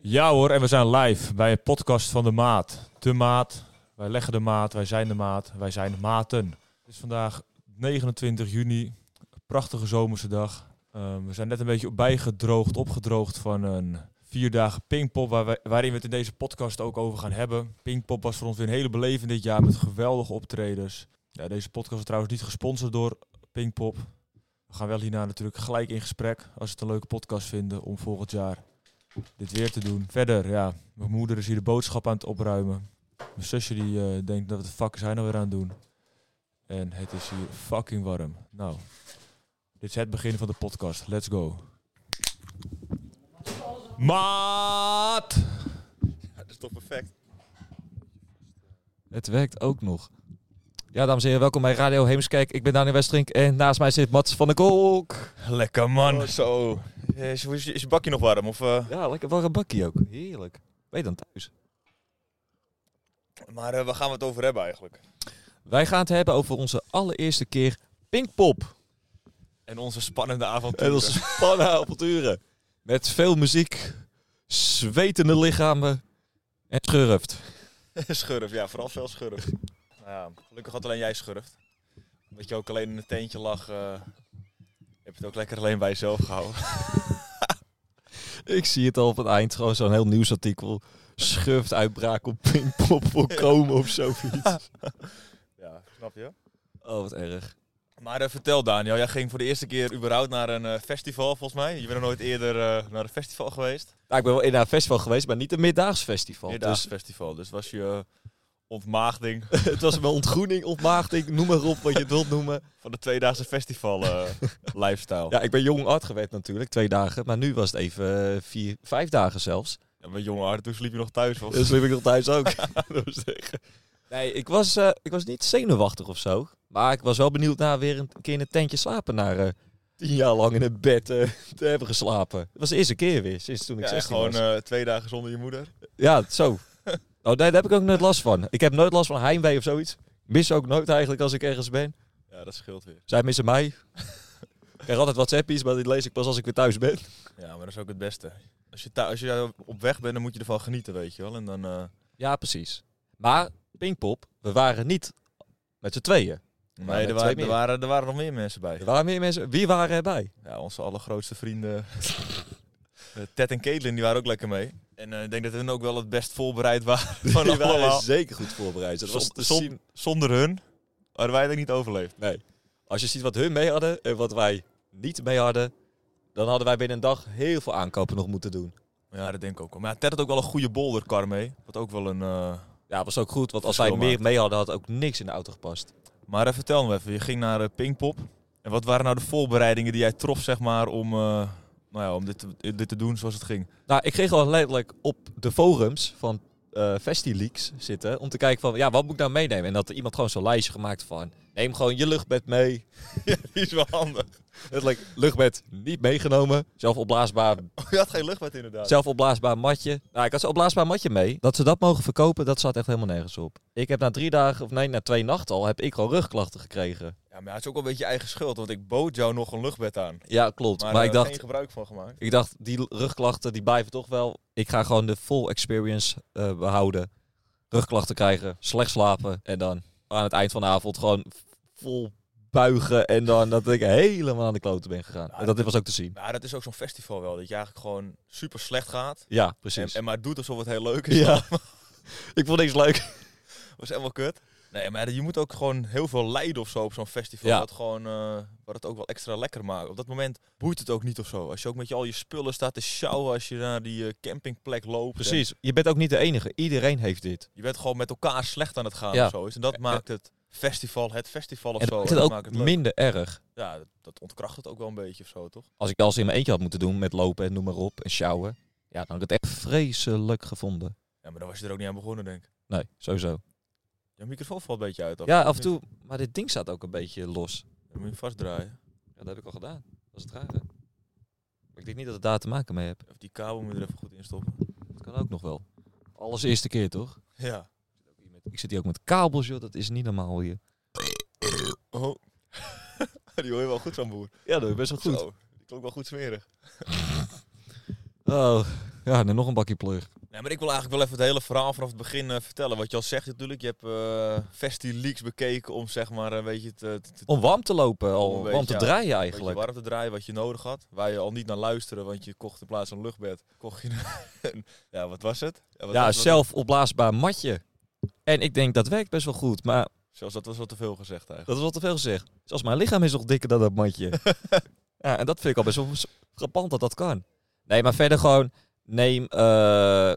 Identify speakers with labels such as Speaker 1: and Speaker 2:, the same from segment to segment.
Speaker 1: Ja hoor, en we zijn live bij een podcast van De Maat. De Maat, wij leggen de maat, wij zijn de maat, wij zijn maten. Het is vandaag 29 juni, een prachtige zomerse dag. Ehm, we zijn net een beetje bijgedroogd, opgedroogd van een vier dagen pingpop... Waar wij- waarin we het in deze podcast ook over gaan hebben. Pingpop was voor ons weer een hele beleving dit jaar met geweldige optredens. Ja, deze podcast is trouwens niet gesponsord door Pingpop. We gaan wel hierna natuurlijk gelijk in gesprek, als we het een leuke podcast vinden, om volgend jaar dit weer te doen. Verder, ja, mijn moeder is hier de boodschap aan het opruimen. Mijn zusje die eh, denkt dat wat de fuck is hij nou weer aan het doen. En het is hier fucking warm. Nou, dit is het begin van de podcast. Let's go. Maat!
Speaker 2: Dat is toch perfect?
Speaker 3: Het werkt ook nog. Ja, dames en heren, welkom bij Radio Heemskerk. Ik ben Daniel Westrink en naast mij zit Mats van der Kolk.
Speaker 1: Lekker
Speaker 2: Oh,
Speaker 1: man.
Speaker 2: zo. Eh, Is, is, is je bakje nog warm? Of, eh?
Speaker 3: Ja, lekker warm bakkie ook. Heerlijk. Ben je dan thuis?
Speaker 2: Maar eh, waar gaan we het over hebben eigenlijk?
Speaker 3: Wij gaan het hebben over onze allereerste keer Pinkpop.
Speaker 2: En onze spannende avonturen.
Speaker 3: En onze spannende avonturen. Met veel muziek, zwetende lichamen en schurft.
Speaker 2: schurf, ja, vooral veel schurf. nou ja, gelukkig had alleen jij schurft. Omdat je ook alleen in een teentje lag, eh, heb je het ook lekker alleen bij jezelf gehouden.
Speaker 3: Ik zie het al op het eind, gewoon zo'n heel nieuwsartikel. Schurft uitbraak op Pinkpop voorkomen of zoiets.
Speaker 2: ja, snap je?
Speaker 3: Oh, wat erg.
Speaker 2: Maar eh, vertel Daniel, jij ging voor de eerste keer überhaupt naar een eh, festival volgens mij. Je bent nog nooit eerder eh, naar een festival geweest.
Speaker 3: Nou, ik ben wel in een festival geweest, maar niet een middaags festival.
Speaker 2: Eerdaags
Speaker 3: Dus
Speaker 2: festival, dus was je eh, ontmaagding
Speaker 3: het was mijn ontgroening, ontmaagding, noem maar op wat je het wilt noemen.
Speaker 2: van de tweedaagse festival eh, lifestyle.
Speaker 3: Ja, ik ben jong art geweest natuurlijk, twee dagen. Maar nu was het even eh, vier, vijf dagen zelfs.
Speaker 2: Ja, maar jongen, Arthur, toen sliep je nog thuis. Was.
Speaker 3: Dus liep ik nog thuis ook. nee, ik was, eh, ik was niet zenuwachtig of zo. Maar ik was wel benieuwd naar weer een keer in een tentje slapen. Na eh, tien jaar lang in een bed eh, te hebben geslapen. Het was de eerste keer weer, sinds toen ik
Speaker 2: ja, en
Speaker 3: 16
Speaker 2: gewoon
Speaker 3: was.
Speaker 2: eh, twee dagen zonder je moeder.
Speaker 3: Ja, zo. Oh, nee, daar heb ik ook nooit last van. Ik heb nooit last van heimwee of zoiets. Mis ook nooit eigenlijk als ik ergens ben.
Speaker 2: Ja, dat scheelt weer.
Speaker 3: Zij missen mij. Ik krijg altijd WhatsAppjes, maar die lees ik pas als ik weer thuis ben.
Speaker 2: Ja, maar dat is ook het beste. Als je, thui- als je op weg bent, dan moet je ervan genieten, weet je wel. En dan, eh,
Speaker 3: Ja, precies. Maar, Pinkpop, we waren niet met z'n tweeën. waren
Speaker 2: nee,
Speaker 3: er
Speaker 2: er,
Speaker 3: twee
Speaker 2: waren, er,
Speaker 3: meer.
Speaker 2: waren, er waren nog meer mensen bij.
Speaker 3: Er waren meer mensen. Wie waren erbij?
Speaker 2: Ja, onze allergrootste vrienden. Eh, Ted en Caitlin, die waren ook lekker mee. En eh, ik denk dat hun ook wel het best voorbereid waren van
Speaker 3: Die waren
Speaker 2: allemaal.
Speaker 3: zeker goed voorbereid. Dat was
Speaker 2: Som-
Speaker 3: te
Speaker 2: som-
Speaker 3: zien.
Speaker 2: Zonder hun hadden wij het ook niet overleefd.
Speaker 3: Nee. Als je ziet wat hun mee hadden en wat wij niet mee hadden, dan hadden wij binnen een dag heel veel aankopen nog moeten doen.
Speaker 2: Ja, dat denk ik ook wel. Maar ja, Ted had ook wel een goede bolderkar mee. Wat ook wel een... eh,
Speaker 3: Ja, was ook goed, want als wij
Speaker 2: Verschil
Speaker 3: meer mee hadden, had ook niks in de auto gepast.
Speaker 2: Maar eh, vertel me even, je ging naar eh, Pinkpop. En wat waren nou de voorbereidingen die jij trof, zeg maar, om, eh, nou ja, om dit, te, dit te doen zoals het ging?
Speaker 3: Nou, ik ging gewoon letterlijk op de forums van eh FestiLeaks zitten om te kijken van, ja, wat moet ik nou meenemen? En dat er iemand gewoon zo'n lijstje gemaakt van, neem gewoon je luchtbed mee,
Speaker 2: Die is wel handig.
Speaker 3: Letterlijk luchtbed niet meegenomen. Zelf opblaasbaar,
Speaker 2: Oh, Je had geen luchtbed inderdaad.
Speaker 3: zelf opblaasbaar matje. Nou, ik had zo'n opblaasbaar matje mee. Dat ze dat mogen verkopen, dat staat echt helemaal nergens op. Ik heb na drie dagen, of nee, na twee nachten al, heb ik al rugklachten gekregen.
Speaker 2: Ja, maar ja, het is ook wel een beetje je eigen schuld, want ik bood jou nog een luchtbed aan.
Speaker 3: Ja, klopt. Maar, eh,
Speaker 2: daar
Speaker 3: ik
Speaker 2: heb
Speaker 3: dacht,
Speaker 2: geen gebruik van gemaakt.
Speaker 3: ik dacht, die rugklachten, die blijven toch wel. Ik ga gewoon de full experience eh, behouden. Rugklachten krijgen, slecht slapen. En dan aan het eind van de avond gewoon vol buigen. En dan dat ik helemaal aan de kloten ben gegaan.
Speaker 2: Nou,
Speaker 3: En dat was ook te zien.
Speaker 2: Maar dat is ook zo'n festival wel, dat je eigenlijk gewoon super slecht gaat.
Speaker 3: Ja,
Speaker 2: En,
Speaker 3: precies.
Speaker 2: en maar doet alsof het heel leuk is.
Speaker 3: Ja. ik vond niks leuk.
Speaker 2: was helemaal kut. Nee, maar je moet ook gewoon heel veel lijden of zo op zo'n festival.
Speaker 3: Ja.
Speaker 2: Wat, gewoon, eh, wat het ook wel extra lekker maakt. Op dat moment boeit het ook niet of zo. Als je ook met je, al je spullen staat te sjouwen als je naar die eh, campingplek loopt. En
Speaker 3: Precies. Je bent ook niet de enige. Iedereen heeft dit.
Speaker 2: Je bent gewoon met elkaar slecht aan het gaan
Speaker 3: Ja.
Speaker 2: of zo. is. En dat maakt het festival het festival of
Speaker 3: en
Speaker 2: zo.
Speaker 3: dat
Speaker 2: En
Speaker 3: is
Speaker 2: dat
Speaker 3: ook
Speaker 2: maakt het leuk.
Speaker 3: minder erg.
Speaker 2: Ja, dat, dat ontkracht het ook wel een beetje of zo, toch?
Speaker 3: Als ik alles in mijn eentje had moeten doen met lopen en noem maar op en sjouwen. Ja, dan had ik het echt vreselijk gevonden.
Speaker 2: Ja, maar dan was je er ook niet aan begonnen, denk ik.
Speaker 3: Nee, sowieso.
Speaker 2: Je microfoon valt een beetje uit. af.
Speaker 3: Ja, af en toe. Maar dit ding staat ook een beetje los.
Speaker 2: Dan moet je hem vastdraaien.
Speaker 3: Ja, dat heb ik al gedaan. Dat is het rare. Maar ik denk niet dat het daar te maken mee heeft.
Speaker 2: Of die kabel moet je er even goed in stoppen.
Speaker 3: Dat kan ook nog wel. Alles eerste keer, toch?
Speaker 2: Ja.
Speaker 3: Ik zit hier ook met kabels, joh. Dat is niet normaal hier.
Speaker 2: Oh. die hoor je wel goed, zo'n boer.
Speaker 3: Ja, dat is best wel
Speaker 2: Zo, die klonk wel goed smerig.
Speaker 3: Oh, Ja, en dan nog een bakje plug.
Speaker 2: Nee, maar ik wil eigenlijk wel even het hele verhaal vanaf het begin eh, vertellen. Wat je al zegt natuurlijk, je hebt eh Festi Leaks bekeken om zeg maar een beetje te, te, te-
Speaker 3: Om warm te lopen, al
Speaker 2: Om een
Speaker 3: warm
Speaker 2: beetje,
Speaker 3: te
Speaker 2: ja,
Speaker 3: draaien
Speaker 2: een beetje
Speaker 3: eigenlijk.
Speaker 2: warm te draaien wat je nodig had. Waar je al niet naar luisterde, want je kocht in plaats van een luchtbed, kocht je een... ja, wat was het? wat
Speaker 3: Ja,
Speaker 2: was het?
Speaker 3: zelf opblaasbaar matje. En ik denk dat werkt best wel goed, maar
Speaker 2: Zelfs dat was wel te veel gezegd eigenlijk.
Speaker 3: dat is wat te veel gezegd. Zelfs mijn lichaam is nog dikker dan dat matje. ja, en dat vind ik al best wel gepand dat dat kan. Nee, maar verder gewoon neem eh,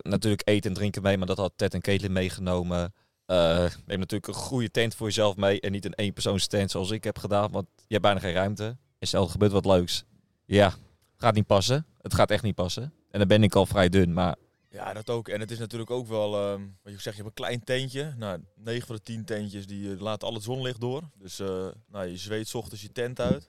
Speaker 3: natuurlijk eten en drinken mee, maar dat had Ted en Caitlin meegenomen. Eh, neem natuurlijk een goede tent voor jezelf mee en niet een eenpersoons tent zoals ik heb gedaan, want je hebt bijna geen ruimte. En stel er gebeurt wat leuks. Ja, gaat niet passen. Het gaat echt niet passen. En dan ben ik al vrij dun, maar
Speaker 2: Ja, dat ook. En het is natuurlijk ook wel, ehm, wat je zegt, je hebt een klein tentje. Nou, 9 van de 10 tentjes die eh, laten al het zonlicht door. Dus eh, nou, je zweet 's ochtends je tent uit.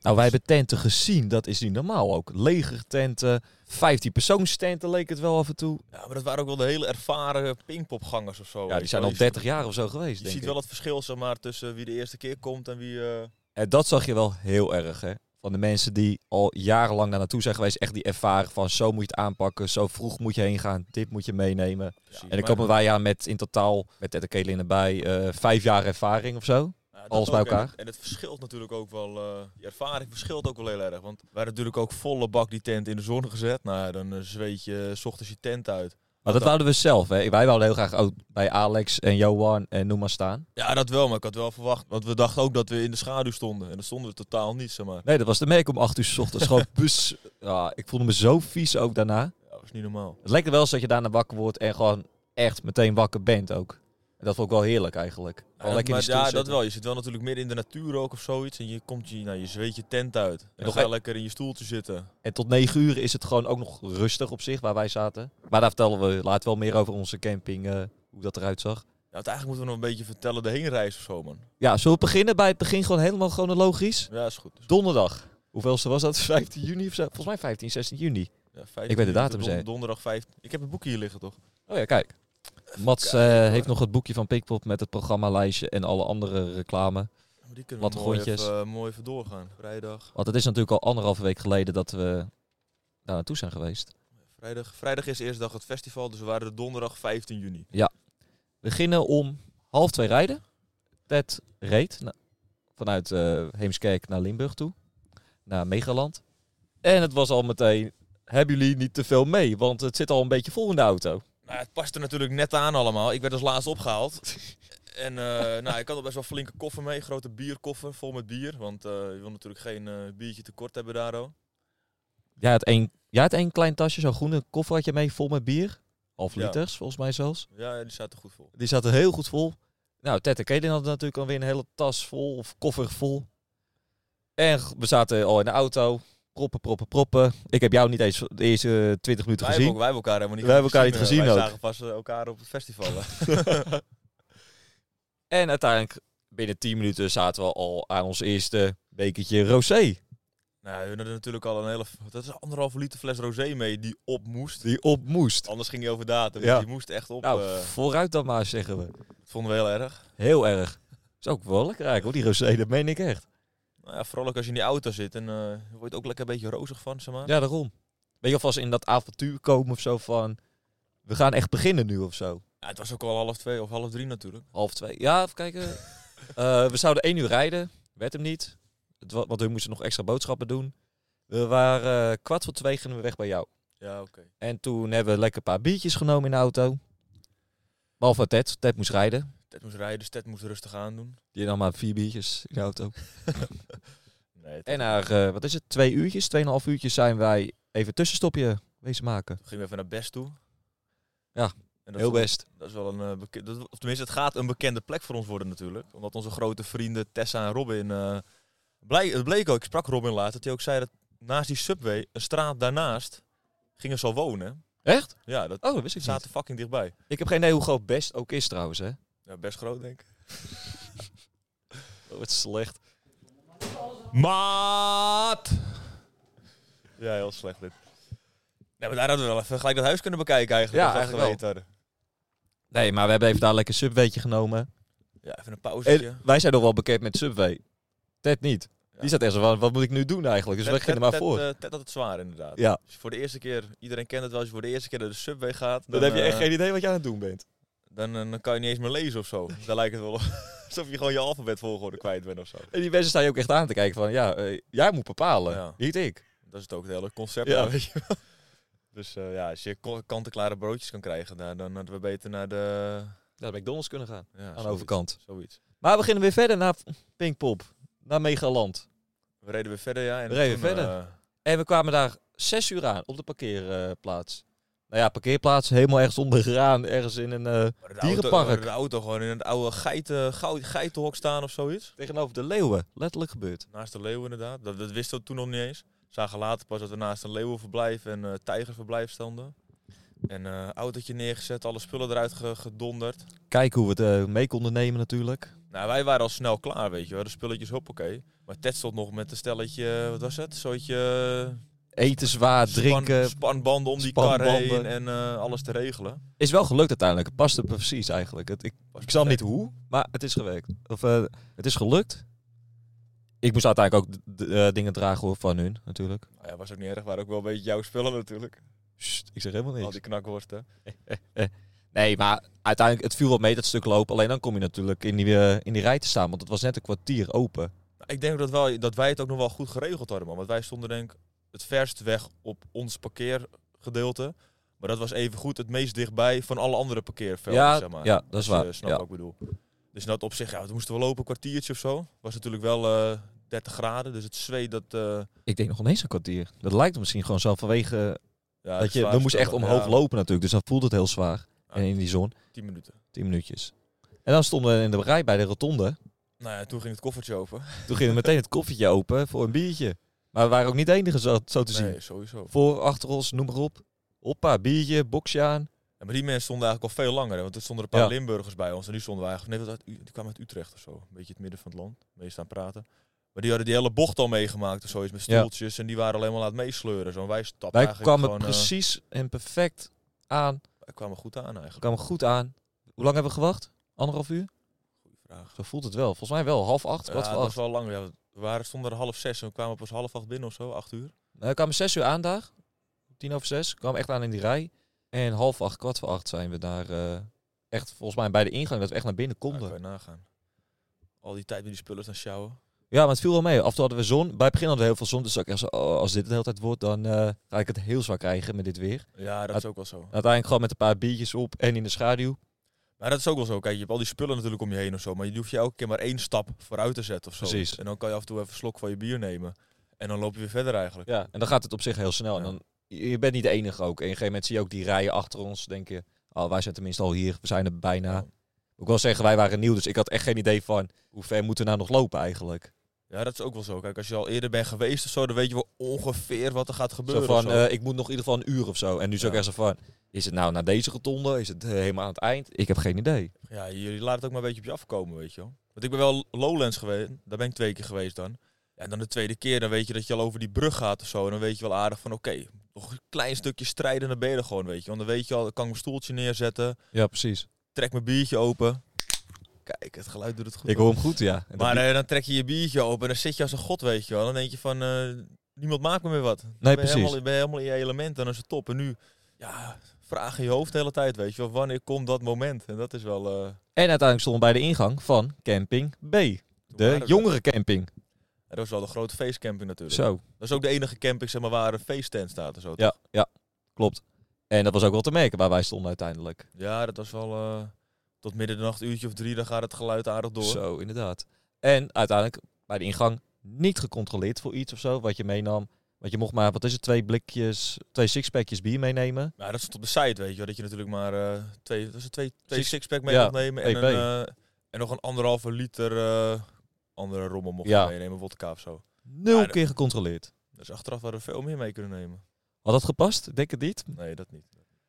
Speaker 3: Nou, wij hebben tenten gezien, dat is niet normaal ook. Legertenten, 15 persoonstenten leek het wel af en toe.
Speaker 2: Ja, maar dat waren ook wel de hele ervaren pingpopgangers of zo.
Speaker 3: Ja, die zijn al
Speaker 2: al
Speaker 3: 30 jaar of zo geweest,
Speaker 2: Je
Speaker 3: denk
Speaker 2: ziet
Speaker 3: ik.
Speaker 2: wel het verschil zeg maar, tussen wie de eerste keer komt en wie... eh,
Speaker 3: En dat zag je wel heel erg, hè. Van de mensen die al jarenlang daar naartoe zijn geweest, echt die ervaren van zo moet je het aanpakken, zo vroeg moet je heen gaan, dit moet je meenemen. En dan
Speaker 2: maar-
Speaker 3: komen wij aan met in totaal, met Ted en Caitlin erbij, eh, vijf jaar ervaring of zo.
Speaker 2: Ja, dat
Speaker 3: Alles bij
Speaker 2: ook. En-
Speaker 3: elkaar.
Speaker 2: En, het verschilt natuurlijk ook wel. eh, die ervaring verschilt ook wel heel erg. Want wij hadden natuurlijk ook volle bak die tent in de zon gezet. Nou, ja, dan eh, zweet je eh, 's ochtends je tent uit.
Speaker 3: Maar dat wouden we zelf, hè. Wij wouden heel graag ook bij Alex en Johan en noem maar staan.
Speaker 2: Ja, dat wel, maar ik had wel verwacht. Want we dachten ook dat we in de schaduw stonden. En dat stonden we totaal niet, zeg maar.
Speaker 3: Nee, dat was de merk om acht uur s ochtends. Gewoon bus. Ja, ik voelde me zo vies ook daarna.
Speaker 2: Ja, dat is niet normaal.
Speaker 3: Het lijkt er wel eens dat je daarna wakker wordt en gewoon echt meteen wakker bent ook. En dat vond ik wel heerlijk eigenlijk. Gewoon
Speaker 2: Ja,
Speaker 3: lekker in
Speaker 2: maar
Speaker 3: die stoel
Speaker 2: ja, dat
Speaker 3: zitten.
Speaker 2: wel. Je zit wel natuurlijk midden in de natuur ook of zoiets. En je, komt je, nou, je zweet je tent uit. En dan
Speaker 3: nog
Speaker 2: ga je
Speaker 3: e-
Speaker 2: lekker in je stoeltje zitten.
Speaker 3: En tot negen uur is het gewoon ook nog rustig op zich waar wij zaten. Maar daar vertellen we later wel meer over onze camping, eh, hoe dat eruit zag.
Speaker 2: Ja, want eigenlijk moeten we nog een beetje vertellen de heenreis of zo, man.
Speaker 3: Ja, zullen we beginnen bij het begin gewoon helemaal chronologisch?
Speaker 2: Ja, is goed. Dus, Is goed.
Speaker 3: Donderdag. Hoeveelste was dat? 15 juni of zo? Volgens mij 15, 16 juni.
Speaker 2: Ja, 15
Speaker 3: Ik weet de datum,
Speaker 2: don-
Speaker 3: zei-
Speaker 2: Donderdag 5. Ik heb een boekje hier liggen, toch?
Speaker 3: Oh ja, kijk. Mats eh, heeft nog het boekje van Pickpop met het programmalijstje en alle andere reclame.
Speaker 2: Maar Die kunnen we
Speaker 3: Wat
Speaker 2: mooi even,
Speaker 3: grondjes.
Speaker 2: eh, mooi even doorgaan. Vrijdag.
Speaker 3: Want het is natuurlijk al anderhalve week geleden dat we daar naartoe zijn geweest.
Speaker 2: Vrijdag, vrijdag is de eerste dag het festival, dus we waren er donderdag 15 juni.
Speaker 3: We beginnen om half twee rijden. Ted reed na- vanuit eh, Heemskerk naar Limburg toe. Naar Megaland. En het was al meteen, hebben jullie niet te veel mee? Want het zit al een beetje vol in de auto.
Speaker 2: Nou, het past er natuurlijk net aan allemaal. Ik werd als laatst opgehaald. en eh, nou, ik had al best wel flinke koffer mee, grote bierkoffer vol met bier. Want eh, je wil natuurlijk geen eh, biertje tekort hebben daardoor.
Speaker 3: Jij had één, jij had één klein tasje, zo'n groene koffer had je mee, vol met bier. Half
Speaker 2: Ja.
Speaker 3: liters, volgens mij zelfs.
Speaker 2: Ja, die staat er goed vol.
Speaker 3: Die zaten heel goed vol. Nou, Ted en Kaden hadden natuurlijk alweer een hele tas vol of koffer vol. En g- we zaten al in de auto. Proppen, proppen, proppen. Ik heb jou niet eens de eerste 20 minuten
Speaker 2: Wij hebben, ook-
Speaker 3: gezien.
Speaker 2: wij hebben elkaar helemaal niet
Speaker 3: Wij hebben elkaar niet
Speaker 2: eh,
Speaker 3: gezien
Speaker 2: wij
Speaker 3: ook.
Speaker 2: zagen pas eh, elkaar op het festival. hè.
Speaker 3: En uiteindelijk, binnen 10 minuten, zaten we al aan ons eerste bekertje rosé.
Speaker 2: nou, we hadden natuurlijk al een hele... Dat is anderhalve liter fles rosé mee die op moest.
Speaker 3: Die op moest.
Speaker 2: Anders ging hij over datum.
Speaker 3: Ja.
Speaker 2: Die moest echt op.
Speaker 3: Nou,
Speaker 2: eh,
Speaker 3: vooruit dan maar, zeggen we.
Speaker 2: dat vonden we heel erg.
Speaker 3: Heel erg. Is ook wel lekker eigenlijk, hoor, die rosé. Dat meen ik echt.
Speaker 2: Nou ja, vooral ook als je in die auto zit en eh, je wordt ook lekker een beetje rozig van, zeg maar.
Speaker 3: Ja, daarom. Weet je alvast in dat avontuur komen of zo van... We gaan echt beginnen nu of zo.
Speaker 2: Ja, het was ook al half twee of half drie natuurlijk.
Speaker 3: Half twee. Ja, even kijken. Eh, we zouden één uur rijden. Werd hem niet. Het wa- want we moesten nog extra boodschappen doen. We waren eh, kwart voor twee gingen we weg bij jou.
Speaker 2: Ja, oké.
Speaker 3: En toen hebben we lekker een paar biertjes genomen in de auto. Behalve Ted. Ted moest rijden.
Speaker 2: Ted moest rijden, dus Ted moest rustig aandoen.
Speaker 3: Die nam maar vier biertjes in de auto.
Speaker 2: Nee, Ted
Speaker 3: En na, eh, wat is het, twee uurtjes, tweeënhalf uurtjes zijn wij even tussenstopje wezen maken.
Speaker 2: ging even naar Best toe.
Speaker 3: Ja,
Speaker 2: en dat
Speaker 3: Heel
Speaker 2: vond-
Speaker 3: best.
Speaker 2: Dat is wel een eh, beke- dat- of tenminste, het gaat een bekende plek voor ons worden natuurlijk. Omdat onze grote vrienden Tessa en Robin... eh blij, het bleek ook, ik sprak Robin later, dat hij ook zei dat naast die subway, een straat daarnaast, gingen ze al wonen.
Speaker 3: Echt?
Speaker 2: Ja, dat
Speaker 3: Oh, dat wist ik niet.
Speaker 2: zaten fucking dichtbij.
Speaker 3: Ik heb geen idee hoe groot best ook is trouwens, hè.
Speaker 2: Ja, best groot denk ik.
Speaker 3: Oh, wat slecht.
Speaker 1: Maat!
Speaker 2: Ja, heel slecht dit. Nee, maar daar hadden we wel even gelijk dat huis kunnen bekijken eigenlijk.
Speaker 3: Ja,
Speaker 2: als we dat
Speaker 3: eigenlijk
Speaker 2: geweten hadden.
Speaker 3: Nee, maar we hebben even daar lekker een subweetje genomen.
Speaker 2: Ja, even een pauzetje.
Speaker 3: En wij zijn nog wel bekend met Subway. Ted niet. Die zat echt zo van, wat moet ik nu doen eigenlijk? Dus we gingen er maar voor.
Speaker 2: Ted, eh, Ted had het zwaar inderdaad.
Speaker 3: ja,
Speaker 2: Als je voor de eerste keer, iedereen kent het wel, als je voor de eerste keer naar de subway gaat...
Speaker 3: dan heb je echt
Speaker 2: eh,
Speaker 3: geen idee wat je aan het doen bent.
Speaker 2: Dan, eh, dan kan je niet eens meer lezen of zo. Daar lijkt het wel op. Alsof je gewoon je alfabetvolgorde kwijt bent of zo.
Speaker 3: En die mensen staan je ook echt aan te kijken van, ja, eh, jij moet bepalen,
Speaker 2: Ja.
Speaker 3: niet ik.
Speaker 2: Dat is het ook het hele concept.
Speaker 3: Ja.
Speaker 2: daar, weet je wel. Dus eh, ja, als je ko- kant-en-klare broodjes kan krijgen, daar, dan hadden we beter naar de...
Speaker 3: Naar de McDonald's kunnen gaan,
Speaker 2: Ja,
Speaker 3: aan
Speaker 2: zoiets.
Speaker 3: de overkant.
Speaker 2: Zoiets.
Speaker 3: Maar we beginnen weer verder naar Pinkpop, naar Megaland.
Speaker 2: We reden weer verder, ja. En
Speaker 3: We reden
Speaker 2: toen,
Speaker 3: weer verder.
Speaker 2: eh,
Speaker 3: En we kwamen daar zes uur aan, op de parkeerplaats. nou ja, parkeerplaats, helemaal ergens ondergraan, ergens in een... eh,
Speaker 2: maar de
Speaker 3: Dierenpark.
Speaker 2: Auto, de auto gewoon in het oude geiten, goud- geitenhok staan of zoiets.
Speaker 3: tegenover de leeuwen, letterlijk gebeurd.
Speaker 2: Naast de leeuw inderdaad. Dat, dat wisten we toen nog niet eens. Zagen later pas dat we naast een leeuwenverblijf en eh tijgerverblijf stonden. En eh autootje neergezet, alle spullen eruit ge- gedonderd.
Speaker 3: Kijken hoe we het eh, mee konden nemen natuurlijk.
Speaker 2: Nou, wij waren al snel klaar, weet je wel. De spulletjes, hoppakee. Maar Ted stond nog met een stelletje, eh, wat was het? Zootje eh,
Speaker 3: Eten zwaar,
Speaker 2: span-
Speaker 3: drinken.
Speaker 2: spanbanden om die kar
Speaker 3: spanbanden.
Speaker 2: heen en eh, alles te regelen.
Speaker 3: Is wel gelukt uiteindelijk, het paste precies eigenlijk. Het, ik,
Speaker 2: Was
Speaker 3: ik snap niet
Speaker 2: perfect.
Speaker 3: hoe, maar het is gewerkt. Of eh, het is gelukt. Ik moest uiteindelijk ook d- d- eh, dingen dragen hoor, van hun natuurlijk.
Speaker 2: Nou ja, was ook niet erg. Waren ook wel een beetje jouw spullen natuurlijk.
Speaker 3: Sst, ik zeg helemaal
Speaker 2: Al die knakworsten.
Speaker 3: Nee, maar uiteindelijk, het viel wel mee dat stuk lopen. Alleen dan kom je natuurlijk in die, eh, in die rij te staan. Want het was net een kwartier open.
Speaker 2: Nou, ik denk dat, wel, dat wij het ook nog wel goed geregeld hadden, man. Want wij stonden denk ik het verst weg op ons parkeergedeelte. Maar dat was even goed het meest dichtbij van alle andere parkeervelden,
Speaker 3: ja,
Speaker 2: zeg maar.
Speaker 3: ja, dat is
Speaker 2: Als je
Speaker 3: waar.
Speaker 2: snapt
Speaker 3: Ja.
Speaker 2: wat ik bedoel. Dus in dat op zich, ja, het moesten we lopen een kwartiertje of zo. Was natuurlijk wel eh, 30 graden, dus het zweet dat... eh,
Speaker 3: Ik denk nog ineens een kwartier. Dat lijkt misschien gewoon zo vanwege... eh,
Speaker 2: ja,
Speaker 3: dat je,
Speaker 2: zwaar
Speaker 3: we moesten echt
Speaker 2: spullen.
Speaker 3: omhoog
Speaker 2: Ja,
Speaker 3: lopen natuurlijk. Dus dan voelt het heel zwaar.
Speaker 2: Ja.
Speaker 3: En in die zon,
Speaker 2: 10 minuten.
Speaker 3: 10 minuutjes. En dan stonden we in de rij bij de rotonde.
Speaker 2: Nou ja, toen ging het koffertje open.
Speaker 3: Toen ging er meteen het koffietje open voor een biertje. Maar we waren ook niet de enige zo, zo te zien.
Speaker 2: Nee, sowieso.
Speaker 3: Voor, achter ons, noem maar op. Hoppa, biertje, boksje aan.
Speaker 2: Ja, maar die mensen stonden eigenlijk al veel langer. Hè, want er stonden een paar
Speaker 3: Ja.
Speaker 2: Limburgers bij ons. En die stonden we eigenlijk... Nee, dat uit U- die kwamen uit Utrecht of zo. Een beetje het midden van het land. Meest aan het praten. Maar die hadden die hele bocht al meegemaakt of zoiets. Met
Speaker 3: Ja.
Speaker 2: stoeltjes. En die waren al helemaal aan het meesleuren. Zo. En wij stapten
Speaker 3: Wij
Speaker 2: eigenlijk
Speaker 3: kwamen
Speaker 2: gewoon, eh,
Speaker 3: precies en perfect aan.
Speaker 2: wij kwamen goed aan eigenlijk.
Speaker 3: We kwamen goed aan. Hoe lang hebben we gewacht? Anderhalf uur?
Speaker 2: Goeie vraag.
Speaker 3: Zo voelt het wel. Volgens mij wel. Half acht, kwart
Speaker 2: ja, dat
Speaker 3: voor
Speaker 2: was
Speaker 3: acht.
Speaker 2: wel lang. Ja, we waren, stonden er half zes en we kwamen pas half acht binnen of zo, acht uur.
Speaker 3: Nou, we kwamen zes uur aan daar. Tien over zes. Kwam echt aan in die rij. En half acht, kwart voor acht zijn we daar eh, echt volgens mij bij de ingang dat we echt naar binnen
Speaker 2: Ja,
Speaker 3: konden.
Speaker 2: kan
Speaker 3: Ja,
Speaker 2: je nagaan. Al die tijd met die spullen staan sjouwen.
Speaker 3: maar het viel wel mee. Af en toe hadden we zon. Bij het begin hadden we heel veel zon. Dus ook echt zo, oh, als dit de hele tijd wordt, dan eh, ga ik het heel zwaar krijgen met dit weer.
Speaker 2: Ja, dat
Speaker 3: Uit-
Speaker 2: is ook wel zo.
Speaker 3: Uiteindelijk gewoon met een paar biertjes op en in de schaduw.
Speaker 2: Maar dat is ook wel zo. Kijk, je hebt al die spullen natuurlijk om je heen of zo. Maar je hoeft je elke keer maar één stap vooruit te zetten of zo.
Speaker 3: Precies.
Speaker 2: En dan kan je af en toe even een slok van je bier nemen. En dan loop je weer verder eigenlijk.
Speaker 3: Ja. En dan gaat het op zich heel snel. En
Speaker 2: Ja.
Speaker 3: dan, je je bent niet de enige ook. En op een gegeven moment zie je ook die rijen achter ons. Denk je, oh, wij zijn tenminste al hier. We zijn er bijna. Moet Ik wil zeggen, wij waren nieuw, dus ik had echt geen idee van hoe ver moeten we nou nog lopen eigenlijk.
Speaker 2: Ja, dat is ook wel zo. Kijk, als je al eerder bent geweest of zo, dan weet je wel ongeveer wat er gaat gebeuren.
Speaker 3: zo van,
Speaker 2: of zo.
Speaker 3: eh, ik moet nog in ieder geval een uur of zo. En nu zou ik
Speaker 2: Ja.
Speaker 3: echt zo van, is het nou naar deze rotonde? Is het eh, helemaal aan het eind? Ik heb geen idee.
Speaker 2: Ja, jullie laten het ook maar een beetje op je afkomen, weet je wel. Want ik ben wel Lowlands geweest. Daar ben ik twee keer geweest dan. Ja, en dan de tweede keer, dan weet je dat je al over die brug gaat of zo. En dan weet je wel aardig van, oké, nog een klein stukje strijden en dan ben je er gewoon, weet je. Want dan weet je al, kan ik mijn stoeltje neerzetten,
Speaker 3: Ja, precies.
Speaker 2: trek mijn biertje open. Kijk, het geluid doet het goed.
Speaker 3: Ik hoor hem goed, ja. En dat-
Speaker 2: maar eh, dan trek je je biertje open en dan zit je als een god, weet je wel. Dan denk je van, eh, niemand maakt me meer wat. Dan
Speaker 3: nee,
Speaker 2: ben je
Speaker 3: precies.
Speaker 2: helemaal, ben je helemaal in je element en dan is het top. En nu, ja, vraag in je hoofd de hele tijd, weet je wel. Wanneer komt dat moment? En dat is wel... eh,
Speaker 3: En uiteindelijk stonden we bij de ingang van camping B.
Speaker 2: toen waren
Speaker 3: De
Speaker 2: we-
Speaker 3: jongerencamping.
Speaker 2: Ja, dat was wel de grote feestcamping natuurlijk.
Speaker 3: Zo,
Speaker 2: Dat is ook de enige camping zeg maar, waar een feesttent staat en zo.
Speaker 3: Ja. klopt. En dat was ook wel te merken waar wij stonden uiteindelijk.
Speaker 2: Ja, dat was wel eh, tot midden de nacht, uurtje of drie, dan gaat het geluid aardig door.
Speaker 3: Zo, inderdaad. En uiteindelijk bij de ingang niet gecontroleerd voor iets of zo, wat je meenam. Want je mocht maar, wat is het, twee blikjes, twee sixpackjes bier meenemen.
Speaker 2: Ja, Nou, dat stond op de site, weet je wel. Dat je natuurlijk maar eh, twee, dat is het, twee, twee
Speaker 3: Six-
Speaker 2: sixpack mee
Speaker 3: ja,
Speaker 2: mocht nemen. En,
Speaker 3: TB.
Speaker 2: een, eh, en nog een anderhalve liter eh, andere rommel mocht
Speaker 3: Ja.
Speaker 2: je meenemen, wodka of zo.
Speaker 3: Nul
Speaker 2: Ja, Nou, dat-
Speaker 3: keer gecontroleerd.
Speaker 2: Dus achteraf hadden we veel meer mee kunnen nemen.
Speaker 3: Had dat gepast? Ik Denk het niet.
Speaker 2: Nee, dat niet.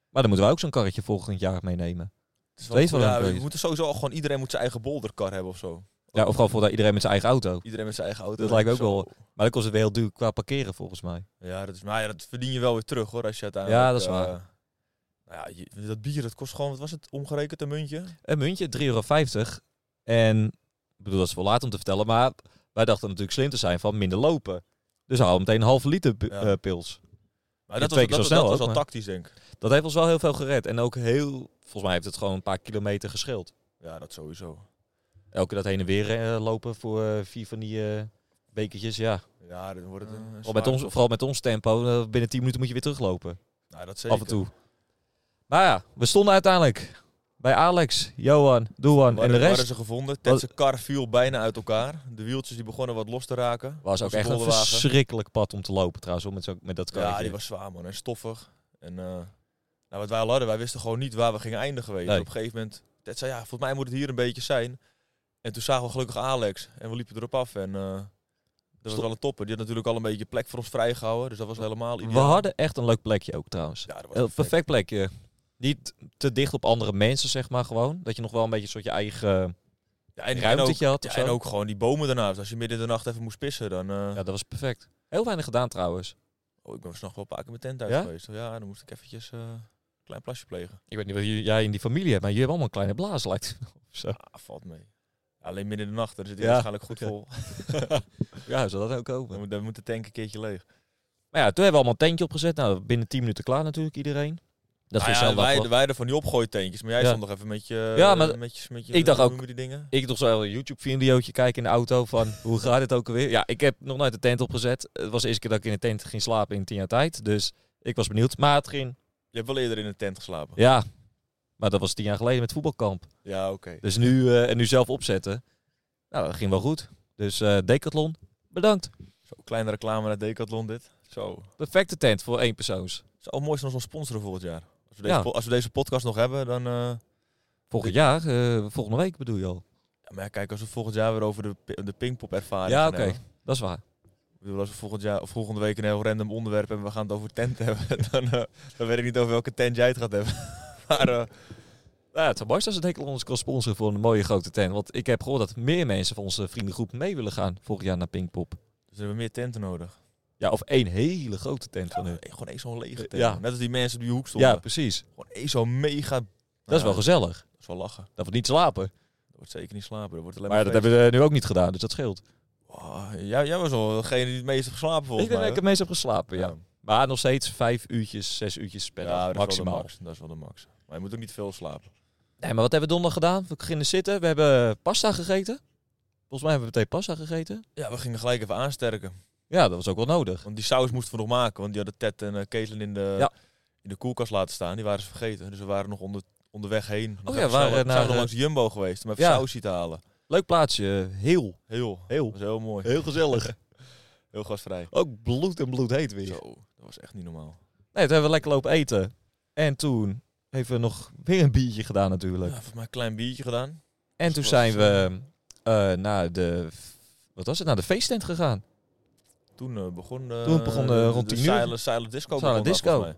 Speaker 3: Maar dan moeten we ook zo'n karretje volgend jaar meenemen.
Speaker 2: Het is
Speaker 3: Twee
Speaker 2: goed.
Speaker 3: van
Speaker 2: ja,
Speaker 3: hem,
Speaker 2: we
Speaker 3: weet je.
Speaker 2: moeten sowieso al gewoon, iedereen moet zijn eigen bolderkar hebben of zo.
Speaker 3: Ja, of gewoon voor dat iedereen met zijn eigen auto.
Speaker 2: Iedereen met zijn eigen auto.
Speaker 3: Dat lijkt me ook
Speaker 2: Zo.
Speaker 3: wel- Maar dat kost het weer heel duur qua parkeren volgens mij.
Speaker 2: Ja, dat is, maar ja, dat verdien je wel weer terug hoor, als je uiteindelijk...
Speaker 3: Ja, dat is
Speaker 2: eh,
Speaker 3: waar.
Speaker 2: nou ja, je- dat bier, dat kost gewoon, wat was het, omgerekend een muntje?
Speaker 3: Een muntje, 3,50 euro. En ik bedoel, dat is wel laat om te vertellen, maar Wij dachten natuurlijk slim te zijn van minder lopen. Dus hou meteen een halve liter pi-
Speaker 2: Ja.
Speaker 3: eh, pils.
Speaker 2: Maar
Speaker 3: Ja,
Speaker 2: dat was, dat,
Speaker 3: twee keer zo
Speaker 2: was-
Speaker 3: snel
Speaker 2: dat was
Speaker 3: ook,
Speaker 2: wel
Speaker 3: maar-
Speaker 2: tactisch, denk ik.
Speaker 3: Dat heeft ons wel heel veel gered. En ook heel, volgens mij heeft het gewoon een paar kilometer gescheeld.
Speaker 2: Ja, dat sowieso.
Speaker 3: Elke dat heen en weer eh, lopen voor eh, vier van die eh bekertjes. Ja,
Speaker 2: Ja, dan wordt het een-
Speaker 1: Eh,
Speaker 2: een
Speaker 3: vooral
Speaker 2: zware
Speaker 3: Oh, met, ons,
Speaker 2: tocht.
Speaker 3: vooral met ons tempo. eh, binnen 10 minuten moet je weer teruglopen.
Speaker 2: Nou, dat zeker.
Speaker 3: Af en toe. Maar ja, we stonden uiteindelijk bij Alex, Johan, Doan en de
Speaker 2: Waren
Speaker 3: rest.
Speaker 2: ze gevonden. Tetse kar viel bijna uit elkaar. De wieltjes die begonnen wat los te raken.
Speaker 3: Was ook
Speaker 2: Onze
Speaker 3: echt een
Speaker 2: bolderwagen.
Speaker 3: verschrikkelijk pad om te lopen trouwens, hoor, met, zo, met dat karretje.
Speaker 2: Ja, die was zwaar man en stoffig. En eh, nou, wat wij al hadden, wij wisten gewoon niet waar we gingen eindigen. Weet je.
Speaker 3: Nee.
Speaker 2: Op een gegeven moment, Ted zei ja, volgens mij moet het hier een beetje zijn. En toen zagen we gelukkig Alex en we liepen erop af. En eh, dat was
Speaker 3: Stop.
Speaker 2: wel een topper. Die had natuurlijk al een beetje plek voor ons vrijgehouden. Dus dat was helemaal
Speaker 3: we
Speaker 2: ideaal.
Speaker 3: hadden echt een leuk plekje ook trouwens.
Speaker 2: Ja, dat was
Speaker 3: Een perfect plekje. Niet te dicht op andere mensen, zeg maar gewoon. Dat je nog wel een beetje een soort je eigen
Speaker 2: Ja,
Speaker 3: eh,
Speaker 2: en, en, ook,
Speaker 3: ruimtetje had.
Speaker 2: ja,
Speaker 3: Of
Speaker 2: en
Speaker 3: zo.
Speaker 2: ook gewoon die bomen daarnaast. Als je midden in de nacht even moest pissen, dan... eh,
Speaker 3: Ja, dat was perfect. Heel weinig gedaan trouwens.
Speaker 2: Oh, ik ben s'nachts wel een paar keer mijn tent uit
Speaker 3: Ja?
Speaker 2: geweest. Ja, dan moest ik eventjes eh, een klein plasje plegen.
Speaker 3: Ik weet niet wat jullie- jij in die familie hebt, maar jullie hebben allemaal een kleine blaas, lijkt het. Of zo.
Speaker 2: Ah, valt mee. Alleen midden in de nacht, dan zit hij
Speaker 3: Ja,
Speaker 2: waarschijnlijk goed
Speaker 3: oké.
Speaker 2: vol.
Speaker 3: Ja, zou dat ook komen.
Speaker 2: Dan moet, dan moet de tank een keertje leeg.
Speaker 3: Maar ja, toen hebben we allemaal een tentje opgezet. Nou, binnen 10 minuten klaar natuurlijk iedereen. Dat
Speaker 2: Nou
Speaker 3: ging
Speaker 2: ja,
Speaker 3: zelf
Speaker 2: wij,
Speaker 3: wel.
Speaker 2: wij hadden van die opgooiteentjes, maar jij
Speaker 3: Ja.
Speaker 2: stond nog even met je...
Speaker 3: Ja, maar
Speaker 2: met je, met je
Speaker 3: ik dacht
Speaker 2: hoe
Speaker 3: ook-
Speaker 2: noemen die dingen?
Speaker 3: Ik nog zo een YouTube-videootje kijken in de auto van hoe gaat het ook alweer. Ja, ik heb nog nooit de tent opgezet. Het was de eerste keer dat ik in de tent ging slapen in 10 jaar tijd. Dus ik was benieuwd. Maar het ging,
Speaker 2: Je hebt wel eerder in een tent geslapen. Ja,
Speaker 3: ja. Maar dat was tien jaar geleden met voetbalkamp.
Speaker 2: oké.
Speaker 3: Dus nu, eh, en nu zelf opzetten. Nou, dat ging wel goed. Dus eh, Decathlon, bedankt.
Speaker 2: Zo, kleine reclame naar Decathlon dit. Zo.
Speaker 3: Perfecte tent voor één persoons.
Speaker 2: Het zou mooi zijn als we ons sponsoren volgend jaar. Als we deze,
Speaker 3: Ja.
Speaker 2: po- als we deze podcast nog hebben, dan... eh,
Speaker 3: Volgend jaar, eh, volgende week bedoel je al.
Speaker 2: ja, maar ja, kijk, als we volgend jaar weer over de, pi- de pingpop ervaring
Speaker 3: Ja,
Speaker 2: gaan
Speaker 3: oké.
Speaker 2: hebben.
Speaker 3: Dat is waar.
Speaker 2: Ik bedoel, als we volgend jaar, of volgende week een heel random onderwerp hebben, we gaan het over tent hebben, dan, eh, dan weet ik niet over welke tent jij het gaat hebben. maar eh,
Speaker 3: Ja, het zou mooi zijn als Decathlon ons kan sponsoren voor een mooie grote tent. Want ik heb gehoord dat meer mensen van onze vriendengroep mee willen gaan volgend jaar naar Pinkpop.
Speaker 2: dus we hebben meer tenten nodig.
Speaker 3: Ja, of één hele grote tent van hun.
Speaker 2: Eh, Gewoon één zo'n lege
Speaker 3: Eh,
Speaker 2: tent.
Speaker 3: ja.
Speaker 2: Net als die mensen op die hoek stonden.
Speaker 3: Ja, precies.
Speaker 2: Gewoon één zo'n mega... Nou
Speaker 3: Dat is wel gezellig.
Speaker 2: Dat is wel lachen.
Speaker 3: Dat we niet slapen.
Speaker 2: Dat wordt zeker niet slapen. Dat wordt alleen
Speaker 3: Maar
Speaker 2: maar,
Speaker 3: dat hebben we eh, nu ook niet gedaan, dus dat scheelt.
Speaker 2: feest. Oh, jij, jij was wel degene die het meest heeft geslapen
Speaker 3: Ik
Speaker 2: volgens
Speaker 3: denk dat
Speaker 2: mij.
Speaker 3: ik het meest heb geslapen, ja. Maar nog steeds vijf uurtjes, zes uurtjes per
Speaker 2: dat
Speaker 3: dag,
Speaker 2: is wel de
Speaker 3: maximaal.
Speaker 2: max. Dat is wel de max. Maar je moet ook niet veel slapen.
Speaker 3: Nee, maar wat hebben we donderdag gedaan? We gingen zitten, we hebben pasta gegeten. Volgens mij hebben we meteen pasta gegeten.
Speaker 2: Ja, we gingen gelijk even aansterken.
Speaker 3: Ja, dat was ook wel nodig.
Speaker 2: Want die saus moesten we nog maken. Want die hadden Ted en eh, Caitlin in de,
Speaker 3: Ja.
Speaker 2: in de koelkast laten staan. Die waren ze vergeten. Dus we waren nog onder, onderweg heen. Nog
Speaker 3: ja,
Speaker 2: even
Speaker 3: we waren
Speaker 2: snel- we
Speaker 3: naar,
Speaker 2: zijn nog
Speaker 3: eh,
Speaker 2: langs Jumbo geweest om even
Speaker 3: ja.
Speaker 2: sausje te halen.
Speaker 3: Leuk plaatsje, heel,
Speaker 2: Heel.
Speaker 3: heel,
Speaker 2: Dat was heel mooi.
Speaker 3: heel gezellig.
Speaker 2: Heel gastvrij.
Speaker 3: ook bloed en bloed heet weer.
Speaker 2: Zo, dat was echt niet normaal.
Speaker 3: Nee, toen hebben we lekker lopen eten. En toen hebben we nog weer een biertje gedaan
Speaker 2: Ja,
Speaker 3: natuurlijk.
Speaker 2: volgens mij een klein biertje gedaan.
Speaker 3: en toen
Speaker 2: was,
Speaker 3: zijn we eh, naar de, wat was het, naar de feesttent gegaan.
Speaker 2: Toen eh, begon de...
Speaker 3: Toen begon, eh, rond 10 uur.
Speaker 2: Silent, silent Disco. begon
Speaker 3: Silent
Speaker 2: daar,
Speaker 3: disco.
Speaker 2: volgens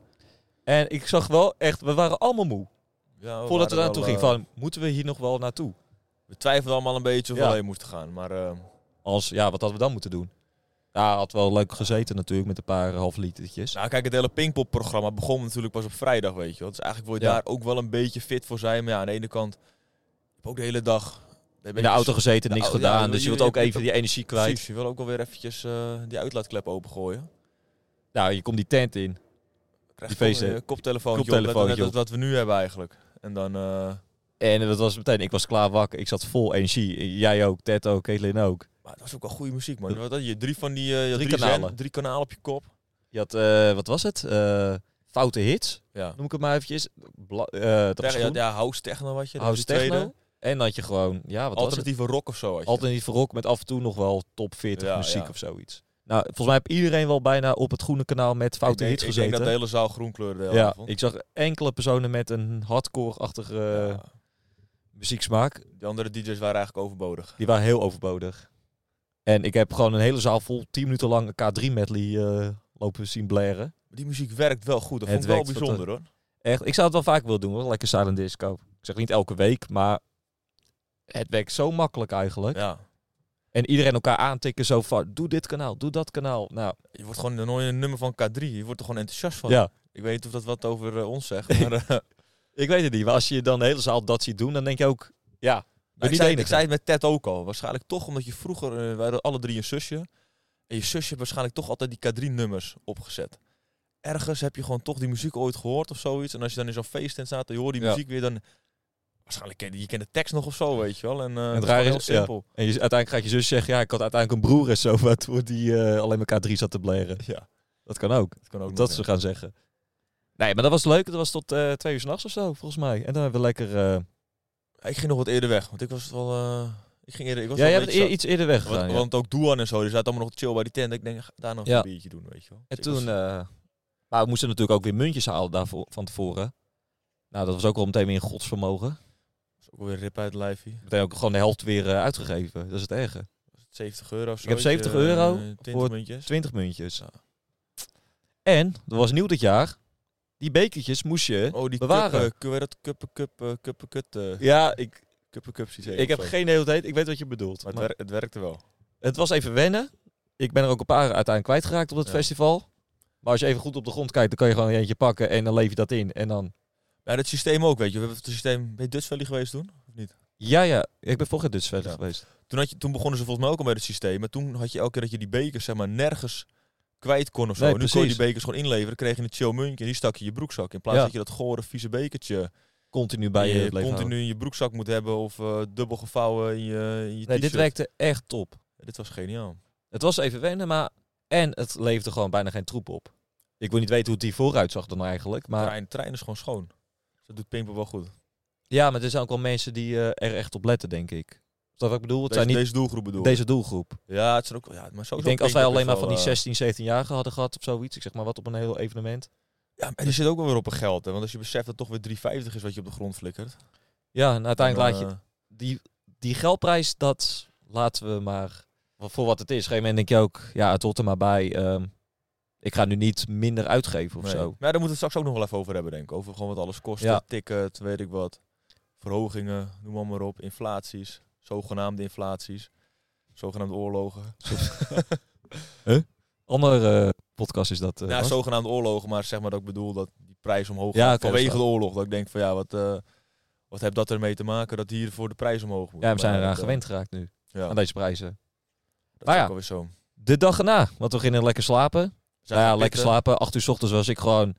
Speaker 2: mij.
Speaker 3: En ik zag wel echt, we waren allemaal moe.
Speaker 2: Ja,
Speaker 3: Voordat we daar
Speaker 2: Oh, waren
Speaker 3: naartoe
Speaker 2: wel,
Speaker 3: gingen,
Speaker 2: eh,
Speaker 3: van moeten we hier nog wel naartoe?
Speaker 2: We twijfelden allemaal een beetje of
Speaker 3: Ja.
Speaker 2: we alleen moesten gaan. Maar eh,
Speaker 3: Als, ja, wat hadden we dan moeten doen? Ja, had wel leuk gezeten natuurlijk met een paar half litertjes.
Speaker 2: nou, kijk, het hele Pinkpop-programma begon natuurlijk pas op vrijdag, weet je wel. Dus eigenlijk wil je
Speaker 3: Ja.
Speaker 2: daar ook wel een beetje fit voor zijn. Maar ja, aan de ene kant heb ik ook de hele dag...
Speaker 3: In de auto gezeten,
Speaker 2: de
Speaker 3: niks
Speaker 2: au- nou, ja,
Speaker 3: gedaan.
Speaker 2: je-
Speaker 3: dus je
Speaker 2: je-
Speaker 3: wilt ook
Speaker 2: je-
Speaker 3: even die energie kwijt.
Speaker 2: Precies, Dus je wil ook wel weer eventjes eh, die uitlaatklep opengooien.
Speaker 3: Nou, je komt die tent in.
Speaker 2: Krijg
Speaker 3: Die
Speaker 2: je
Speaker 3: feesten.
Speaker 2: een koptelefoontje,
Speaker 3: Koptelefoontje
Speaker 2: op, net, net als
Speaker 3: op.
Speaker 2: wat we nu hebben eigenlijk. En dan... eh,
Speaker 3: En dat was meteen, ik was klaar wakker. Ik zat vol energie. Jij ook, Ted ook, Caitlin ook.
Speaker 2: maar dat is ook wel goede muziek, man. Wat had je drie van die... eh, je had
Speaker 3: Drie
Speaker 2: drie,
Speaker 3: kanalen.
Speaker 2: zen- drie kanalen op je kop.
Speaker 3: Je had, eh, wat was het? Eh, foute hits,
Speaker 2: Ja.
Speaker 3: noem ik het maar eventjes. Bla, eh, dat was
Speaker 2: Techno,
Speaker 3: groen.
Speaker 2: ja, house techno wat je. dat
Speaker 3: House
Speaker 2: was die
Speaker 3: techno.
Speaker 2: tweede.
Speaker 3: En dan had je gewoon, ja, wat was het?
Speaker 2: Alternatieve rock of zo had je.
Speaker 3: Alternatief rock met af en toe nog wel top 40
Speaker 2: Ja,
Speaker 3: muziek
Speaker 2: ja.
Speaker 3: of zoiets. Nou, volgens mij heb iedereen wel bijna op het groene kanaal met
Speaker 2: Ik
Speaker 3: foute
Speaker 2: denk-
Speaker 3: hits
Speaker 2: ik
Speaker 3: gezeten.
Speaker 2: denk dat de hele zaal groen kleurde de hele
Speaker 3: ja,
Speaker 2: avond.
Speaker 3: ik zag enkele personen met een hardcore-achtige eh,
Speaker 2: Ja.
Speaker 3: muzieksmaak.
Speaker 2: De andere DJ's waren eigenlijk overbodig.
Speaker 3: Die waren heel overbodig. En ik heb gewoon een hele zaal vol 10 minuten lang een K3-medley eh, lopen zien blaren.
Speaker 2: Maar die muziek werkt wel goed. Dat
Speaker 3: Het
Speaker 2: vond ik wel
Speaker 3: werkt
Speaker 2: bijzonder hoor.
Speaker 3: Echt, ik zou het wel vaak willen doen hoor, lekker silent disco. Ik zeg niet elke week, maar het werkt zo makkelijk eigenlijk.
Speaker 2: Ja.
Speaker 3: En iedereen elkaar aantikken zo van, doe dit kanaal, doe dat kanaal. Nou,
Speaker 2: Je wordt gewoon nooit een nummer van K3. Je wordt er gewoon enthousiast van.
Speaker 3: ja,
Speaker 2: Ik weet niet of dat wat over eh, ons zegt. Maar, eh,
Speaker 3: ik weet het niet. Maar als je dan de hele zaal dat ziet doen, dan denk je ook, ja,
Speaker 2: ik,
Speaker 3: niet
Speaker 2: zei,
Speaker 3: de
Speaker 2: ik zei het met Ted ook al. Waarschijnlijk toch omdat je vroeger, eh, we hadden alle drie een zusje. En je zusje heeft waarschijnlijk toch altijd die K3-nummers opgezet. Ergens heb je gewoon toch die muziek ooit gehoord of zoiets. En als je dan in zo'n feesttent staat en je hoort die
Speaker 3: Ja.
Speaker 2: muziek weer, dan... Waarschijnlijk ken je, je kent de tekst nog of zo, weet je wel. En eh, het is
Speaker 3: rare
Speaker 2: gewoon heel
Speaker 3: is- ja.
Speaker 2: simpel.
Speaker 3: En je, uiteindelijk gaat je zus zeggen, ja, ik had uiteindelijk een broer en zo, maar toen die eh, alleen maar K3 zat te bleren.
Speaker 2: Ja.
Speaker 3: Dat kan ook.
Speaker 2: Dat kan ook
Speaker 3: dat
Speaker 2: nog,
Speaker 3: ze
Speaker 2: ja.
Speaker 3: gaan zeggen. Nee, maar dat was leuk. Dat was tot eh, twee uur s'nachts of zo, volgens mij. En dan hebben we lekker... eh,
Speaker 2: Ik ging nog wat eerder weg, want ik was wel... eh, ik ging eerder... Ik was
Speaker 3: ja, e-
Speaker 2: wel een
Speaker 3: jij bent
Speaker 2: beetje
Speaker 3: eer- iets eerder
Speaker 2: zat. Want,
Speaker 3: weggegaan. ja.
Speaker 2: want ook Doan en zo, die zaten allemaal nog chill bij die tent. Ik denk, ga daar nog
Speaker 3: Ja.
Speaker 2: een biertje doen, weet je wel. Dus
Speaker 3: En
Speaker 2: ik was-
Speaker 3: toen... eh, maar we moesten natuurlijk ook weer muntjes halen daarvoor, van tevoren. Nou, dat was ook al meteen weer in godsvermogen. eh,
Speaker 2: was ook weer rip uit het lijf hier.
Speaker 3: Meteen ook gewoon de helft weer eh, uitgegeven. Dat is het erge.
Speaker 2: 70 euro of zo.
Speaker 3: Ik heb 70 euro voor-
Speaker 2: voor muntjes.
Speaker 3: 20 muntjes.
Speaker 2: Ja.
Speaker 3: En, dat was nieuw dit jaar, die bekertjes moest je...
Speaker 2: Oh, die
Speaker 3: bewaren.
Speaker 2: kuppen, kun je dat kuppen, kuppen, kuppen, kut, eh,
Speaker 3: Ja, ik,
Speaker 2: kuppen, cups iets
Speaker 3: ik heb geen hele tijd. Ik weet wat je bedoelt.
Speaker 2: Maar het,
Speaker 3: maar-
Speaker 2: wer- het werkte wel.
Speaker 3: Het was even wennen. Ik ben er ook een paar uiteindelijk kwijtgeraakt op het
Speaker 2: Ja.
Speaker 3: festival. Maar als je even goed op de grond kijkt, dan kan je gewoon eentje pakken en dan leef je dat in. En dan,
Speaker 2: Ja, dat systeem ook, weet je. We hebben het systeem... Ben je Dutch Valley geweest toen?
Speaker 3: ja, ja, ik ben vorig jaar dus verder
Speaker 2: Ja.
Speaker 3: geweest.
Speaker 2: Toen, had je, toen begonnen ze volgens mij ook al met het systeem. Maar toen had je elke keer dat je die bekers, zeg maar, nergens kwijt kon of zo.
Speaker 3: Nee,
Speaker 2: nu kon je die
Speaker 3: precies.
Speaker 2: bekers gewoon inleveren. kreeg je een chill muntje en die stak je in je broekzak. In plaats
Speaker 3: Ja.
Speaker 2: dat je dat gore, vieze bekertje
Speaker 3: Continu bij je,
Speaker 2: die
Speaker 3: het leven
Speaker 2: continu
Speaker 3: houden.
Speaker 2: in je broekzak moet hebben. Of eh, dubbel gevouwen in je, in je
Speaker 3: Nee, dit
Speaker 2: t-shirt.
Speaker 3: werkte echt top.
Speaker 2: Dit was geniaal.
Speaker 3: Het was even wennen, maar... En het leefde gewoon bijna geen troep op. Ik wil niet weten hoe het hier vooruit zag dan eigenlijk. Maar
Speaker 2: Trein, trein is gewoon schoon. Dus dat doet Pimper wel goed.
Speaker 3: ja, maar er zijn ook wel mensen die eh, er echt op letten, denk ik. Is dat wat ik bedoel? Het
Speaker 2: Deze,
Speaker 3: zijn niet
Speaker 2: deze doelgroep bedoel ik.
Speaker 3: deze doelgroep. Oh,
Speaker 2: Ja, het is ook. Ja, maar sowieso
Speaker 3: Ik denk als wij
Speaker 2: Pinkpop
Speaker 3: alleen
Speaker 2: is
Speaker 3: maar van die
Speaker 2: wel, eh,
Speaker 3: 16, 17-jarigen hadden gehad of zoiets. Ik zeg maar wat op een heel evenement.
Speaker 2: eh, Ja, maar die zit ook wel weer op een geld. Hè? Want als je beseft dat het toch weer 3,50 is wat je op de grond flikkert.
Speaker 3: Ja, en uiteindelijk laat
Speaker 2: dan,
Speaker 3: je,
Speaker 2: eh,
Speaker 3: die, die geldprijs, dat laten we maar voor wat het is. Op een gegeven moment denk je ook, ja, het hoort er maar bij. ehm, ik ga nu niet minder uitgeven of
Speaker 2: nee.
Speaker 3: zo.
Speaker 2: Maar ja, daar moeten we het straks ook nog wel even over hebben, denk ik. Over gewoon wat alles kost.
Speaker 3: Ja.
Speaker 2: Ticket, weet ik wat. Verhogingen, noem maar, maar op. Inflaties. Zogenaamde inflaties. Zogenaamde oorlogen.
Speaker 3: Andere eh, podcast is dat. eh,
Speaker 2: ja,
Speaker 3: Bas.
Speaker 2: zogenaamde oorlogen, maar zeg maar dat ik bedoel dat die prijs omhoog
Speaker 3: Ja,
Speaker 2: gaat
Speaker 3: oké,
Speaker 2: vanwege
Speaker 3: dat
Speaker 2: de oorlog. Dat ik denk van ja, wat, eh wat heeft dat ermee te maken dat hier voor de prijs omhoog moet?
Speaker 3: ja, we zijn
Speaker 2: Maar
Speaker 3: eraan
Speaker 2: dat, eh,
Speaker 3: gewend geraakt nu,
Speaker 2: Ja,
Speaker 3: aan deze prijzen.
Speaker 2: dat
Speaker 3: Maar
Speaker 2: is
Speaker 3: ja.
Speaker 2: ook alweer zo. We
Speaker 3: De dag erna, want we gingen lekker slapen.
Speaker 2: zijn
Speaker 3: nou ja,
Speaker 2: gaan
Speaker 3: lekker
Speaker 2: pitten.
Speaker 3: slapen. Acht uur s ochtends was ik gewoon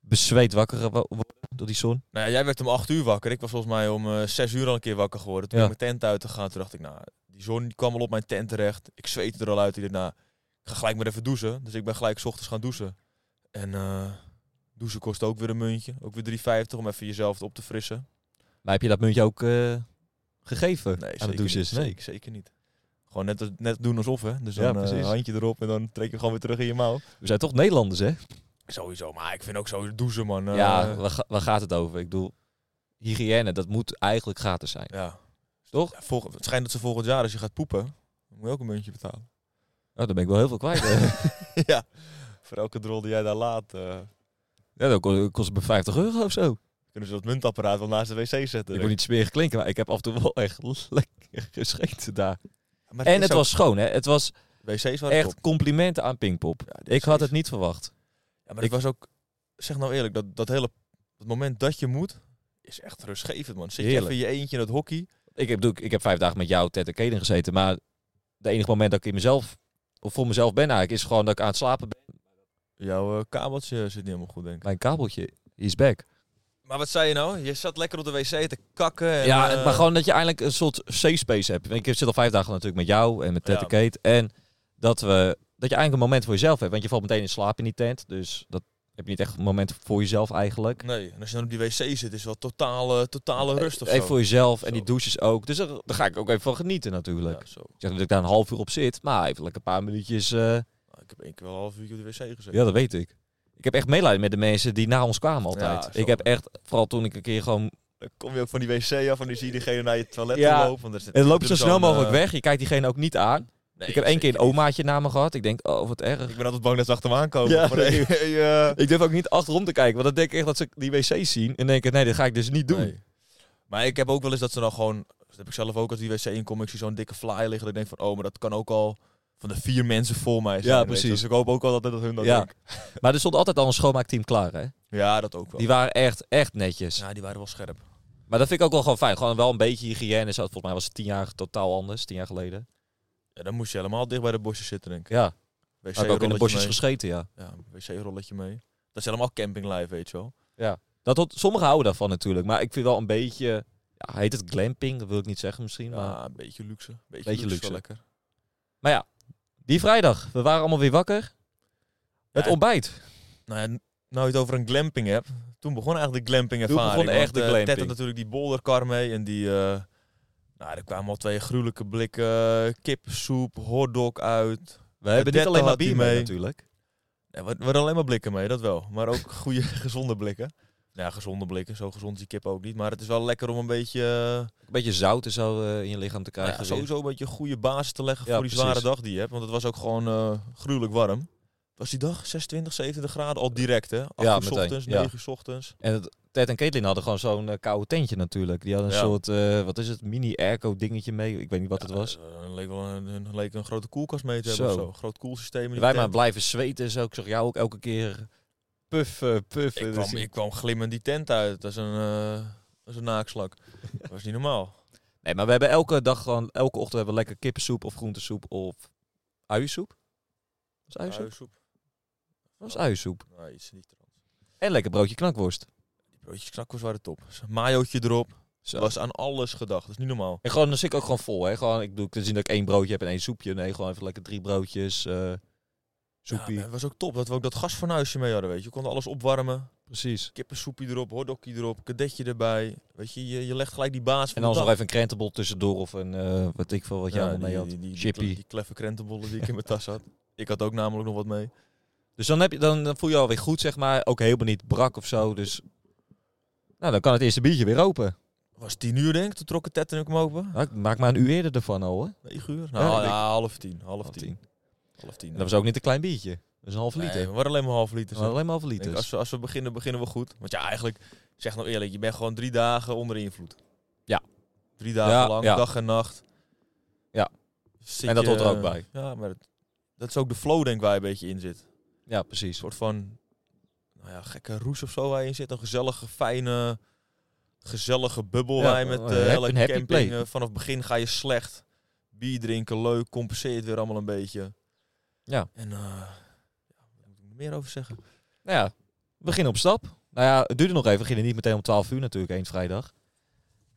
Speaker 3: bezweet wakker gewo- worden door die zon.
Speaker 2: Nou ja, jij werd om 8 uur wakker. Ik was volgens mij om eh 6 uur al een keer wakker geworden. Toen
Speaker 3: Ja.
Speaker 2: ben ik mijn tent uit te gaan. Toen dacht ik, nou, die zon die kwam al op mijn tent terecht. Ik zweette er al uit. Ik dacht, nou, ik ga gelijk maar even douchen. Dus ik ben gelijk 's ochtends gaan douchen. En eh, douchen kost ook weer een muntje. Ook weer 3,50 om even jezelf op te frissen.
Speaker 3: Maar heb je dat muntje ook eh, gegeven aan de
Speaker 2: zeker
Speaker 3: douches?
Speaker 2: niet.
Speaker 3: Nee.
Speaker 2: Zeker, zeker niet. Gewoon net, als- net doen alsof, hè. Dus
Speaker 3: Ja,
Speaker 2: dan eh,
Speaker 3: precies.
Speaker 2: handje erop en dan trek je hem gewoon weer terug in je mouw.
Speaker 3: We zijn toch Nederlanders, hè?
Speaker 2: Sowieso, maar ik vind ook zo douchen, man. eh,
Speaker 3: Ja, waar, ga- waar gaat het over? Ik bedoel, hygiëne, dat moet eigenlijk gratis zijn.
Speaker 2: ja.
Speaker 3: Toch?
Speaker 2: Ja, volg- het schijnt dat ze volgend jaar, als je gaat poepen, dan moet je ook een muntje betalen.
Speaker 3: Nou, dan ben ik wel heel veel kwijt. eh.
Speaker 2: ja, voor elke drol die jij daar laat, eh,
Speaker 3: ja, dat ko- kost het me 50 euro of zo.
Speaker 2: kunnen ze dat muntapparaat wel naast de wc zetten.
Speaker 3: Ik wil niet smerig klinken, maar ik heb af en toe wel echt lekker gescheten daar.
Speaker 2: Maar
Speaker 3: En
Speaker 2: is
Speaker 3: het
Speaker 2: ook- Oh,
Speaker 3: was schoon, hè? Het was
Speaker 2: wc's waren top.
Speaker 3: echt complimenten aan Pinkpop.
Speaker 2: Ja, die
Speaker 3: Ik had
Speaker 2: wc's.
Speaker 3: het niet verwacht.
Speaker 2: Ja, maar ik was ook, zeg nou eerlijk, dat, dat hele het moment dat je moet, is echt rustgevend, man. Zit je
Speaker 3: Heerlijk.
Speaker 2: even in je eentje in het hockey.
Speaker 3: Ik heb, bedoel, ik heb vijf dagen met jou, Ted en Kaden gezeten, maar het enige moment dat ik in mezelf, of voor mezelf ben eigenlijk, is gewoon dat ik aan het slapen ben.
Speaker 2: Jouw eh, kabeltje zit niet helemaal goed, denk ik.
Speaker 3: Mijn kabeltje is back.
Speaker 2: Maar wat zei je nou? Je zat lekker op de wc te kakken. En,
Speaker 3: ja,
Speaker 2: eh,
Speaker 3: maar gewoon dat je eindelijk een soort safe space hebt. Want Ik zit al vijf dagen natuurlijk met jou en met Ted
Speaker 2: Ja.
Speaker 3: en Kate. En dat, we, dat je eigenlijk een moment voor jezelf hebt. Want je valt meteen in slaap in die tent. Dus dat heb je niet echt een moment voor jezelf eigenlijk.
Speaker 2: Nee, en als je dan op die wc zit, is het wel totale, totale rust of
Speaker 3: Even
Speaker 2: zo.
Speaker 3: voor jezelf en
Speaker 2: Zo.
Speaker 3: die douches ook. Dus daar, daar ga ik ook even van genieten natuurlijk.
Speaker 2: Ja, zo.
Speaker 3: Ik zeg dat ik daar een half uur op zit. Maar even lekker een paar minuutjes. eh,
Speaker 2: Nou, ik heb één keer wel een half uurtje op de wc gezeten.
Speaker 3: ja, dat weet ik. Ik heb echt medelijden met de mensen die na ons kwamen altijd.
Speaker 2: Ja, zo.
Speaker 3: ik heb echt, vooral toen ik een keer gewoon...
Speaker 2: Dan kom je ook van die wc af en dan zie je diegene naar je toilet
Speaker 3: Ja.
Speaker 2: toe lopen. want er zit-
Speaker 3: En dan loop
Speaker 2: er
Speaker 3: je zo
Speaker 2: is
Speaker 3: snel
Speaker 2: zo'n,
Speaker 3: mogelijk
Speaker 2: eh,
Speaker 3: weg. Je kijkt diegene ook niet aan.
Speaker 2: nee,
Speaker 3: ik heb één keer
Speaker 2: zeker
Speaker 3: een omaatje naar me gehad. Ik denk, oh wat erg.
Speaker 2: Ik ben altijd bang dat ze achter me aankomen.
Speaker 3: Ja.
Speaker 2: Maar nee, eh, eh,
Speaker 3: Ik durf ook niet achterom te kijken, want dan denk ik echt dat ze die wc's zien en denken, nee, dit ga ik dus niet doen.
Speaker 2: nee. Maar ik heb ook wel eens dat ze dan gewoon... Dat heb ik zelf ook als die wc inkom. Ik zie zo'n dikke fly liggen. Dat ik denk van, oh, maar dat kan ook al van de vier mensen voor mij zijn.
Speaker 3: Ja,
Speaker 2: weet je.
Speaker 3: precies.
Speaker 2: Dus ik hoop ook wel dat dat hun dat
Speaker 3: Ja.
Speaker 2: denken.
Speaker 3: Maar er stond altijd al een schoonmaakteam klaar, hè?
Speaker 2: Ja, dat ook wel.
Speaker 3: Die waren echt, echt netjes.
Speaker 2: ja, die waren wel scherp.
Speaker 3: Maar dat vind ik ook wel gewoon fijn. Gewoon wel een beetje hygiëne. Zo, volgens mij was het tien jaar totaal anders, tien jaar geleden.
Speaker 2: Ja, dan moest je helemaal dicht bij de bosjes zitten, denk ik.
Speaker 3: Ja,
Speaker 2: Wc
Speaker 3: heb ik ook in de
Speaker 2: rolletje
Speaker 3: bosjes
Speaker 2: mee.
Speaker 3: gescheten, ja.
Speaker 2: Ja, wc-rolletje mee. Dat is helemaal campinglife, weet je wel.
Speaker 3: Dat tot, sommigen houden daarvan natuurlijk, maar ik vind wel een beetje... Ja, heet het glamping? Dat wil ik niet zeggen misschien, maar...
Speaker 2: Ja, een beetje luxe. Beetje, luxe.
Speaker 3: Beetje
Speaker 2: is
Speaker 3: luxe.
Speaker 2: wel lekker.
Speaker 3: Maar ja, die vrijdag. We waren allemaal weer wakker. Het
Speaker 2: Ja,
Speaker 3: ontbijt.
Speaker 2: Nou, ja, n- nou je het over een glamping hebt. Toen begon eigenlijk de glamping
Speaker 3: Toen
Speaker 2: ervaring.
Speaker 3: begon echt de
Speaker 2: eh,
Speaker 3: glamping.
Speaker 2: Ted had natuurlijk die bolderkar mee en die... eh, nou, er kwamen al twee gruwelijke blikken kipsoep, hotdog uit.
Speaker 3: We hebben niet
Speaker 2: Detto
Speaker 3: alleen maar
Speaker 2: had die
Speaker 3: bier mee,
Speaker 2: mee.
Speaker 3: natuurlijk.
Speaker 2: Ja, we we hadden alleen maar blikken mee, dat wel. Maar ook goede, gezonde blikken. Ja, gezonde blikken. Zo gezond is die kip ook niet. Maar het is wel lekker om een beetje... eh,
Speaker 3: Een beetje zout en zo eh, in je lichaam te krijgen.
Speaker 2: ja,
Speaker 3: weer.
Speaker 2: sowieso een beetje een goede basis te leggen
Speaker 3: Ja,
Speaker 2: voor die zware
Speaker 3: precies.
Speaker 2: dag die je hebt. Want het was ook gewoon eh, gruwelijk warm. Het Was die dag 26, 27 graden al direct, hè? 8
Speaker 3: Ja,
Speaker 2: uur
Speaker 3: meteen,
Speaker 2: ochtends,
Speaker 3: ja.
Speaker 2: 9 uur ochtends.
Speaker 3: En het- Ted en Caitlin hadden gewoon zo'n eh, koude tentje natuurlijk. Die hadden een
Speaker 2: Ja.
Speaker 3: soort, eh, wat is het, mini-airco dingetje mee. Ik weet niet wat het was.
Speaker 2: Eh, leek wel een, een- leek een grote koelkast mee te hebben
Speaker 3: Zo.
Speaker 2: of zo. Een groot koelsysteem. in die
Speaker 3: Wij maar
Speaker 2: tent.
Speaker 3: blijven zweten en zo. Ik zag jou ook elke keer puffen, puffen.
Speaker 2: ik,
Speaker 3: Dus
Speaker 2: kwam, ik kwam glimmend die tent uit. Dat is een, eh, dat is een naakslak. dat was niet normaal.
Speaker 3: Nee, maar we hebben elke dag gewoon, elke ochtend hebben we lekker kippensoep of groentesoep of uiensoep. Was uiensoep?
Speaker 2: Huissoep.
Speaker 3: was uiensoep.
Speaker 2: Nee, Nou, iets niet. trouwens.
Speaker 3: En lekker broodje knakworst.
Speaker 2: Die broodjes knakkers waren top. Dus een Mayootje erop.
Speaker 3: Zo.
Speaker 2: Er was aan alles gedacht. Dat is niet normaal.
Speaker 3: En gewoon, dan zit ik ook gewoon vol, hè. Gewoon, ik bedoel, ik zie dat ik één broodje heb en één soepje. Nee, gewoon even lekker drie broodjes, eh soepie.
Speaker 2: Ja, maar het was ook top dat we ook dat gasfornuisje mee hadden, weet je. Je kon alles opwarmen.
Speaker 3: Precies.
Speaker 2: kippensoepje erop, hotdogje erop, kadetje erbij. Weet je, je, je legt gelijk die baas
Speaker 3: En
Speaker 2: van
Speaker 3: dan
Speaker 2: de
Speaker 3: nog
Speaker 2: dag.
Speaker 3: even een krentenbol tussendoor of een, eh, wat ik veel, wat jij
Speaker 2: Ja,
Speaker 3: allemaal mee had.
Speaker 2: die, die, die,
Speaker 3: Chippy.
Speaker 2: die, die kleffe krentenbollen die ik in mijn tas had. Ik had ook namelijk nog wat mee.
Speaker 3: Dus dan, heb je, dan, dan voel je je alweer goed, zeg maar. Ook helemaal niet brak of zo. Dus nou, dan kan het eerste biertje weer open.
Speaker 2: Was tien uur denk ik, toen trokken Ted en ik hem open.
Speaker 3: Nou, ik maak maar een uur eerder ervan al, hè.
Speaker 2: Negen uur?
Speaker 3: Ja,
Speaker 2: Nou, ja,
Speaker 3: ik-
Speaker 2: half tien. Half
Speaker 3: Half
Speaker 2: tien.
Speaker 3: tien.
Speaker 2: Half tien.
Speaker 3: En dat was ook niet een klein biertje. Dat is een half
Speaker 2: Nee,
Speaker 3: liter.
Speaker 2: we waren alleen maar half liter.
Speaker 3: Maar alleen maar half
Speaker 2: Ik denk,
Speaker 3: liter.
Speaker 2: als, we, als we beginnen, beginnen we goed. Want ja, eigenlijk, zeg nou eerlijk, je bent gewoon drie dagen onder invloed.
Speaker 3: Ja.
Speaker 2: Drie dagen
Speaker 3: Ja,
Speaker 2: lang,
Speaker 3: ja.
Speaker 2: dag en nacht.
Speaker 3: Ja.
Speaker 2: Zit
Speaker 3: En dat
Speaker 2: je-
Speaker 3: hoort er ook bij.
Speaker 2: Ja, maar dat, dat is ook de flow, denk ik, waar je een beetje in zit.
Speaker 3: Ja, precies.
Speaker 2: soort van nou ja, gekke roes of zo waar je in zit. Een gezellige, fijne, gezellige bubbel
Speaker 3: Ja,
Speaker 2: waar je met
Speaker 3: een
Speaker 2: eh
Speaker 3: hap-
Speaker 2: hele
Speaker 3: een happy
Speaker 2: camping...
Speaker 3: play.
Speaker 2: eh, vanaf het begin ga je slecht. Bier drinken, leuk, compenseer het weer allemaal een beetje.
Speaker 3: Ja.
Speaker 2: En eh, ja, wat moet ik er meer over zeggen?
Speaker 3: Nou ja, we beginnen op stap. Nou ja, het duurde nog even. We beginnen niet meteen om 12 uur natuurlijk, één vrijdag.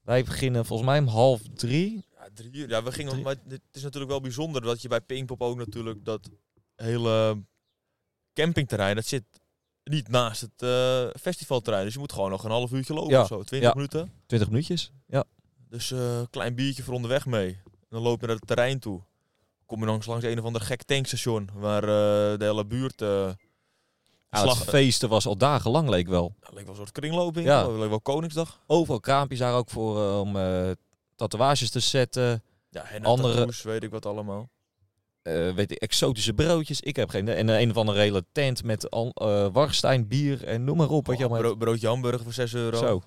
Speaker 3: Wij beginnen volgens mij om half drie.
Speaker 2: Ja, drie uur. Ja, we gingen,
Speaker 3: Drie-
Speaker 2: maar het is natuurlijk wel bijzonder dat je bij Pinkpop ook natuurlijk dat hele campingterrein, dat zit niet naast het eh, festivalterrein. Dus je moet gewoon nog een half uurtje lopen
Speaker 3: Ja,
Speaker 2: of zo, 20
Speaker 3: ja.
Speaker 2: minuten.
Speaker 3: 20 minuutjes. Ja.
Speaker 2: Dus eh, een klein biertje voor onderweg mee. En dan loop je naar het terrein toe. Kom je langs, langs een of ander gek tankstation. Waar eh, de hele buurt... eh
Speaker 3: Ah, Nou, het
Speaker 2: slag-
Speaker 3: feesten was al dagenlang, leek wel.
Speaker 2: nou, leek wel een soort kringlooping.
Speaker 3: Ja.
Speaker 2: Ja. Leek wel Koningsdag.
Speaker 3: Overal kraampjes daar ook voor eh, om eh, tatoeages te zetten.
Speaker 2: Ja, en
Speaker 3: Andere-
Speaker 2: andere... weet ik wat allemaal.
Speaker 3: eh, weet ik, exotische broodjes. Ik heb geen... En eh, een of andere hele tent met al, eh, warstein, bier en noem maar op. Wat je
Speaker 2: Oh,
Speaker 3: allemaal hebt.
Speaker 2: bro- broodje hamburger voor 6 euro.
Speaker 3: Zo.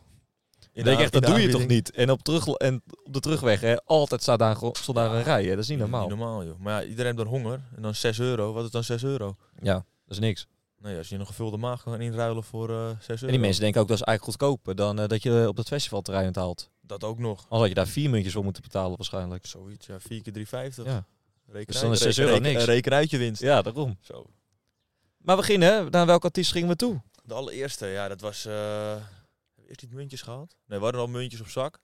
Speaker 2: In de
Speaker 3: Ik denk
Speaker 2: aan-
Speaker 3: echt,
Speaker 2: in
Speaker 3: dat
Speaker 2: de
Speaker 3: doe je toch
Speaker 2: aanbieding.
Speaker 3: niet? En op, terug, en op de terugweg, hè, altijd staat daar, gewoon- stond daar een rij. Hè? Dat is niet normaal.
Speaker 2: Niet normaal, joh. Maar ja, iedereen heeft dan honger. En dan 6 euro. Wat is dan 6 euro?
Speaker 3: Ja, dat is niks.
Speaker 2: Nou ja, als je een gevulde maag kan inruilen voor eh 6 euro.
Speaker 3: En die mensen denken ook dat is eigenlijk goedkoper dan eh, dat je op dat festivalterrein het haalt.
Speaker 2: Dat ook nog.
Speaker 3: Anders had je daar vier muntjes voor moeten betalen waarschijnlijk.
Speaker 2: Zoiets, ja. 4 keer 3,50.
Speaker 3: Ja.
Speaker 2: Reken
Speaker 3: Dus dan
Speaker 2: uit,
Speaker 3: is 6 euro
Speaker 2: reken-
Speaker 3: niks.
Speaker 2: Reken uit je winst.
Speaker 3: Ja, daarom.
Speaker 2: Zo.
Speaker 3: Maar we gingen, naar welke artiest gingen we toe?
Speaker 2: De allereerste, ja, dat was... eh, hebben we eerst niet muntjes gehad? Nee, we hadden al muntjes op zak.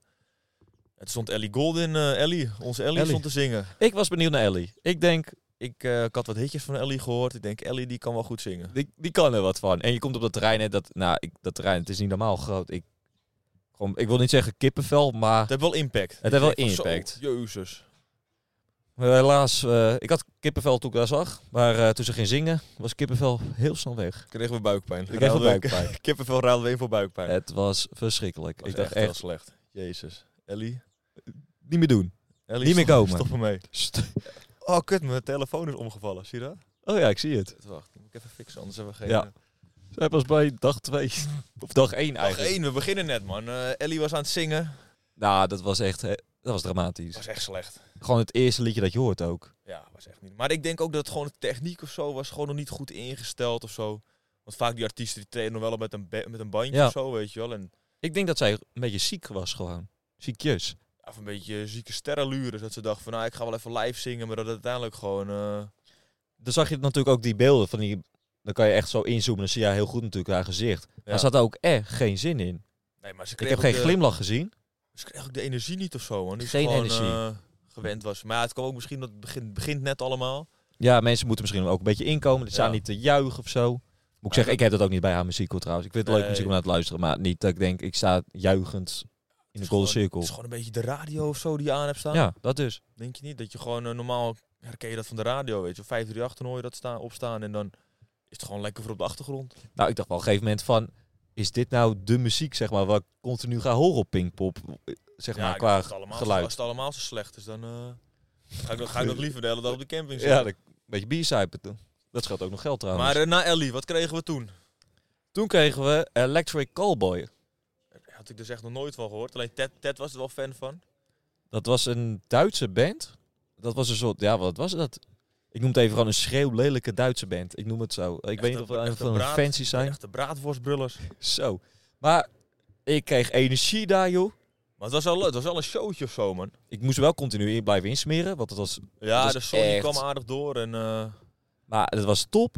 Speaker 2: Het stond Ellie Golden, eh, Ellie. Onze Ellie,
Speaker 3: Ellie.
Speaker 2: stond te zingen.
Speaker 3: Ik was benieuwd naar Ellie. Ik denk,
Speaker 2: Ik, eh, ik had wat hitjes van Ellie gehoord. Ik denk, Ellie, die kan wel goed zingen.
Speaker 3: die, die kan er wat van. En je komt op dat terrein, hè, dat, nou, ik, dat terrein, het is niet normaal groot. Ik, gewoon, ik wil niet zeggen kippenvel, maar
Speaker 2: Het heeft wel impact.
Speaker 3: heeft wel
Speaker 2: Ik denk van,
Speaker 3: impact.
Speaker 2: zo, Jezus.
Speaker 3: helaas, eh, ik had kippenvel toen ik daar zag. Maar eh, toen ze ging zingen, was kippenvel heel snel weg.
Speaker 2: Kregen we buikpijn.
Speaker 3: Ik kreeg
Speaker 2: Ruilden we-
Speaker 3: buikpijn.
Speaker 2: Kippenvel ruilden we in voor buikpijn.
Speaker 3: Het was verschrikkelijk.
Speaker 2: Was
Speaker 3: ik dacht
Speaker 2: wel
Speaker 3: echt,
Speaker 2: slecht. Jezus. Ellie.
Speaker 3: niet meer doen.
Speaker 2: Ellie
Speaker 3: Niet meer
Speaker 2: stop-
Speaker 3: komen.
Speaker 2: Stop ermee. Oh, kut. Mijn telefoon is omgevallen. Zie je dat?
Speaker 3: Oh ja, ik zie het.
Speaker 2: Wacht, moet ik even fixen. Anders hebben we geen...
Speaker 3: Ja. Zij pas bij dag 2. Of dag 1
Speaker 2: Dag
Speaker 3: eigenlijk.
Speaker 2: één, we beginnen net, man. Eh, Ellie was aan het zingen.
Speaker 3: Nou, dat was echt hè, dat was dramatisch.
Speaker 2: was echt slecht.
Speaker 3: Gewoon het eerste liedje dat je hoort ook.
Speaker 2: Ja, was echt niet. Maar ik denk ook dat het gewoon de techniek of zo was gewoon nog niet goed ingesteld of zo. Want vaak die artiesten die treden nog wel op met een, ba- met een bandje
Speaker 3: Ja.
Speaker 2: of zo, weet je wel. En
Speaker 3: Ik denk dat zij een beetje ziek was gewoon. Ziekjes.
Speaker 2: Of een beetje zieke sterrenluren. Dat ze dacht van, nou, ik ga wel even live zingen. Maar dat het uiteindelijk gewoon... eh,
Speaker 3: Dan zag je natuurlijk ook die beelden van die... Dan kan je echt zo inzoomen. Dan zie je heel goed natuurlijk haar gezicht. Maar
Speaker 2: Ja.
Speaker 3: ze had er ook echt geen zin in.
Speaker 2: Nee, maar ze
Speaker 3: Ik
Speaker 2: kreeg
Speaker 3: heb
Speaker 2: ook eh,
Speaker 3: geen
Speaker 2: de-
Speaker 3: glimlach gezien.
Speaker 2: Ze kreeg ook de energie niet of zo. Man. Die
Speaker 3: Geen
Speaker 2: Geen gewoon,
Speaker 3: energie.
Speaker 2: energie. gewend was. Maar ja, het kwam ook misschien, dat het begint, begint net allemaal.
Speaker 3: Ja, mensen moeten misschien ook een beetje inkomen. Ze staan
Speaker 2: Ja.
Speaker 3: niet te juichen of zo. Moet ik zeggen, ik heb dat ook niet bij haar muziek hoor, trouwens. Ik vind het leuke
Speaker 2: Nee.
Speaker 3: muziek om naar te luisteren. Maar niet dat ik denk, ik sta juichend in de
Speaker 2: is
Speaker 3: golden
Speaker 2: gewoon-
Speaker 3: cirkel.
Speaker 2: Het is gewoon een beetje de radio of zo die je aan hebt staan.
Speaker 3: Ja, dat dus.
Speaker 2: Denk je niet? Dat je gewoon eh, normaal herken je dat van de radio, weet je. 538 dan hoor je dat staan, opstaan en dan is het gewoon lekker voor op de achtergrond.
Speaker 3: Nou, ik dacht wel op een gegeven moment van... Is dit nou de muziek, zeg maar, wat ik continu ga horen op Pinkpop? Eh, Zeg maar,
Speaker 2: ik
Speaker 3: qua
Speaker 2: dacht, als het allemaal,
Speaker 3: geluid.
Speaker 2: Als het allemaal zo slecht is, dan eh, ga, ik, nog- ga ik nog liever de hele dag op de camping
Speaker 3: Ja,
Speaker 2: zitten.
Speaker 3: dat, dus. een beetje biercijpen toen. Dat scheelt ook nog geld trouwens.
Speaker 2: maar eh, na Ellie, wat kregen we toen?
Speaker 3: toen kregen we Electric Callboy.
Speaker 2: Daar had ik dus echt nog nooit van gehoord. Alleen Ted, Ted was er wel fan van.
Speaker 3: Dat was een Duitse band. Dat was een soort, ja, wat was dat? Ik noem het even gewoon een schreeuwlelijke Duitse band. Ik noem het zo. Ik weet niet of we
Speaker 2: een-
Speaker 3: aan
Speaker 2: echt een
Speaker 3: van een
Speaker 2: braad-
Speaker 3: fancy zijn.
Speaker 2: Echte braadworstbrullers.
Speaker 3: Zo. Maar ik kreeg energie daar, joh.
Speaker 2: Maar het was, al, het was al een showtje of zo, man.
Speaker 3: Ik moest wel continu in blijven insmeren, want het was...
Speaker 2: Ja,
Speaker 3: Dat is
Speaker 2: de zon
Speaker 3: echt-
Speaker 2: die kwam aardig door. En, eh,
Speaker 3: Maar het was top.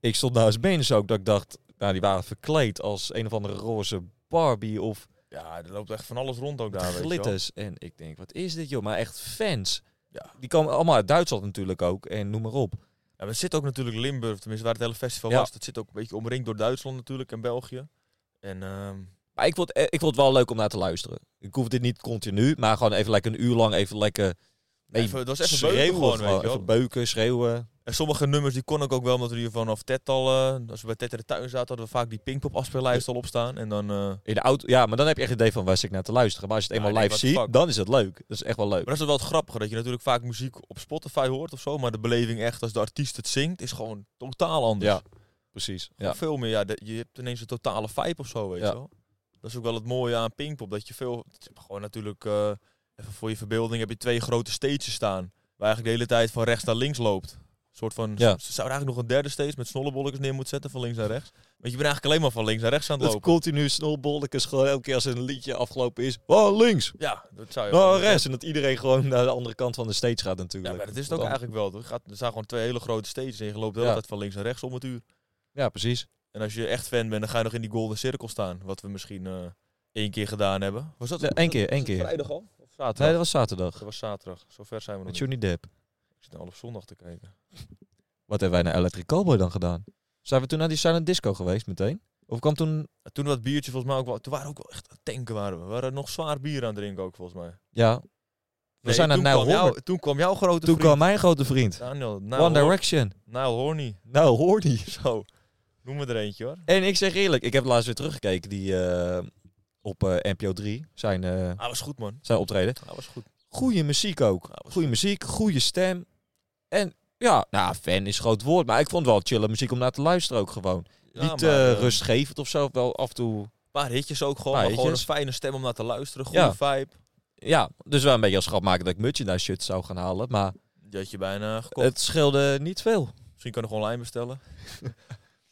Speaker 3: Ik stond naast benens ook, dat ik dacht... Nou, die waren verkleed als een of andere roze Barbie of
Speaker 2: ja, er loopt echt van alles rond ook daar. weet je wel.
Speaker 3: glitters. En ik denk, wat is dit, joh? Maar echt fans.
Speaker 2: Ja.
Speaker 3: Die komen allemaal uit Duitsland natuurlijk ook, en noem maar op.
Speaker 2: Ja, maar het zit ook natuurlijk Limburg, tenminste waar het hele festival
Speaker 3: Ja.
Speaker 2: was. Dat zit ook een beetje omringd door Duitsland natuurlijk en België. En ehm,
Speaker 3: Maar ik vond, eh, ik vond het wel leuk om naar te luisteren. Ik hoef dit niet continu, maar gewoon even lekker een uur lang even lekker... nee,
Speaker 2: even- het was even beuken gewoon, weet je wel.
Speaker 3: Even beuken, schreeuwen.
Speaker 2: en sommige nummers die kon ik ook wel, omdat we hier vanaf Ted al, eh, als we bij Ted in de tuin zaten, hadden we vaak die Pinkpop afspeellijst al opstaan. En dan, eh, maar
Speaker 3: In de auto, ja, maar dan heb je echt het idee van waar zit ik naar te luisteren. Maar als je het
Speaker 2: Ja,
Speaker 3: eenmaal
Speaker 2: ik
Speaker 3: live
Speaker 2: denk, what the
Speaker 3: ziet,
Speaker 2: fuck.
Speaker 3: dan is het leuk. Dat is echt wel leuk.
Speaker 2: dat is wel het grappige, dat je natuurlijk vaak muziek op Spotify hoort of zo, maar de beleving echt als de artiest het zingt, is gewoon totaal anders.
Speaker 3: Ja, precies.
Speaker 2: Gewoon
Speaker 3: Ja.
Speaker 2: Veel meer, ja, de- je hebt ineens een totale vibe of zo, weet
Speaker 3: Ja.
Speaker 2: je wel. Dat is ook wel het mooie aan Pinkpop, dat je veel... het is Gewoon natuurlijk, eh, even voor je verbeelding heb je twee grote stages staan. Waar eigenlijk de hele tijd van rechts naar links loopt. Een soort van,
Speaker 3: Ja.
Speaker 2: ze zouden eigenlijk nog een derde stage met snollebolletjes neer moeten zetten van links naar rechts. Want je bent eigenlijk alleen maar van links naar rechts aan het
Speaker 3: Dat
Speaker 2: lopen.
Speaker 3: continu snolbollekes gewoon elke keer als een liedje afgelopen is. Oh, links!
Speaker 2: Ja, dat zou je
Speaker 3: Oh,
Speaker 2: gewoon-
Speaker 3: rechts! En dat iedereen gewoon naar de andere kant van de stage gaat
Speaker 2: Ja,
Speaker 3: natuurlijk.
Speaker 2: maar dat is het ook
Speaker 3: Want dan-
Speaker 2: eigenlijk wel. toch? Je gaat- Er staan gewoon twee hele grote stages en je loopt de hele
Speaker 3: Ja.
Speaker 2: tijd van links naar rechts om het uur.
Speaker 3: Ja, precies.
Speaker 2: En als je echt fan bent, dan ga je nog in die golden cirkel staan. Wat we misschien eh, één keer gedaan hebben. Was dat
Speaker 3: Ja, één keer, één keer.
Speaker 2: Vrijdag al? Of
Speaker 3: Nee,
Speaker 2: zaterdag?
Speaker 3: dat was zaterdag.
Speaker 2: Dat was zaterdag. Zover zijn we nog
Speaker 3: Met
Speaker 2: niet.
Speaker 3: Johnny Depp.
Speaker 2: Ik zit al op zondag te kijken.
Speaker 3: Wat hebben wij naar Electric Cowboy dan gedaan? Zijn we toen naar die silent disco geweest meteen? Of kwam toen...
Speaker 2: En toen dat biertje volgens mij ook wel... Toen waren we ook wel echt aan het tanken waren we. We waren nog zwaar bier aan het drinken ook volgens mij.
Speaker 3: Ja. We
Speaker 2: Nee,
Speaker 3: zijn naar
Speaker 2: toen
Speaker 3: Nile
Speaker 2: kwam jou-
Speaker 3: Horn.
Speaker 2: Toen kwam jouw grote
Speaker 3: Toen
Speaker 2: vriend. Nou,
Speaker 3: kwam mijn grote vriend.
Speaker 2: Daniel. Nile,
Speaker 3: One
Speaker 2: Hor-
Speaker 3: Direction.
Speaker 2: Nile Horny.
Speaker 3: Nou, hoor die.
Speaker 2: Zo. Noem me er eentje hoor.
Speaker 3: En ik zeg eerlijk, ik heb laatst weer teruggekeken die eh, op eh, NPO 3, zijn, eh,
Speaker 2: Hij was goed man.
Speaker 3: zijn optreden.
Speaker 2: Hij was goed.
Speaker 3: Goeie muziek ook.
Speaker 2: Nou, was
Speaker 3: Goeie muziek, goede stem. En ja, nou, fan is groot woord, maar ik vond het wel chille muziek om naar te luisteren ook gewoon.
Speaker 2: Ja,
Speaker 3: Niet
Speaker 2: maar,
Speaker 3: eh,
Speaker 2: eh,
Speaker 3: rustgevend of zo, wel af en toe.
Speaker 2: Een paar hitjes ook gewoon.
Speaker 3: Paar
Speaker 2: Maar gewoon een
Speaker 3: hitjes.
Speaker 2: fijne stem om naar te luisteren. Goede
Speaker 3: Ja.
Speaker 2: vibe.
Speaker 3: Ja, dus wel een beetje als schat maken dat ik merchandise shirts zou gaan halen, maar
Speaker 2: Die had je bijna gekocht.
Speaker 3: het scheelde niet veel.
Speaker 2: Misschien kan ik gewoon online bestellen.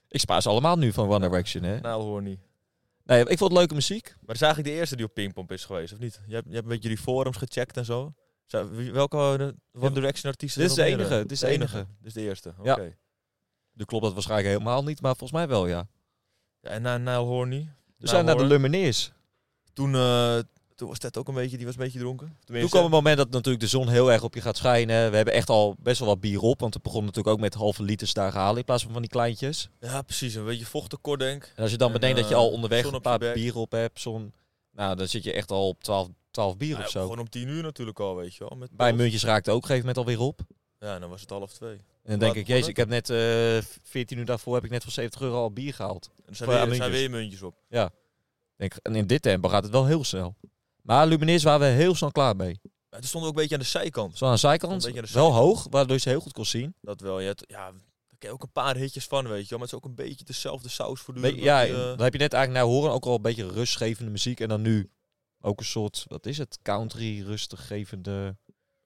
Speaker 3: Ik spaar ze allemaal nu van One Direction, hè.
Speaker 2: Nile Horny.
Speaker 3: Nee, ik vond het leuke muziek.
Speaker 2: Maar dat is eigenlijk de eerste die op Pinkpomp is geweest, of niet? Je hebt, je hebt een beetje die forums gecheckt en zo. Zou- wie- welke eh, de One Direction artiesten?
Speaker 3: Dit is
Speaker 2: zijn
Speaker 3: de
Speaker 2: nog meer,
Speaker 3: enige,
Speaker 2: eh?
Speaker 3: dit is de enige.
Speaker 2: Dit is de eerste, oké.
Speaker 3: Ja. Nu klopt dat waarschijnlijk helemaal niet, maar volgens mij wel, ja.
Speaker 2: Ja, En eh, na Nile Horny,
Speaker 3: We zijn naar de
Speaker 2: hoor.
Speaker 3: Lumineers.
Speaker 2: toen, eh, toen was Ted ook een beetje, die was een beetje dronken.
Speaker 3: Toen
Speaker 2: Tenminste,
Speaker 3: kwam het moment dat natuurlijk de zon heel erg op je gaat schijnen. We hebben echt al best wel wat bier op. Want het begon natuurlijk ook met halve liters daar halen in plaats van van die kleintjes.
Speaker 2: Ja, precies, een beetje vochttekort denk ik.
Speaker 3: En als je dan
Speaker 2: En,
Speaker 3: bedenkt dat je
Speaker 2: eh,
Speaker 3: al onderweg
Speaker 2: zon
Speaker 3: een
Speaker 2: op je
Speaker 3: paar
Speaker 2: bek.
Speaker 3: bier op hebt, zon... Nou, dan zit je echt al op 12, 12 bier
Speaker 2: Ja,
Speaker 3: of zo.
Speaker 2: Nou, Gewoon om tien uur natuurlijk al, weet je wel. Met
Speaker 3: Bij
Speaker 2: pils.
Speaker 3: Muntjes raakte ook op een gegeven moment alweer op.
Speaker 2: Ja, dan was het half twee.
Speaker 3: En dan denk
Speaker 2: Laat
Speaker 3: ik, jezus,
Speaker 2: begonnen.
Speaker 3: ik heb net eh 14 uur daarvoor heb ik net voor 70 euro al bier gehaald.
Speaker 2: En er zijn,
Speaker 3: Voor
Speaker 2: weer, er
Speaker 3: aan
Speaker 2: zijn
Speaker 3: muntjes.
Speaker 2: weer muntjes op.
Speaker 3: Denk, ik, en in dit tempo gaat het wel heel snel. Maar Lumineers waren we heel snel klaar mee.
Speaker 2: Maar toen stonden we ook een beetje aan de zijkant.
Speaker 3: Zo aan de zijkant,
Speaker 2: Een beetje aan de
Speaker 3: wel hoog, waardoor je ze heel goed kon zien.
Speaker 2: Dat wel, je hebt, ja, daar ken je ook een paar hitjes van, weet je wel. Maar het is ook een beetje dezelfde saus voortdurend.
Speaker 3: Beetje- ja,
Speaker 2: dat, eh,
Speaker 3: dan heb je net eigenlijk naar horen ook al een beetje rustgevende muziek. En dan nu ook een soort, wat is het? Country, rustgevende...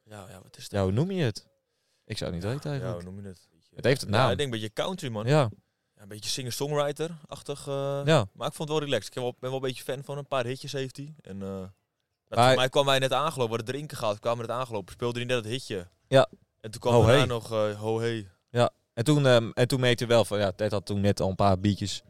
Speaker 2: ja, ja, wat is dat?
Speaker 3: Ja, hoe noem je het? Ik zou het niet weten
Speaker 2: Ja,
Speaker 3: eigenlijk.
Speaker 2: hoe noem je het?
Speaker 3: het heeft het
Speaker 2: Ja,
Speaker 3: naam.
Speaker 2: ik denk een beetje country, man.
Speaker 3: Ja,
Speaker 2: ja, een beetje singer-songwriter-achtig. eh,
Speaker 3: Ja.
Speaker 2: Maar ik vond het wel relaxed. Ik ben wel, ben wel een beetje fan van een paar hitjes heeft hij. En eh, dat-
Speaker 3: Maar-
Speaker 2: voor mij kwam hij net aangelopen. We hadden drinken gehad, kwamen net aangelopen. Speelde hij net dat hitje.
Speaker 3: Ja.
Speaker 2: En toen kwam
Speaker 3: Ho,
Speaker 2: daarna
Speaker 3: hey.
Speaker 2: nog eh ho hey.
Speaker 3: En toen, ehm, en toen merkte hij wel van, ja, Ted had toen net al een paar biertjes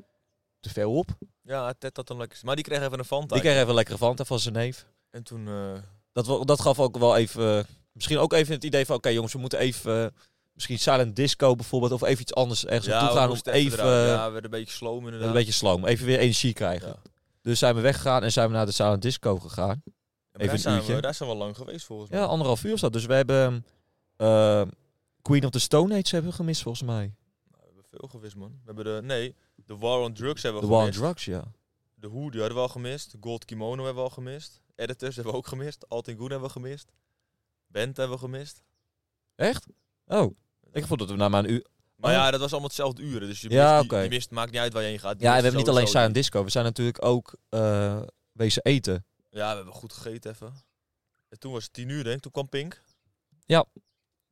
Speaker 3: te veel op.
Speaker 2: Ja, Ted had dan lekker. Maar die kreeg even een Fanta.
Speaker 3: Ik kreeg even een lekkere Fanta van zijn neef.
Speaker 2: En toen... eh,
Speaker 3: Dat, wa- dat gaf ook wel even, eh, misschien ook even het idee van, oké jongens, we moeten even, eh, misschien silent disco bijvoorbeeld, of even iets anders ergens
Speaker 2: we
Speaker 3: naartoe gaan om
Speaker 2: moesten
Speaker 3: even
Speaker 2: eruit.
Speaker 3: eh,
Speaker 2: Ja, we werden een beetje sloom inderdaad.
Speaker 3: een beetje sloom, even weer energie krijgen.
Speaker 2: Ja.
Speaker 3: Dus zijn we weggegaan en zijn we naar de silent disco gegaan.
Speaker 2: Maar
Speaker 3: even
Speaker 2: daar,
Speaker 3: een
Speaker 2: zijn we,
Speaker 3: uurtje.
Speaker 2: daar zijn we al lang geweest volgens mij.
Speaker 3: Ja, anderhalf uur was dat. Dus we hebben eh, Queen of the Stone Age hebben we gemist volgens mij.
Speaker 2: We hebben veel gewist, man. We hebben de... Nee, de War on Drugs hebben
Speaker 3: The
Speaker 2: we
Speaker 3: War on
Speaker 2: gemist.
Speaker 3: Drugs, ja.
Speaker 2: De Who, die hadden we al gemist. Gold Kimono hebben we al gemist. Editors hebben we ook gemist. Altin Goon hebben we gemist. Bent hebben we gemist.
Speaker 3: Echt? Oh, ik vond dat we na maar een uur...
Speaker 2: Maar
Speaker 3: Oh.
Speaker 2: ja, dat was allemaal hetzelfde uren. Dus je,
Speaker 3: Ja,
Speaker 2: mist,
Speaker 3: oké.
Speaker 2: je, je mist, maakt niet uit waar je heen gaat. Je
Speaker 3: Ja, en we
Speaker 2: mist
Speaker 3: hebben niet alleen
Speaker 2: sowieso
Speaker 3: silent disco, we zijn natuurlijk ook eh wezen eten.
Speaker 2: die- Ja, we hebben goed gegeten even. En toen was het tien uur, denk ik. Toen kwam Pink.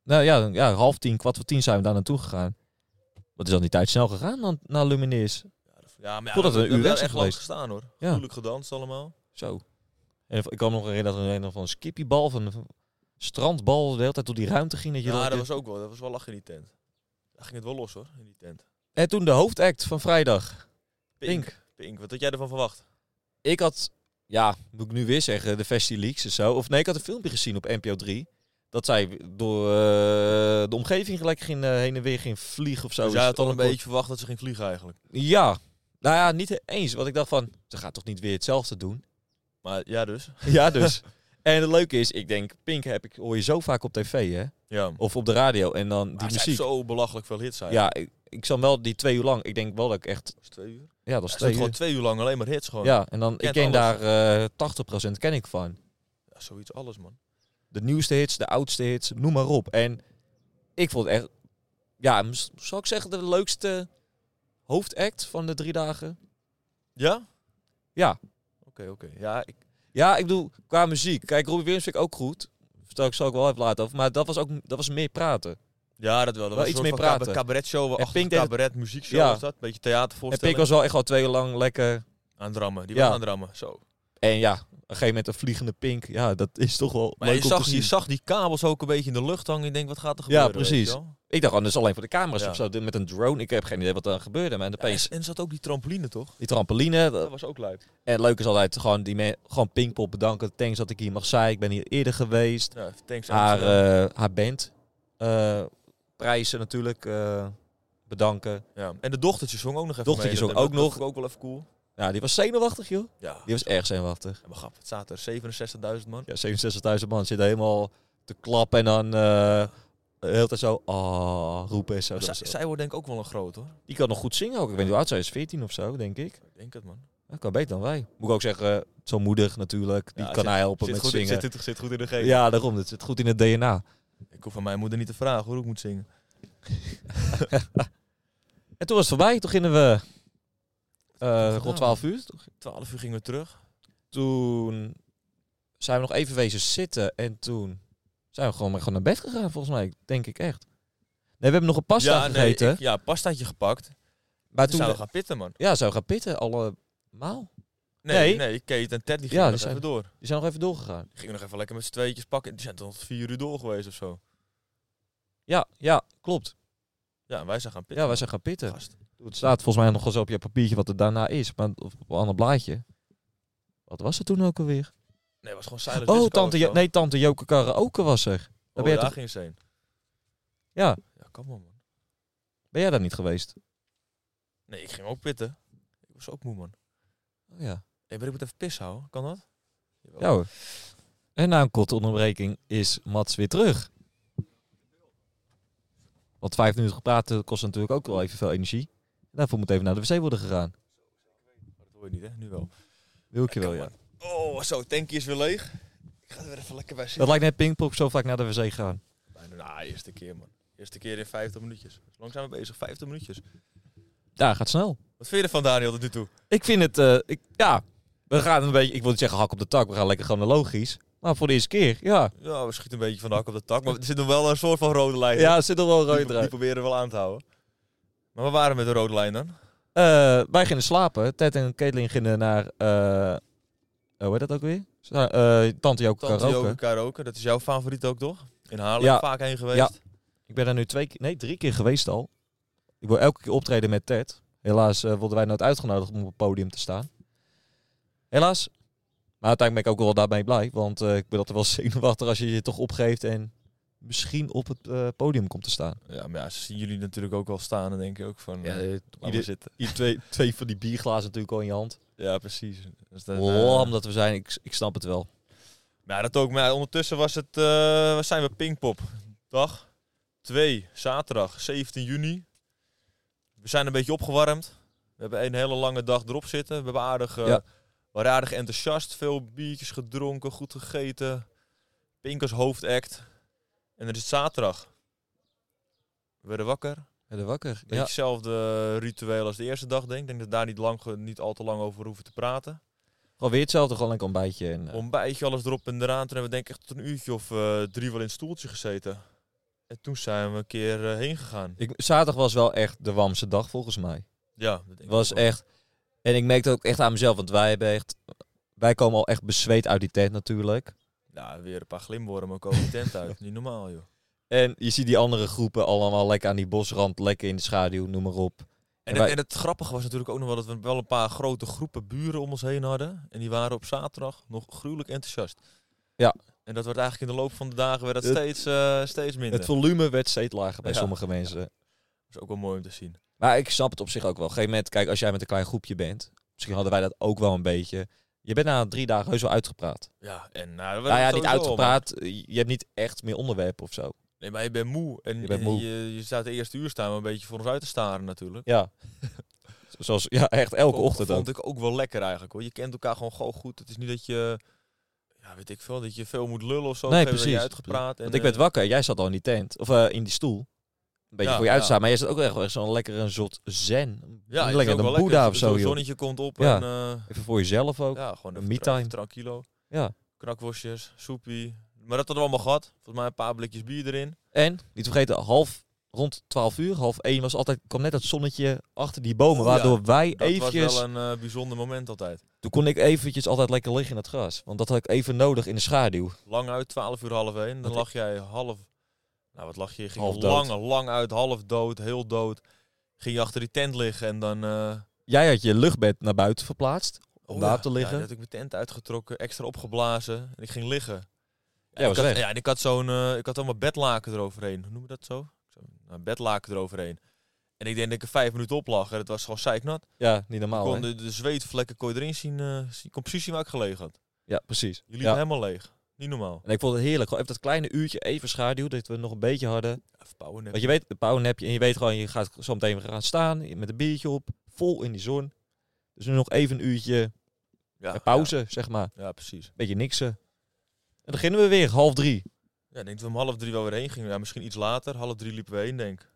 Speaker 3: Nou ja, dan- ja, half tien, kwart voor tien zijn we daar naartoe gegaan. Wat is dan die tijd snel gegaan dan, naar Lumineers?
Speaker 2: Ja, dat- Ja, maar ja,
Speaker 3: Voordat we een uur
Speaker 2: hebben
Speaker 3: weg
Speaker 2: echt
Speaker 3: zijn
Speaker 2: lang
Speaker 3: geweest.
Speaker 2: gestaan, hoor.
Speaker 3: Ja.
Speaker 2: Gruwelijk gedanst allemaal.
Speaker 3: Zo. En ik kan me nog herinneren dat er een van een skippiebal, van een strandbal, de hele tijd door die ruimte ging. Dat je
Speaker 2: Ja,
Speaker 3: dan-
Speaker 2: dat was ook wel. Dat was wel lach in die tent. Daar ging het wel los, hoor. In die tent.
Speaker 3: En toen de hoofdact van vrijdag.
Speaker 2: Pink.
Speaker 3: Pink.
Speaker 2: Pink, wat had jij ervan verwacht?
Speaker 3: Ik had, ja, moet ik nu weer zeggen, de Festileaks en zo. Of nee, ik had een filmpje gezien op NPO 3. Dat zij door eh, de omgeving gelijk ging, eh, heen en weer ging vliegen of zo.
Speaker 2: dus jij had
Speaker 3: Is
Speaker 2: al een
Speaker 3: ook-
Speaker 2: beetje verwacht dat ze ging vliegen eigenlijk.
Speaker 3: Ja. Nou ja, niet eens. Want ik dacht van, ze gaat toch niet weer hetzelfde doen?
Speaker 2: Maar ja, dus.
Speaker 3: Ja, dus. en het leuke is, ik denk, Pink heb ik, hoor je zo vaak op tv, hè?
Speaker 2: Ja.
Speaker 3: Of op de radio. En dan die
Speaker 2: Maar ze heeft
Speaker 3: muziek.
Speaker 2: zo belachelijk veel hits zijn.
Speaker 3: Ja, ik, ik zat wel die twee uur lang. Ik denk wel dat ik echt...
Speaker 2: Dat is twee uur.
Speaker 3: Ja, dat was
Speaker 2: Hij stond
Speaker 3: twee uur.
Speaker 2: gewoon twee uur lang alleen maar hits gewoon. Ja.
Speaker 3: Ja, en dan, ik
Speaker 2: Kent
Speaker 3: ken
Speaker 2: alles.
Speaker 3: daar eh 80% ken ik van.
Speaker 2: zoiets alles man.
Speaker 3: De nieuwste hits, de oudste hits, noem maar op. En ik vond het echt... Ja, mis- zal ik zeggen de leukste hoofdact van de drie dagen?
Speaker 2: Ja?
Speaker 3: Ja.
Speaker 2: Oké, oké. Ja, ik,
Speaker 3: Ja, ik bedoel, qua muziek. Kijk, Robbie Williams vind ik ook goed. Vertel ik, zal ik wel even laten over. Maar dat was ook dat was meer praten.
Speaker 2: ja, dat wel. Dat
Speaker 3: Wel
Speaker 2: was
Speaker 3: iets
Speaker 2: een
Speaker 3: meer
Speaker 2: soort van
Speaker 3: praten.
Speaker 2: cabaret show.
Speaker 3: En Pink
Speaker 2: Pink
Speaker 3: deed het-
Speaker 2: cabaret muziekshow
Speaker 3: Ja.
Speaker 2: was dat. Beetje
Speaker 3: En Pink
Speaker 2: theatervoorstelling.
Speaker 3: was wel echt al twee uur lang lekker...
Speaker 2: Aan drammen. Die
Speaker 3: Ja.
Speaker 2: was aan drammen. Zo.
Speaker 3: En ja, op een gegeven moment een vliegende Pink. Ja, dat is toch wel
Speaker 2: Maar
Speaker 3: leuk
Speaker 2: je,
Speaker 3: om
Speaker 2: zag,
Speaker 3: te
Speaker 2: je
Speaker 3: zien.
Speaker 2: zag die kabels ook een beetje in de lucht hangen. Ik denk, wat gaat er
Speaker 3: Ja,
Speaker 2: gebeuren? weet
Speaker 3: precies.
Speaker 2: je wel?
Speaker 3: Ik dacht, oh, dat is alleen voor de camera's
Speaker 2: Ja.
Speaker 3: of zo. Dit Met een drone. Ik heb geen idee wat er gebeurde. Maar
Speaker 2: Ja, en,
Speaker 3: opeens
Speaker 2: en zat ook die trampoline toch?
Speaker 3: die trampoline. dat-
Speaker 2: Dat was ook leuk.
Speaker 3: En leuk is altijd gewoon, die me- gewoon Pinkpop bedanken. Thanks dat ik hier mag zijn. Ik ben hier eerder geweest.
Speaker 2: Ja, thanks
Speaker 3: Haar,
Speaker 2: Amsterdam.
Speaker 3: eh, haar band. eh, prijzen natuurlijk eh, bedanken.
Speaker 2: ja. En de dochtertje zong ook nog even
Speaker 3: Dochtertje
Speaker 2: mee.
Speaker 3: zong
Speaker 2: Dat-
Speaker 3: ook
Speaker 2: dat
Speaker 3: nog.
Speaker 2: vond ik ook wel even cool.
Speaker 3: Ja, Nou, die was zenuwachtig, joh.
Speaker 2: Ja.
Speaker 3: Die was erg zenuwachtig.
Speaker 2: Ja, maar grap, het zaten er 67.000 man.
Speaker 3: Ja, 67.000 man zitten helemaal te klappen en dan eh de hele tijd zo ah roepen en zo.
Speaker 2: Maar
Speaker 3: Dat
Speaker 2: zij,
Speaker 3: was-
Speaker 2: zij wordt denk ik ook wel een groot hoor.
Speaker 3: Die kan nog goed zingen ook. Ik weet niet hoe oud zij is, 14 of zo, denk ik.
Speaker 2: Ik denk het man.
Speaker 3: Dat kan beter dan wij. Moet ik ook zeggen, zo moedig natuurlijk. Die
Speaker 2: Ja,
Speaker 3: kan
Speaker 2: zit-
Speaker 3: haar helpen
Speaker 2: Zit
Speaker 3: met
Speaker 2: goed, in-
Speaker 3: zingen.
Speaker 2: zit, zit, zit goed in de geest.
Speaker 3: ja, daarom. Het zit goed in het DNA.
Speaker 2: Ik hoef van mijn moeder niet te vragen hoe ik moet zingen.
Speaker 3: En toen was het voorbij. Toen gingen we eh,
Speaker 2: gedaan?
Speaker 3: rond 12 uur.
Speaker 2: 12 uur gingen we terug.
Speaker 3: Toen zijn we nog even wezen zitten. En toen zijn we gewoon, maar gewoon naar bed gegaan, volgens mij. Denk ik echt. Nee, we hebben nog een pasta
Speaker 2: ja,
Speaker 3: gegeten.
Speaker 2: ik- ja, pastaatje gepakt. Toen,
Speaker 3: maar toen,
Speaker 2: zijn we gaan pitten, man.
Speaker 3: ja, zijn we gaan pitten allemaal.
Speaker 2: Nee,
Speaker 3: Nee.
Speaker 2: nee, Kate en Ted die
Speaker 3: Ja,
Speaker 2: gingen
Speaker 3: die
Speaker 2: nog
Speaker 3: zijn-
Speaker 2: even door.
Speaker 3: Die zijn nog even doorgegaan.
Speaker 2: Die gingen nog even lekker met z'n tweetjes pakken. Die zijn tot vier uur door geweest of zo.
Speaker 3: Ja, ja, klopt.
Speaker 2: Ja, en wij zijn gaan pitten.
Speaker 3: Ja, wij zijn gaan pitten.
Speaker 2: Gast.
Speaker 3: Het staat volgens mij nog wel zo op je papiertje wat er daarna is. Maar of op een ander blaadje. Wat was er toen ook alweer?
Speaker 2: Nee, het was gewoon silent
Speaker 3: Oh,
Speaker 2: disco
Speaker 3: tante,
Speaker 2: of
Speaker 3: Jo-
Speaker 2: zo.
Speaker 3: nee, tante Joke Karaoke was er.
Speaker 2: Oh,
Speaker 3: ben je
Speaker 2: daar
Speaker 3: toch-
Speaker 2: ging ze heen.
Speaker 3: Ja,
Speaker 2: Ja, kom maar, man.
Speaker 3: ben jij daar niet geweest?
Speaker 2: Nee, ik ging ook pitten. Ik was ook moe, man.
Speaker 3: Oh, ja.
Speaker 2: Nee, maar ik moet even pis houden. Kan dat? Jawel.
Speaker 3: Ja hoor. En na een korte onderbreking is Mats weer terug. Want vijf minuten gepraat eh, kost natuurlijk ook wel even veel energie. Daarvoor moet even naar de wc worden gegaan.
Speaker 2: Dat hoor je niet, hè? Nu wel.
Speaker 3: Wil ik je wel,
Speaker 2: Kom
Speaker 3: ja.
Speaker 2: maar. Oh, zo, tankje is weer leeg. Ik ga er weer even lekker bij zitten.
Speaker 3: Dat lijkt net Pinkpop zo vaak naar de wc gaan.
Speaker 2: Bijna nou, eerste keer, man. Eerste keer in 50 minuutjes. Dus lang zijn we bezig, 50 minuutjes.
Speaker 3: Ja, gaat snel.
Speaker 2: Wat vind je ervan, Daniel, tot nu toe?
Speaker 3: Ik vind het, eh, ik, ja, we gaan een beetje, ik wil niet zeggen hak op de tak, we gaan lekker chronologisch. Maar voor de eerste keer, ja.
Speaker 2: Ja, we schieten een beetje van de hak op de tak, maar er zit nog wel een soort van rode lijn.
Speaker 3: Ja, er zit er wel een
Speaker 2: die,
Speaker 3: rode
Speaker 2: die
Speaker 3: draad.
Speaker 2: proberen we wel aan te houden. Maar waar waren we met de rode lijn dan?
Speaker 3: Eh, wij gingen slapen. Ted en Caitlin gingen naar... eh, eh, hoe heet dat ook weer? Sa- eh, Tante Joke
Speaker 2: Tante Joke
Speaker 3: Karaoke.
Speaker 2: Karaoke, dat is jouw favoriet ook toch? In Haarlem
Speaker 3: Ja.
Speaker 2: vaak heen geweest.
Speaker 3: Ja. Ik ben daar nu twee keer... Nee, drie keer geweest al. Ik wil elke keer optreden met Ted. Helaas eh, worden wij nooit uitgenodigd om op het podium te staan. Helaas. Maar uiteindelijk ben ik ook wel daarmee blij. Want eh, ik ben altijd wel zenuwachtig als je je toch opgeeft en misschien op het eh, podium komt te staan.
Speaker 2: Ja, maar ja, ze zien jullie natuurlijk ook wel staan en denk je ook van... eh, laat maar
Speaker 3: ieder-
Speaker 2: zitten.
Speaker 3: Hier twee, twee van die bierglazen natuurlijk al in je hand.
Speaker 2: Ja, precies. Dus dan, eh,
Speaker 3: Lam dat we zijn, ik, ik snap het wel.
Speaker 2: Ja, dat ook. Maar ondertussen was het, eh, wat zijn we, Pinkpop. Dag 2, zaterdag 17 juni. We zijn een beetje opgewarmd. We hebben een hele lange dag erop zitten. We hebben aardig, eh,
Speaker 3: Ja.
Speaker 2: we waren aardig enthousiast. Veel biertjes gedronken, goed gegeten. Pink als hoofdact. En dan is het zaterdag. We werden wakker.
Speaker 3: Ben je wakker?
Speaker 2: Beetje hetzelfde ritueel als de eerste dag, denk ik. Ik denk dat we daar niet, lang, ge- niet al te lang over hoeven te praten.
Speaker 3: Gewoon weer hetzelfde, gewoon lekker ontbijtje. En, eh,
Speaker 2: Ontbijtje, alles erop en eraan. Toen hebben we denk ik echt tot een uurtje of eh, drie wel in het stoeltje gezeten. En toen zijn we een keer eh, heen gegaan.
Speaker 3: ik, zaterdag was wel echt de warmste dag volgens mij.
Speaker 2: Ja, dat denk ik
Speaker 3: was
Speaker 2: ook wel.
Speaker 3: echt... En ik merkte ook echt aan mezelf, want wij hebben echt... Wij komen al echt bezweet uit die tent natuurlijk.
Speaker 2: Ja, weer een paar glimwormen komen de tent uit. Niet normaal, joh.
Speaker 3: En je ziet die andere groepen allemaal lekker aan die bosrand, lekker in de schaduw, noem maar op.
Speaker 2: En,
Speaker 3: wij-
Speaker 2: het, en het grappige was natuurlijk ook nog wel dat we wel een paar grote groepen buren om ons heen hadden. En die waren op zaterdag nog gruwelijk enthousiast.
Speaker 3: Ja.
Speaker 2: En dat werd eigenlijk in de loop van de dagen werd dat
Speaker 3: Het-
Speaker 2: steeds, eh, steeds minder.
Speaker 3: Het volume werd steeds lager bij
Speaker 2: Ja.
Speaker 3: sommige mensen.
Speaker 2: Dat is ook wel mooi om te zien.
Speaker 3: Maar ik snap het op zich ook wel. Op een gegeven moment, kijk, als jij met een klein groepje bent... Misschien hadden wij dat ook wel een beetje. Je bent na drie dagen heus wel uitgepraat.
Speaker 2: Ja, en nou, we
Speaker 3: Nou ja,
Speaker 2: hebben
Speaker 3: niet
Speaker 2: sowieso allemaal-
Speaker 3: uitgepraat. Je hebt niet echt meer onderwerpen of zo.
Speaker 2: Nee, maar je bent moe. En
Speaker 3: Je
Speaker 2: je,
Speaker 3: bent moe.
Speaker 2: Je, je staat de eerste uur staan we een beetje voor ons uit te staren natuurlijk.
Speaker 3: Ja. Zoals, ja, echt elke
Speaker 2: Vond-
Speaker 3: ochtend ook.
Speaker 2: Vond ik ook wel lekker eigenlijk hoor. Je kent elkaar gewoon gewoon goed. Het is niet dat je, ja, weet ik veel, dat je veel moet lullen of zo. Op
Speaker 3: Nee,
Speaker 2: een gegeven moment
Speaker 3: precies.
Speaker 2: ben Je uitgepraat.
Speaker 3: Want
Speaker 2: en,
Speaker 3: ik werd
Speaker 2: eh,
Speaker 3: wakker. Jij zat al in die tent. Of eh, in die stoel. Een beetje
Speaker 2: Ja,
Speaker 3: voor je uit
Speaker 2: ja.
Speaker 3: te staan. Maar jij zat ook wel echt wel echt zo'n lekker een zot zen.
Speaker 2: ja, het is
Speaker 3: lekker
Speaker 2: ook
Speaker 3: een
Speaker 2: wel
Speaker 3: boeddha
Speaker 2: lekker.
Speaker 3: of
Speaker 2: Het
Speaker 3: zo, joh.
Speaker 2: zonnetje komt op
Speaker 3: Ja.
Speaker 2: en eh,
Speaker 3: Even voor jezelf ook.
Speaker 2: ja, gewoon
Speaker 3: Een
Speaker 2: even
Speaker 3: me
Speaker 2: tra-
Speaker 3: time.
Speaker 2: tranquilo.
Speaker 3: Ja.
Speaker 2: Knakworstjes, soepie. Maar dat hadden we allemaal gehad. Volgens mij een paar blikjes bier erin.
Speaker 3: En, niet te vergeten, half rond 12 uur, half 1 was altijd, kwam net dat zonnetje achter die bomen.
Speaker 2: Oh,
Speaker 3: waardoor
Speaker 2: ja.
Speaker 3: wij
Speaker 2: Dat
Speaker 3: eventjes...
Speaker 2: was wel een eh, bijzonder moment altijd.
Speaker 3: Toen kon ik eventjes altijd lekker liggen in het gras. Want dat had ik even nodig in de schaduw.
Speaker 2: Lang uit, 12 uur half 1. Dan
Speaker 3: Wat
Speaker 2: lag jij half. Nou, wat lag je? Je ging
Speaker 3: Half
Speaker 2: lang, lang uit, half dood, heel dood. Ging je achter die tent liggen en dan. eh,
Speaker 3: Jij had je luchtbed naar buiten verplaatst.
Speaker 2: Oh
Speaker 3: Om daar te liggen.
Speaker 2: Ja, dat ik mijn tent uitgetrokken, extra opgeblazen en ik ging liggen.
Speaker 3: Jij was
Speaker 2: ik had,
Speaker 3: weg.
Speaker 2: ja, en ik had zo'n, eh, ik had allemaal bedlaken eroverheen. Hoe noem je dat zo? Zo'n nou, bedlaken eroverheen. En ik denk dat ik er vijf minuten op lag en het was gewoon zeiknat.
Speaker 3: Ja, niet
Speaker 2: Ik
Speaker 3: normaal.
Speaker 2: kon
Speaker 3: hè?
Speaker 2: de, de zweetvlekken kon je erin zien. eh, zien- ik kon precies zien waar ik gelegen had.
Speaker 3: Ja, precies.
Speaker 2: Je liep
Speaker 3: Ja.
Speaker 2: helemaal leeg. Niet normaal.
Speaker 3: En ik vond het heerlijk. Gewoon even dat kleine uurtje, even schaduw, dat we nog een beetje hadden.
Speaker 2: Even pauwen.
Speaker 3: Want je weet, een powernapje. En je weet gewoon, je gaat zo meteen weer gaan staan. Met een biertje op. Vol in die zon. Dus nu nog even een uurtje
Speaker 2: ja,
Speaker 3: eh, pauze, zeg maar.
Speaker 2: Ja, ja, precies.
Speaker 3: Beetje niksen. En dan gingen we weer, half drie.
Speaker 2: Ja, ik denk dat we om half drie wel weer heen gingen. Ja, misschien iets later. Half drie liepen we heen, denk ik.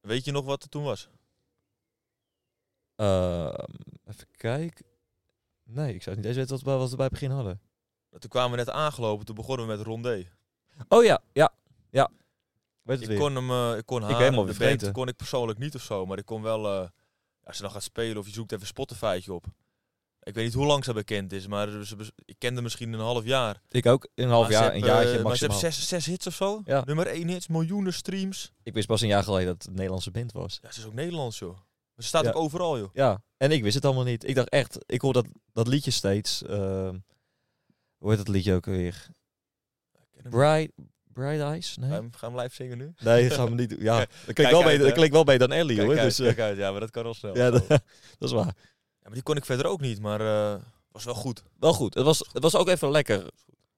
Speaker 2: Weet je nog wat er toen was?
Speaker 3: Ehm, even kijken. Nee, ik zou niet eens weten wat, we- wat we bij het begin hadden.
Speaker 2: Toen kwamen we net aangelopen. Toen begonnen we met rondé.
Speaker 3: Oh ja, ja, ja. Weet het
Speaker 2: Ik
Speaker 3: weer.
Speaker 2: kon hem, eh, ik kon haar,
Speaker 3: helemaal
Speaker 2: de
Speaker 3: weer
Speaker 2: band
Speaker 3: vergeten.
Speaker 2: kon ik persoonlijk niet of zo, maar ik kon wel, eh, als ze dan gaat spelen of je zoekt even Spotify'tje op. Ik weet niet hoe lang ze bekend is, maar ze bes- ik kende misschien een half jaar.
Speaker 3: Ik ook, in een half
Speaker 2: Maar ze
Speaker 3: jaar, een
Speaker 2: hebben, eh, Maar
Speaker 3: jaartje
Speaker 2: ze
Speaker 3: maximaal.
Speaker 2: hebben zes, zes hits of zo.
Speaker 3: Ja.
Speaker 2: Nummer één hits, miljoenen streams.
Speaker 3: Ik wist pas een jaar geleden dat het een Nederlandse band was.
Speaker 2: Ja, ze is ook Nederlands, joh. Maar Ze staat
Speaker 3: Ja.
Speaker 2: ook overal, joh.
Speaker 3: Ja, en ik wist het allemaal niet. Ik dacht echt, ik hoor dat, dat liedje steeds. ehm, hoe heet dat liedje ook weer?
Speaker 2: Ik ken hem.
Speaker 3: Bright, Bright Eyes?
Speaker 2: Ga je
Speaker 3: Nee,
Speaker 2: hem- ga je hem live zingen nu?
Speaker 3: nee gaan we niet doen. Ja, dat
Speaker 2: Ehm. kijk
Speaker 3: klinkt wel,
Speaker 2: uit,
Speaker 3: beter- dat
Speaker 2: hè.
Speaker 3: klinkt wel beter dan Ellie
Speaker 2: Kijk
Speaker 3: hoor.
Speaker 2: uit,
Speaker 3: Dus, eh,
Speaker 2: kijk uit. Ja, maar dat kan al snel.
Speaker 3: ja,
Speaker 2: zo.
Speaker 3: dat, dat is waar.
Speaker 2: Ja, maar die kon ik verder ook niet, maar eh, was wel goed.
Speaker 3: Wel goed. Het was, het was ook even lekker.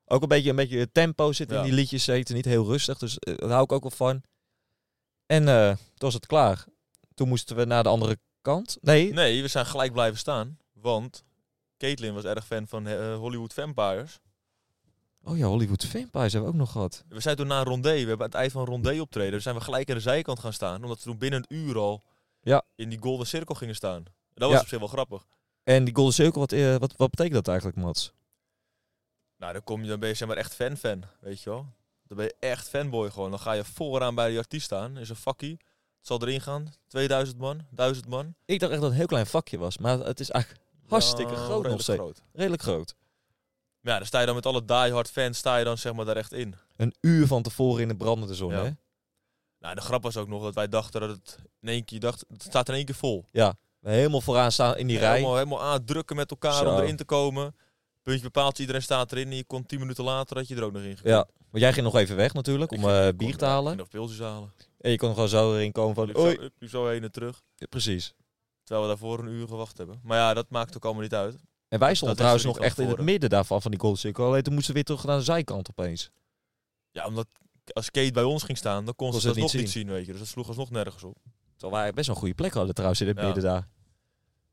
Speaker 3: Ook een beetje, een beetje tempo zit
Speaker 2: Ja.
Speaker 3: in die liedjes zitten. Niet heel rustig, dus eh, daar hou ik ook wel van. En eh, toen was het klaar. Toen moesten we naar de andere kant. Nee,
Speaker 2: Nee, we zijn gelijk blijven staan, want Caitlyn was erg fan van eh, Hollywood Vampires.
Speaker 3: Oh ja, Hollywood Vampires hebben we ook nog gehad.
Speaker 2: We zijn toen na een rondé, we hebben aan het eind van een rondé optreden, dus zijn we gelijk aan de zijkant gaan staan. Omdat we toen binnen een uur al
Speaker 3: Ja.
Speaker 2: in die golden cirkel gingen staan. Dat was
Speaker 3: Ja.
Speaker 2: op zich wel grappig.
Speaker 3: En die Golden Circle, wat, eh, wat, wat betekent dat eigenlijk, Mats?
Speaker 2: Nou, dan, kom je, dan ben je zeg maar echt fan-fan, weet je wel. Dan ben je echt fanboy gewoon. Dan ga je vooraan bij die artiest staan, is een fakkie. Het zal erin gaan. 2000 man, 1000 man.
Speaker 3: Ik dacht echt dat het een heel klein vakje was, maar het is eigenlijk hartstikke
Speaker 2: Ja,
Speaker 3: groot nog
Speaker 2: redelijk
Speaker 3: steeds.
Speaker 2: groot.
Speaker 3: Redelijk groot.
Speaker 2: Maar ja, dan sta je dan met alle diehard fans, sta je dan zeg maar daar echt in.
Speaker 3: Een uur van tevoren in de brandende zon,
Speaker 2: Ja.
Speaker 3: hè?
Speaker 2: Nou, de grap was ook nog dat wij dachten dat het in één keer, je dacht, het staat in één keer vol.
Speaker 3: We helemaal vooraan staan in die
Speaker 2: Ja,
Speaker 3: rij.
Speaker 2: Helemaal, helemaal aandrukken met elkaar
Speaker 3: Zo.
Speaker 2: om erin te komen. Puntje bepaalt, iedereen staat erin. En je komt tien minuten later dat je er ook nog in gekomen.
Speaker 3: Ja. Maar jij ging nog even weg natuurlijk,
Speaker 2: Ik
Speaker 3: om
Speaker 2: ging-
Speaker 3: eh,
Speaker 2: ik
Speaker 3: bier
Speaker 2: kon-
Speaker 3: te
Speaker 2: ja, ik
Speaker 3: halen.
Speaker 2: ging nog pilsjes halen.
Speaker 3: En je kon gewoon zo erin komen van,
Speaker 2: Liep zo,
Speaker 3: oei.
Speaker 2: ik liep zo heen en terug.
Speaker 3: Ja, precies.
Speaker 2: Terwijl we daarvoor een uur gewacht hebben. Maar ja, dat maakt ook allemaal niet uit.
Speaker 3: En wij
Speaker 2: is
Speaker 3: stonden trouwens
Speaker 2: er niet
Speaker 3: nog echt in het
Speaker 2: voor.
Speaker 3: midden daarvan, van die goalcirkel. Alleen toen moesten we weer terug naar de zijkant opeens.
Speaker 2: Ja, omdat als Kate bij ons ging staan, dan kon ze
Speaker 3: Kon
Speaker 2: dat
Speaker 3: ze het
Speaker 2: nog
Speaker 3: niet
Speaker 2: niet zien, weet je. Dus dat sloeg alsnog nergens op.
Speaker 3: Terwijl wij best wel een goede plek hadden trouwens in het
Speaker 2: Ja.
Speaker 3: midden daar.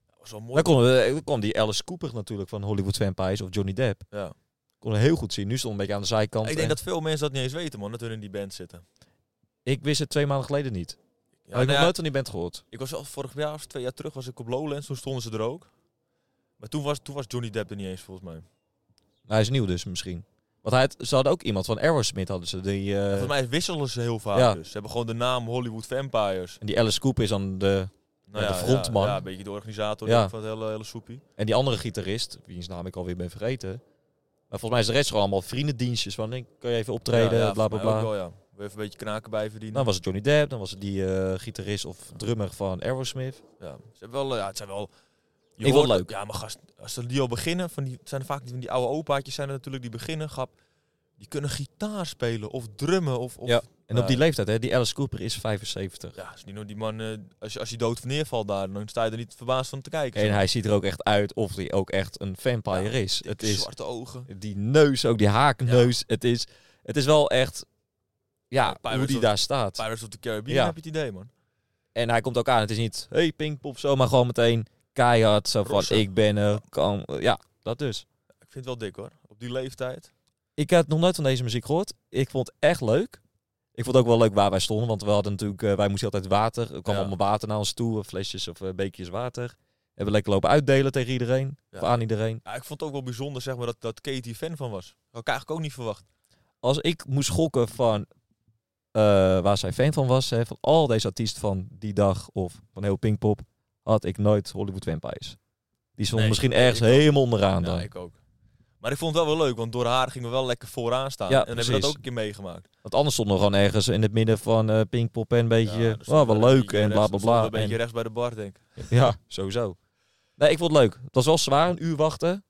Speaker 2: Dat was wel mooi.
Speaker 3: Dan kon, dan kon eh, die Alice Cooper natuurlijk van Hollywood Vampires of Johnny Depp.
Speaker 2: Ja.
Speaker 3: Kon heel goed zien. Nu stond een beetje aan de zijkant.
Speaker 2: Ik
Speaker 3: en-
Speaker 2: denk dat veel mensen dat niet eens weten, man. Dat hun in die band zitten.
Speaker 3: ik wist het twee maanden geleden niet. Had
Speaker 2: Ja,
Speaker 3: ik
Speaker 2: nou
Speaker 3: nog
Speaker 2: ja,
Speaker 3: nooit van die band gehoord.
Speaker 2: Ik was al vorig jaar of twee jaar terug was ik op Lowlands. Toen stonden ze er ook. Maar toen was, toen was Johnny Depp er niet eens, volgens mij.
Speaker 3: Hij is nieuw dus misschien. Want hij had, ze hadden ook iemand van Aerosmith hadden ze. Die, eh,
Speaker 2: volgens mij wisselen ze heel vaak
Speaker 3: ja.
Speaker 2: dus. Ze hebben gewoon de naam Hollywood Vampires.
Speaker 3: en die Alice Cooper is dan de...
Speaker 2: Nou
Speaker 3: Ja, de frontman.
Speaker 2: Ja, ja, een beetje de organisator
Speaker 3: Ja.
Speaker 2: van het hele, hele soepie.
Speaker 3: En die andere gitarist, wiens naam ik alweer ben vergeten. Maar volgens mij is de rest gewoon allemaal vriendendienstjes. Van, hey, kan je even optreden,
Speaker 2: Ja, ja,
Speaker 3: bla bla
Speaker 2: volgens mij
Speaker 3: bla. Nou,
Speaker 2: ook wel, ja. Wil even een beetje knaken bij verdienen.
Speaker 3: Dan was het Johnny Depp, dan was het die eh, gitarist of drummer van Aerosmith.
Speaker 2: ja. Ze hebben wel, eh, ja, het zijn wel... je
Speaker 3: Ik vond
Speaker 2: hoort-
Speaker 3: het leuk.
Speaker 2: Ja, maar gast, als ze die al beginnen, van die, het zijn vaak die- van die oude opaatjes zijn er natuurlijk die beginnen, grap. Die kunnen gitaar spelen of drummen of... of
Speaker 3: Ja. En
Speaker 2: Ja.
Speaker 3: op die leeftijd, hè, die Alice Cooper is 75.
Speaker 2: Ja, is niet nog die man, eh, als, je, als hij dood neervalt daar, dan sta je er niet verbaasd van te kijken.
Speaker 3: En hij ziet er ook echt uit of hij ook echt een vampire is. Het
Speaker 2: Dikke
Speaker 3: is
Speaker 2: zwarte ogen.
Speaker 3: die neus, ook die haakneus. Het, is, het is wel echt, ja,
Speaker 2: Pirates
Speaker 3: hoe die
Speaker 2: of-
Speaker 3: daar staat.
Speaker 2: Pirates of the Caribbean
Speaker 3: Ja.
Speaker 2: heb je het idee, man.
Speaker 3: En hij komt ook aan. Het is niet, hey Pinkpop, zo, maar gewoon meteen keihard. Zo van,
Speaker 2: Rossen.
Speaker 3: ik ben er, kan, ja, dat dus.
Speaker 2: Ik vind het wel dik, hoor. Op die leeftijd.
Speaker 3: Ik had nog nooit van deze muziek gehoord. Ik vond het echt leuk. Ik vond het ook wel leuk waar wij stonden, want we hadden natuurlijk, eh, wij moesten altijd water. Er kwam
Speaker 2: Ja.
Speaker 3: allemaal water naar ons toe, eh, flesjes of eh, beekjes water. Hebben lekker lopen uitdelen tegen iedereen,
Speaker 2: Ja.
Speaker 3: of aan iedereen.
Speaker 2: Ja, ik vond het ook wel bijzonder, zeg maar, dat, dat Katie fan van was. Had ik eigenlijk ook niet verwacht.
Speaker 3: Als ik moest gokken van eh, waar zij fan van was, hè, van al deze artiesten van die dag of van heel Pinkpop, had ik nooit Hollywood Vampires. Die stond
Speaker 2: Nee,
Speaker 3: misschien
Speaker 2: nee,
Speaker 3: ergens
Speaker 2: ik ook.
Speaker 3: helemaal onderaan
Speaker 2: Ja,
Speaker 3: dan.
Speaker 2: ik ook. Maar ik vond het wel weer leuk, want door haar gingen we wel lekker vooraan staan.
Speaker 3: Ja,
Speaker 2: en hebben we dat
Speaker 3: precies.
Speaker 2: ook een keer meegemaakt.
Speaker 3: Want anders stonden we gewoon ergens in het midden van eh Pinkpop en een beetje,
Speaker 2: Ja, dus
Speaker 3: oh,
Speaker 2: dan
Speaker 3: wel
Speaker 2: een
Speaker 3: leuk
Speaker 2: beetje
Speaker 3: en
Speaker 2: rechts-
Speaker 3: bla bla
Speaker 2: stonden we
Speaker 3: bla.
Speaker 2: Een beetje
Speaker 3: En-
Speaker 2: rechts bij de bar, denk ik.
Speaker 3: ja, sowieso. Nee, ik vond het leuk. Het was wel zwaar, een uur wachten.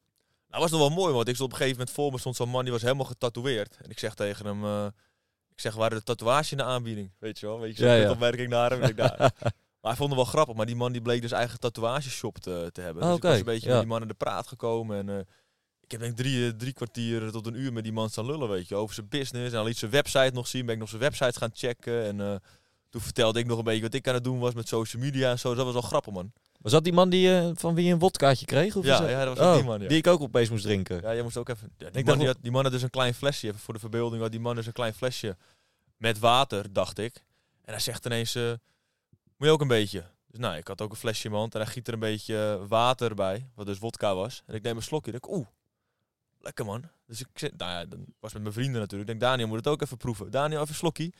Speaker 2: Nou, was nog wel mooi, want ik stond op een gegeven moment voor me stond zo'n man die was helemaal getatoeëerd. En ik zeg tegen hem, eh, ik zeg, waren de tatoeage in de aanbieding? Weet je wel, weet je, zo'n
Speaker 3: Ja, ja.
Speaker 2: opmerking naar hem. en Ik, daar. maar hij vond het wel grappig, maar die man die bleek dus eigen tatoeageshop te, te hebben.
Speaker 3: Ah,
Speaker 2: dus
Speaker 3: oké,
Speaker 2: ik was een beetje
Speaker 3: ja.
Speaker 2: met die man in de praat gekomen en... eh, ik heb denk ik drie, eh, drie kwartier tot een uur met die man staan lullen, weet je. Over zijn business. En al iets zijn website nog zien. Ben ik nog zijn website gaan checken. En eh, toen vertelde ik nog een beetje wat ik aan het doen was met social media en zo. Dus dat was wel grappig, man.
Speaker 3: Was dat die man die, eh, van wie je een wodkaatje kreeg? Of
Speaker 2: Ja,
Speaker 3: is dat-
Speaker 2: ja, dat was ook die
Speaker 3: Oh,
Speaker 2: man, ja.
Speaker 3: Die ik ook opeens moest drinken.
Speaker 2: Ja, jij moest ook even. Ja, die,
Speaker 3: dacht
Speaker 2: man, die,
Speaker 3: wel-
Speaker 2: had, die man had dus een klein flesje. Even voor de verbeelding had die man dus een klein flesje met water, dacht ik. En hij zegt ineens: eh, Moet je ook een beetje? Dus nou, ik had ook een flesje in mijn hand en hij giet er een beetje eh, water bij, wat dus wodka was. En ik neem een slokje. En ik, oeh, lekker man. Dus ik zit, nou ja, dan was met mijn vrienden natuurlijk. Ik denk, Daniel moet het ook even proeven. Daniel, even een slokje.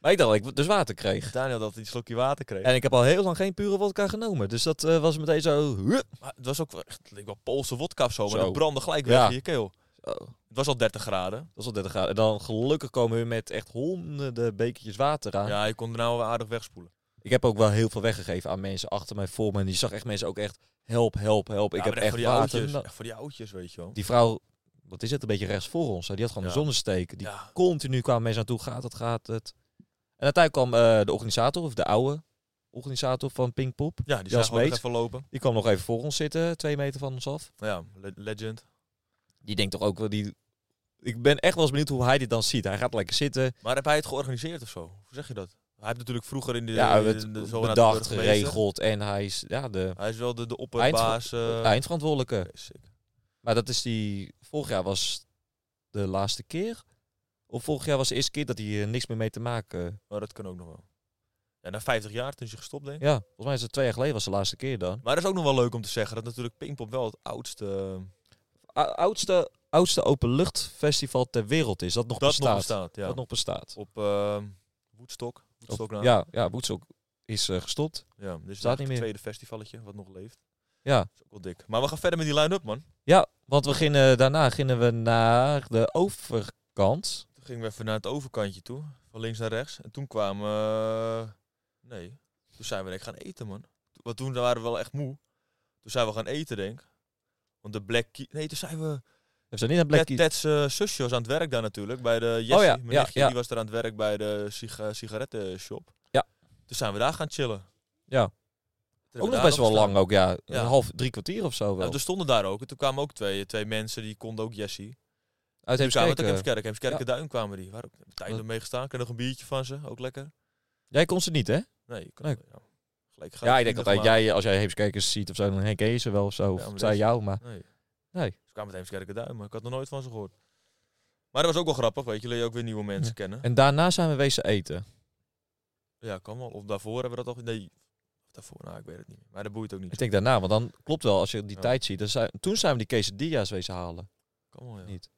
Speaker 3: Maar ik dacht dat ik dus water kreeg.
Speaker 2: Daniel dat hij een slokje water kreeg.
Speaker 3: En ik heb al heel lang geen pure wodka genomen. Dus dat eh, was meteen zo... hup.
Speaker 2: Maar het was ook wel echt, het leek wel Poolse wodka of zo, maar
Speaker 3: Zo.
Speaker 2: dat brandde gelijk
Speaker 3: Ja.
Speaker 2: weg in je keel.
Speaker 3: Oh,
Speaker 2: Het was al 30 graden.
Speaker 3: dat is al 30 graden. En dan gelukkig komen we met echt honderden bekertjes water aan.
Speaker 2: Ja, je kon er nou wel aardig wegspoelen.
Speaker 3: Ik heb ook wel heel veel weggegeven aan mensen achter mij, voor me. En die zag echt mensen ook echt... Help, help, help. Ik
Speaker 2: Ja,
Speaker 3: heb
Speaker 2: maar
Speaker 3: echt
Speaker 2: voor die
Speaker 3: water.
Speaker 2: oudjes.
Speaker 3: no-
Speaker 2: Echt voor die oudjes, weet je wel.
Speaker 3: Die vrouw, wat is het, een beetje rechts voor ons. hè, Die had gewoon
Speaker 2: Ja.
Speaker 3: een zonnesteek. Die
Speaker 2: ja.
Speaker 3: continu kwamen mensen naartoe. Gaat het, gaat het. En uiteindelijk kwam eh, de organisator, of de oude organisator van Pinkpop.
Speaker 2: ja, die
Speaker 3: Jan
Speaker 2: zijn gewoon nog
Speaker 3: Smeet.
Speaker 2: even lopen.
Speaker 3: Die kwam nog even voor ons zitten, twee meter van ons af.
Speaker 2: Ja, le- legend.
Speaker 3: Die denkt toch ook wel, die... Ik ben echt wel eens benieuwd hoe hij dit dan ziet. Hij gaat lekker zitten.
Speaker 2: Maar heb hij het georganiseerd of zo? Hoe zeg je dat? Hij heeft natuurlijk vroeger in de,
Speaker 3: ja,
Speaker 2: in de,
Speaker 3: het
Speaker 2: de zogenaamde
Speaker 3: bedacht,
Speaker 2: burgemeester.
Speaker 3: geregeld. En hij is ja, de
Speaker 2: Hij is wel de, de opperbaas. eh,
Speaker 3: eindverantwoordelijke.
Speaker 2: oké, sick.
Speaker 3: Maar dat is die... Vorig jaar was de laatste keer. Of vorig jaar was de eerste keer dat hij er niks meer mee te maken...
Speaker 2: Maar dat kan ook nog wel. Ja, na 50 jaar toen is hij gestopt, denk ik.
Speaker 3: Ja, volgens mij is het twee jaar geleden was de laatste keer dan.
Speaker 2: Maar dat is ook nog wel leuk om te zeggen. Dat natuurlijk Pinkpop wel het oudste eh,
Speaker 3: O- Oudste, oudste openluchtfestival ter wereld is. Dat nog
Speaker 2: dat nog
Speaker 3: bestaat.
Speaker 2: bestaat. Ja.
Speaker 3: Dat nog bestaat. nou.
Speaker 2: Op eh Woodstock. Woodstock
Speaker 3: ja, ja, Woodstock. is eh, gestopt.
Speaker 2: Ja, dit is
Speaker 3: Staat
Speaker 2: het
Speaker 3: niet meer.
Speaker 2: tweede festivaletje wat nog leeft.
Speaker 3: Ja.
Speaker 2: is ook wel dik. Maar we gaan verder met die line-up, man.
Speaker 3: ja, want we gingen, eh, daarna gingen we naar de overkant.
Speaker 2: Toen gingen we even naar het overkantje toe, van links naar rechts. En toen kwamen... eh, nee, toen zijn we denk ik gaan eten, man. Toen- Want toen waren we wel echt moe. Toen zijn we gaan eten, denk ik. Want de Black Key... Nee, toen zijn we...
Speaker 3: We zijn niet naar Black
Speaker 2: Ted-
Speaker 3: Keys. Oh
Speaker 2: Ted's eh, zusje was aan het werk daar natuurlijk, bij de Jessie.
Speaker 3: ja,
Speaker 2: Mijn
Speaker 3: ja,
Speaker 2: nichtje,
Speaker 3: ja.
Speaker 2: die was daar aan het werk bij de siga sigarettenshop.
Speaker 3: Ja.
Speaker 2: Toen zijn we daar gaan chillen.
Speaker 3: Ja.
Speaker 2: Toen hebben we
Speaker 3: Ook nog
Speaker 2: daar
Speaker 3: best wel
Speaker 2: gestaan.
Speaker 3: lang ook, ja. dus
Speaker 2: Ja.
Speaker 3: Een half, drie kwartier of zo wel.
Speaker 2: Ja, er stonden daar ook. En toen kwamen ook twee, twee mensen, die konden ook Jessie.
Speaker 3: Uit
Speaker 2: Die kwamen uit
Speaker 3: Heemskerk, eh.
Speaker 2: Heemskerk. Heemskerk Duin kwamen die. Waar ook tijd
Speaker 3: Wat-
Speaker 2: om mee gestaan. Kreeg nog een biertje van ze. Ook lekker.
Speaker 3: Jij kon ze niet, hè?
Speaker 2: Nee, je kan
Speaker 3: Nee.
Speaker 2: ja, gelijk gaan.
Speaker 3: Ja, ik denk altijd, jij, als jij Heemskerkers ziet of zo, dan herken je ze wel of zo.
Speaker 2: Ja,
Speaker 3: Of
Speaker 2: maar
Speaker 3: zij
Speaker 2: deze-
Speaker 3: jou, maar...
Speaker 2: Nee. Dus
Speaker 3: Nee.
Speaker 2: Ze kwamen uit Heemskerk Duin, maar ik had nog nooit van ze gehoord. Maar dat was ook wel grappig, weet je. Leer je ook weer nieuwe mensen
Speaker 3: Ja.
Speaker 2: kennen.
Speaker 3: En daarna zijn we wezen eten.
Speaker 2: Ja, kan wel. Of daarvoor hebben we dat al... Nee, of daarvoor, nou, ik weet het niet meer. Maar dat boeit ook niet.
Speaker 3: Ik denk daarna, want dan klopt wel, als je die
Speaker 2: Ja.
Speaker 3: tijd ziet. Dan zijn, toen zijn we die quesadillas wezen halen.
Speaker 2: Kan wel, ja.
Speaker 3: Niet.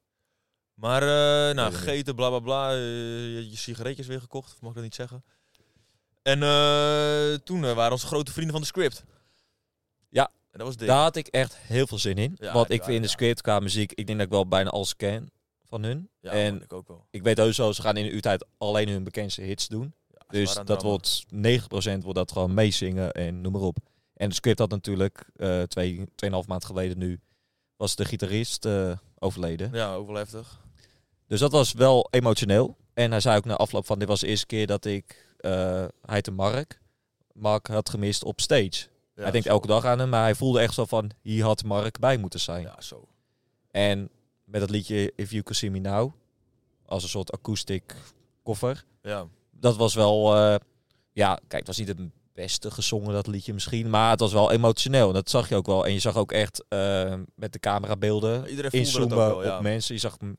Speaker 2: Maar, eh nou,
Speaker 3: het niet.
Speaker 2: gegeten, bla bla bla. eh, je, je sigaretjes weer gekocht, of mag ik dat niet zeggen? En eh, toen eh, waren onze grote vrienden van de script.
Speaker 3: Ja.
Speaker 2: En dat was dik.
Speaker 3: Daar had ik echt heel veel zin in.
Speaker 2: Ja,
Speaker 3: want
Speaker 2: die
Speaker 3: ik vind in de
Speaker 2: waren-
Speaker 3: script qua muziek, ik denk dat ik wel bijna alles ken van hun.
Speaker 2: ja,
Speaker 3: en-
Speaker 2: man, ik ook wel.
Speaker 3: Ik weet heus wel, ze gaan in uw tijd alleen hun bekendste hits doen.
Speaker 2: Ja, ze
Speaker 3: Dus
Speaker 2: waren aan het
Speaker 3: dat
Speaker 2: rammen.
Speaker 3: wordt 90% wordt dat gewoon meezingen en noem maar op. En de script had natuurlijk eh twee, tweeënhalf maand geleden nu was de gitarist eh, overleden.
Speaker 2: Ja, ook wel heftig.
Speaker 3: Dus dat was wel emotioneel. En hij zei ook na afloop van dit was de eerste keer dat ik eh hij te Mark, Mark had gemist op stage.
Speaker 2: Ja,
Speaker 3: hij denkt
Speaker 2: zo.
Speaker 3: elke dag aan hem, maar hij voelde echt zo van hier had Mark bij moeten zijn.
Speaker 2: Ja, zo.
Speaker 3: En met dat liedje If You Could See Me Now, als een soort acoustic koffer.
Speaker 2: Ja,
Speaker 3: Dat was wel, eh, ja, kijk, het was niet het beste gezongen, dat liedje misschien. Maar het was wel emotioneel. En dat zag je ook wel. En je zag ook echt eh, met de camerabeelden
Speaker 2: Nou, iedereen voelde dat ook
Speaker 3: inzoomen
Speaker 2: wel,
Speaker 3: op
Speaker 2: ja.
Speaker 3: mensen. Je zag m-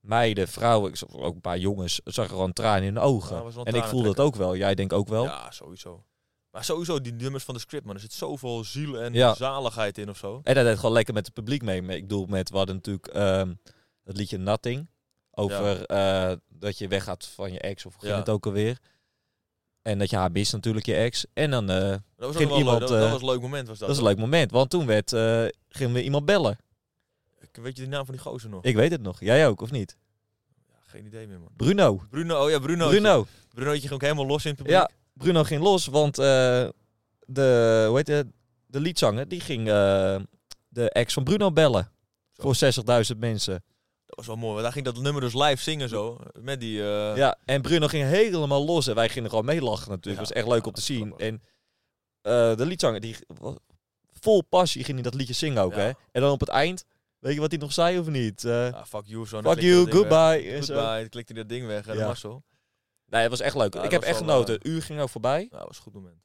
Speaker 3: meiden, vrouwen, ik zag ook een paar jongens. Ik zag er gewoon tranen in de ogen.
Speaker 2: Ja, was wel
Speaker 3: en ik voelde dat ook wel. Jij denkt ook wel. Ja,
Speaker 2: Ja, sowieso. Maar sowieso, die nummers van de script, man. Er zit zoveel ziel en
Speaker 3: Ja.
Speaker 2: zaligheid in of zo.
Speaker 3: En dat deed gewoon lekker met het publiek mee. Maar Ik bedoel, met, we hadden natuurlijk ehm het liedje Nothing. Over eh, dat je weggaat van je ex, of hoe ging
Speaker 2: Ja.
Speaker 3: het ook alweer. En dat je haar mist natuurlijk, je ex. En dan, eh,
Speaker 2: Dat was ook
Speaker 3: Ging
Speaker 2: wel
Speaker 3: iemand,
Speaker 2: leuk. Dat, dat
Speaker 3: eh,
Speaker 2: was een leuk moment, was dat.
Speaker 3: dat is een leuk moment. Want toen werd, eh, gingen we iemand bellen.
Speaker 2: Ik- Weet je de naam van die gozer nog?
Speaker 3: Ik weet het nog. Jij ook, of niet?
Speaker 2: Ja, geen idee meer, man.
Speaker 3: Bruno.
Speaker 2: Bruno, oh ja, Bruno.
Speaker 3: Bruno.
Speaker 2: Brunootje ging ook helemaal los in het publiek.
Speaker 3: Ja, Bruno ging los, want eh, de, hoe heet het, de liedzanger die ging eh, de ex van Bruno bellen.
Speaker 2: Zo.
Speaker 3: Voor 60.000 mensen.
Speaker 2: Dat was wel mooi, want daar ging dat nummer dus live zingen zo. Met die... eh,
Speaker 3: Ja, en Bruno ging helemaal los en wij gingen gewoon meelachen natuurlijk.
Speaker 2: Ja,
Speaker 3: was echt leuk
Speaker 2: ja,
Speaker 3: om te
Speaker 2: dat is
Speaker 3: zien.
Speaker 2: grappig.
Speaker 3: En eh, de liedzanger, die was vol passie ging hij dat liedje zingen ook.
Speaker 2: Ja.
Speaker 3: Hè? En dan op het eind, weet je wat hij nog zei of niet? Eh,
Speaker 2: ah, fuck you of zo. en dan klikte dat
Speaker 3: fuck you,
Speaker 2: ding weg.
Speaker 3: goodbye. en zo.
Speaker 2: Goodbye. Dan klikte hij dat ding weg en
Speaker 3: Ja.
Speaker 2: dat was zo. Nou,
Speaker 3: Nee, het was echt leuk.
Speaker 2: Ja,
Speaker 3: ik
Speaker 2: dat
Speaker 3: heb
Speaker 2: was
Speaker 3: echt
Speaker 2: wel, eh,
Speaker 3: genoten. Een uur ging ook voorbij.
Speaker 2: Nou, dat was een goed moment.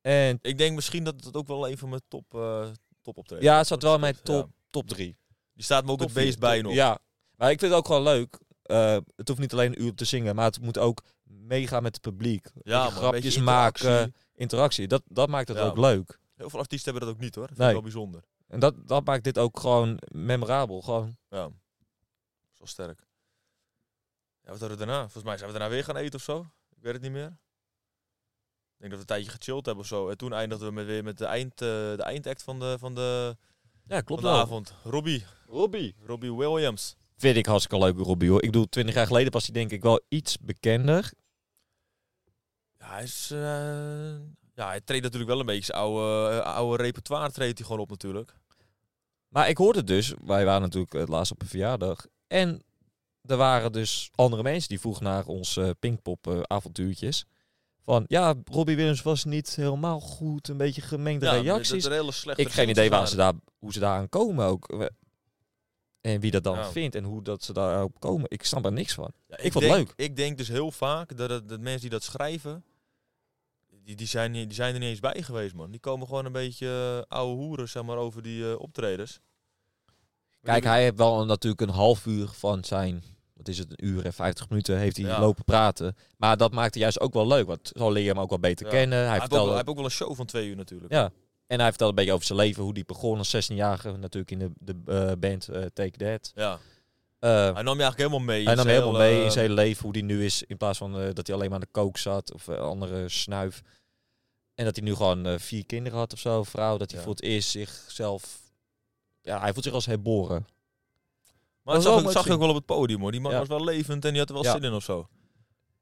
Speaker 3: En
Speaker 2: Ik denk misschien dat het ook wel een van mijn top, eh top optredens
Speaker 3: ja,
Speaker 2: was,
Speaker 3: het zat wel in mijn
Speaker 2: Ja.
Speaker 3: top, top drie.
Speaker 2: Die staat me ook het
Speaker 3: Top
Speaker 2: beest
Speaker 3: vier,
Speaker 2: bij
Speaker 3: top-
Speaker 2: nog.
Speaker 3: Ja, maar ik vind het ook gewoon leuk. Eh, het hoeft niet alleen een uur te zingen, maar het moet ook meegaan met het publiek.
Speaker 2: Ja,
Speaker 3: Beetje
Speaker 2: man, een
Speaker 3: grapjes
Speaker 2: beetje
Speaker 3: maken,
Speaker 2: interactie.
Speaker 3: interactie. Dat, dat maakt het
Speaker 2: Ja.
Speaker 3: ook leuk.
Speaker 2: Heel veel artiesten hebben dat ook niet hoor. Dat vind
Speaker 3: Nee.
Speaker 2: ik wel bijzonder.
Speaker 3: En dat, dat maakt dit ook gewoon memorabel. Gewoon.
Speaker 2: Ja. Dat is wel sterk. Ja, wat hadden we daarna? Volgens mij zijn we daarna weer gaan eten of zo. Ik weet het niet meer. Ik denk dat we een tijdje gechilled hebben of zo. En toen eindigden we met, weer met de, eind, eh, de eindact van de, van de,
Speaker 3: Ja,
Speaker 2: van
Speaker 3: klopt
Speaker 2: de
Speaker 3: wel.
Speaker 2: avond. Robbie.
Speaker 3: Robbie.
Speaker 2: Robbie Williams.
Speaker 3: Vind ik hartstikke leuk, Robbie. Hoor. Ik bedoel, twintig jaar geleden was hij denk ik wel iets bekender.
Speaker 2: Ja, hij is... eh, ja, hij treedt natuurlijk wel een beetje zijn oude, eh, oude repertoire treedt hij gewoon op natuurlijk.
Speaker 3: Maar ik hoorde dus, wij waren natuurlijk het laatst op een verjaardag. En er waren dus andere mensen die vroegen naar onze Pinkpop eh, avontuurtjes. Van ja, Robbie Williams was niet helemaal goed, een beetje gemengde
Speaker 2: ja,
Speaker 3: reacties.
Speaker 2: Dat er hele slechte
Speaker 3: Ik heb geen
Speaker 2: reacties
Speaker 3: idee waar
Speaker 2: waren.
Speaker 3: ze daar, hoe ze daar aan komen ook. We- En wie dat dan
Speaker 2: Ja.
Speaker 3: vindt en hoe dat ze daarop komen. Ik snap er niks van.
Speaker 2: Ja,
Speaker 3: Ik vond het
Speaker 2: denk,
Speaker 3: leuk.
Speaker 2: Ik denk dus heel vaak dat, het- dat mensen die dat schrijven, die, die, zijn, niet- die zijn er niet eens bij geweest, man. Die komen gewoon een beetje eh oude hoeren, zeg maar, over die eh, optredens.
Speaker 3: Kijk, hij heeft wel een- natuurlijk een half uur van zijn, wat is het, een uur en 50 minuten heeft hij
Speaker 2: Ja.
Speaker 3: lopen praten. Maar dat maakte juist ook wel leuk, want zo leer je hem ook wel beter
Speaker 2: Ja.
Speaker 3: kennen. Hij,
Speaker 2: Hij heeft, ook,
Speaker 3: vertelde
Speaker 2: wel- hij heeft ook wel een show van twee uur natuurlijk.
Speaker 3: Ja. En hij vertelde een beetje over zijn leven, hoe die begon als 16-jarige natuurlijk in de, de eh, band eh, Take That.
Speaker 2: Ja.
Speaker 3: Eh
Speaker 2: Hij nam je eigenlijk helemaal mee. in
Speaker 3: hij nam
Speaker 2: zijn
Speaker 3: helemaal
Speaker 2: hele,
Speaker 3: mee in
Speaker 2: eh,
Speaker 3: zijn leven, hoe die nu is, in plaats van eh, dat hij alleen maar aan de kook zat of eh, andere snuif. En dat hij nu gewoon eh, vier kinderen had of zo, een vrouw. Dat hij
Speaker 2: Ja.
Speaker 3: voor het eerst zichzelf... Ja, hij voelt zich als herboren.
Speaker 2: Maar
Speaker 3: Dat
Speaker 2: dat zag, ik-
Speaker 3: is wel mooi
Speaker 2: zag je
Speaker 3: te
Speaker 2: ook wel op het podium hoor. Die man
Speaker 3: Ja.
Speaker 2: was wel levend en die had er wel
Speaker 3: Ja.
Speaker 2: zin in of zo.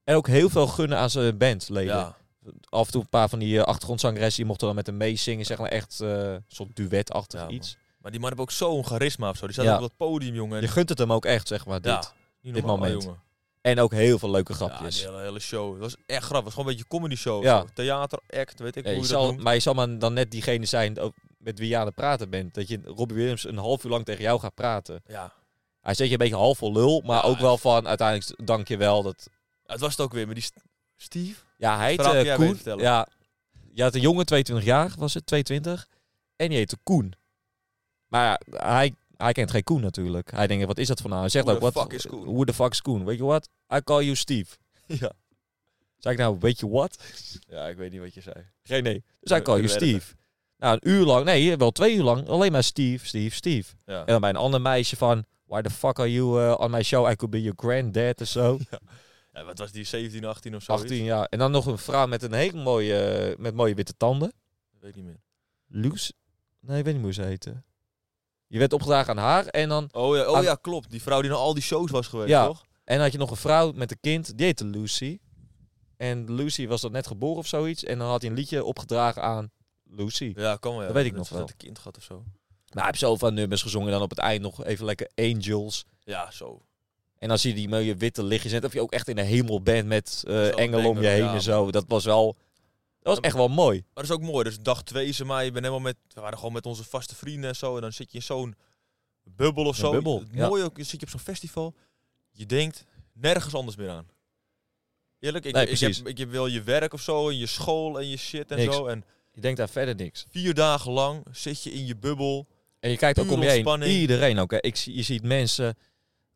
Speaker 3: En ook heel veel gunnen aan zijn bandleden.
Speaker 2: Ja.
Speaker 3: Af en toe een paar van die eh, achtergrondzangeressen, die mochten dan met hem meezingen. Zeg maar echt eh, een soort duetachtig
Speaker 2: Ja, man.
Speaker 3: iets.
Speaker 2: Maar die man heeft ook zo'n charisma of zo. Die staat
Speaker 3: Ja.
Speaker 2: ook op dat podium, jongen.
Speaker 3: Je gunt het hem ook echt, zeg maar, dit.
Speaker 2: Ja. Niet
Speaker 3: dit
Speaker 2: normaal,
Speaker 3: moment.
Speaker 2: jongen.
Speaker 3: En ook heel veel leuke
Speaker 2: Ja,
Speaker 3: grapjes.
Speaker 2: die hele, hele show. Dat was echt grappig. Het was gewoon een beetje comedy show. of
Speaker 3: Ja.
Speaker 2: zo. Theater, act, weet ik
Speaker 3: Ja,
Speaker 2: hoe
Speaker 3: je
Speaker 2: je
Speaker 3: zal,
Speaker 2: dat noemt.
Speaker 3: maar je zal maar dan net diegene zijn ook met wie je aan het praten bent. Dat je Robbie Williams een half uur lang tegen jou gaat praten.
Speaker 2: Ja.
Speaker 3: Hij zet je een beetje half vol lul, maar
Speaker 2: Ja,
Speaker 3: ook wel van uiteindelijk dank je wel. Dat,
Speaker 2: Het was het ook weer, maar die St- Steve.
Speaker 3: ja, hij heet
Speaker 2: Verhaal
Speaker 3: eh,
Speaker 2: kun jij
Speaker 3: Koen.
Speaker 2: beter vertellen.
Speaker 3: Ja, je had een jongen, 22 jaar was het, 22. En die heette Koen. Maar ja, hij, hij kent geen Koen natuurlijk. Hij denkt, wat is dat voor nou? Hij zegt
Speaker 2: Who
Speaker 3: ook,
Speaker 2: the
Speaker 3: wat,
Speaker 2: fuck is Koen?
Speaker 3: Who the fuck is Koen? Weet je wat? I call you Steve.
Speaker 2: Ja.
Speaker 3: Zeg ik nou, weet je wat?
Speaker 2: Ja, ik weet niet wat je zei.
Speaker 3: Geen nee. Dus hij call you
Speaker 2: Kunnen we editen.
Speaker 3: Steve. Nou, een uur lang, nee, wel twee uur lang, alleen maar Steve, Steve, Steve.
Speaker 2: Ja.
Speaker 3: En dan bij een ander meisje van... Why the fuck are you eh, on my show? I could be your granddad of zo.
Speaker 2: Ja, wat was die 17, 18 of zo?
Speaker 3: 18 jaar. En dan nog een vrouw met een hele mooie, eh, met mooie witte tanden.
Speaker 2: Weet ik niet meer.
Speaker 3: Luce? Nee, ik weet niet hoe ze heette. Je werd opgedragen aan haar. En dan,
Speaker 2: Oh ja,
Speaker 3: Aan-
Speaker 2: oh, ja klopt. Die vrouw die naar al die shows was geweest,
Speaker 3: Ja.
Speaker 2: toch?
Speaker 3: en dan had je nog een vrouw met een kind. Die heette Lucy. En Lucy was dat net geboren of zoiets. En dan had hij een liedje opgedragen aan Lucy.
Speaker 2: Ja, kan wel. Ja.
Speaker 3: Dat weet ik
Speaker 2: Net
Speaker 3: nog
Speaker 2: als
Speaker 3: wel.
Speaker 2: Dat een kind gehad of zo.
Speaker 3: Nou, hij heeft zoveel nummers gezongen. Dan op het eind nog even lekker Angels.
Speaker 2: Ja, zo.
Speaker 3: En als je die mooie witte lichtjes net, of je ook echt in de hemel bent met eh,
Speaker 2: Zo'n
Speaker 3: engelen om je
Speaker 2: engel,
Speaker 3: heen
Speaker 2: ja,
Speaker 3: en zo. Dat was wel, dat was echt wel mooi.
Speaker 2: Maar dat is ook mooi. Dus dag twee is er maar. Je bent helemaal met... We waren gewoon met onze vaste vrienden en zo. En dan zit je in zo'n bubbel of
Speaker 3: Een
Speaker 2: zo.
Speaker 3: bubbel,
Speaker 2: Het
Speaker 3: ja.
Speaker 2: mooie ook, zit je op zo'n festival. Je denkt nergens anders meer aan. Eerlijk, ik,
Speaker 3: Nee,
Speaker 2: ik,
Speaker 3: precies.
Speaker 2: heb, ik heb wel je werk of zo. En je school en je shit en
Speaker 3: Niks.
Speaker 2: zo. En
Speaker 3: Je denkt daar verder niks.
Speaker 2: vier dagen lang zit je in je bubbel.
Speaker 3: En je kijkt ook
Speaker 2: Puur
Speaker 3: om je heen.
Speaker 2: ontspanning.
Speaker 3: Iedereen ook. Hè. Ik, zie- je ziet mensen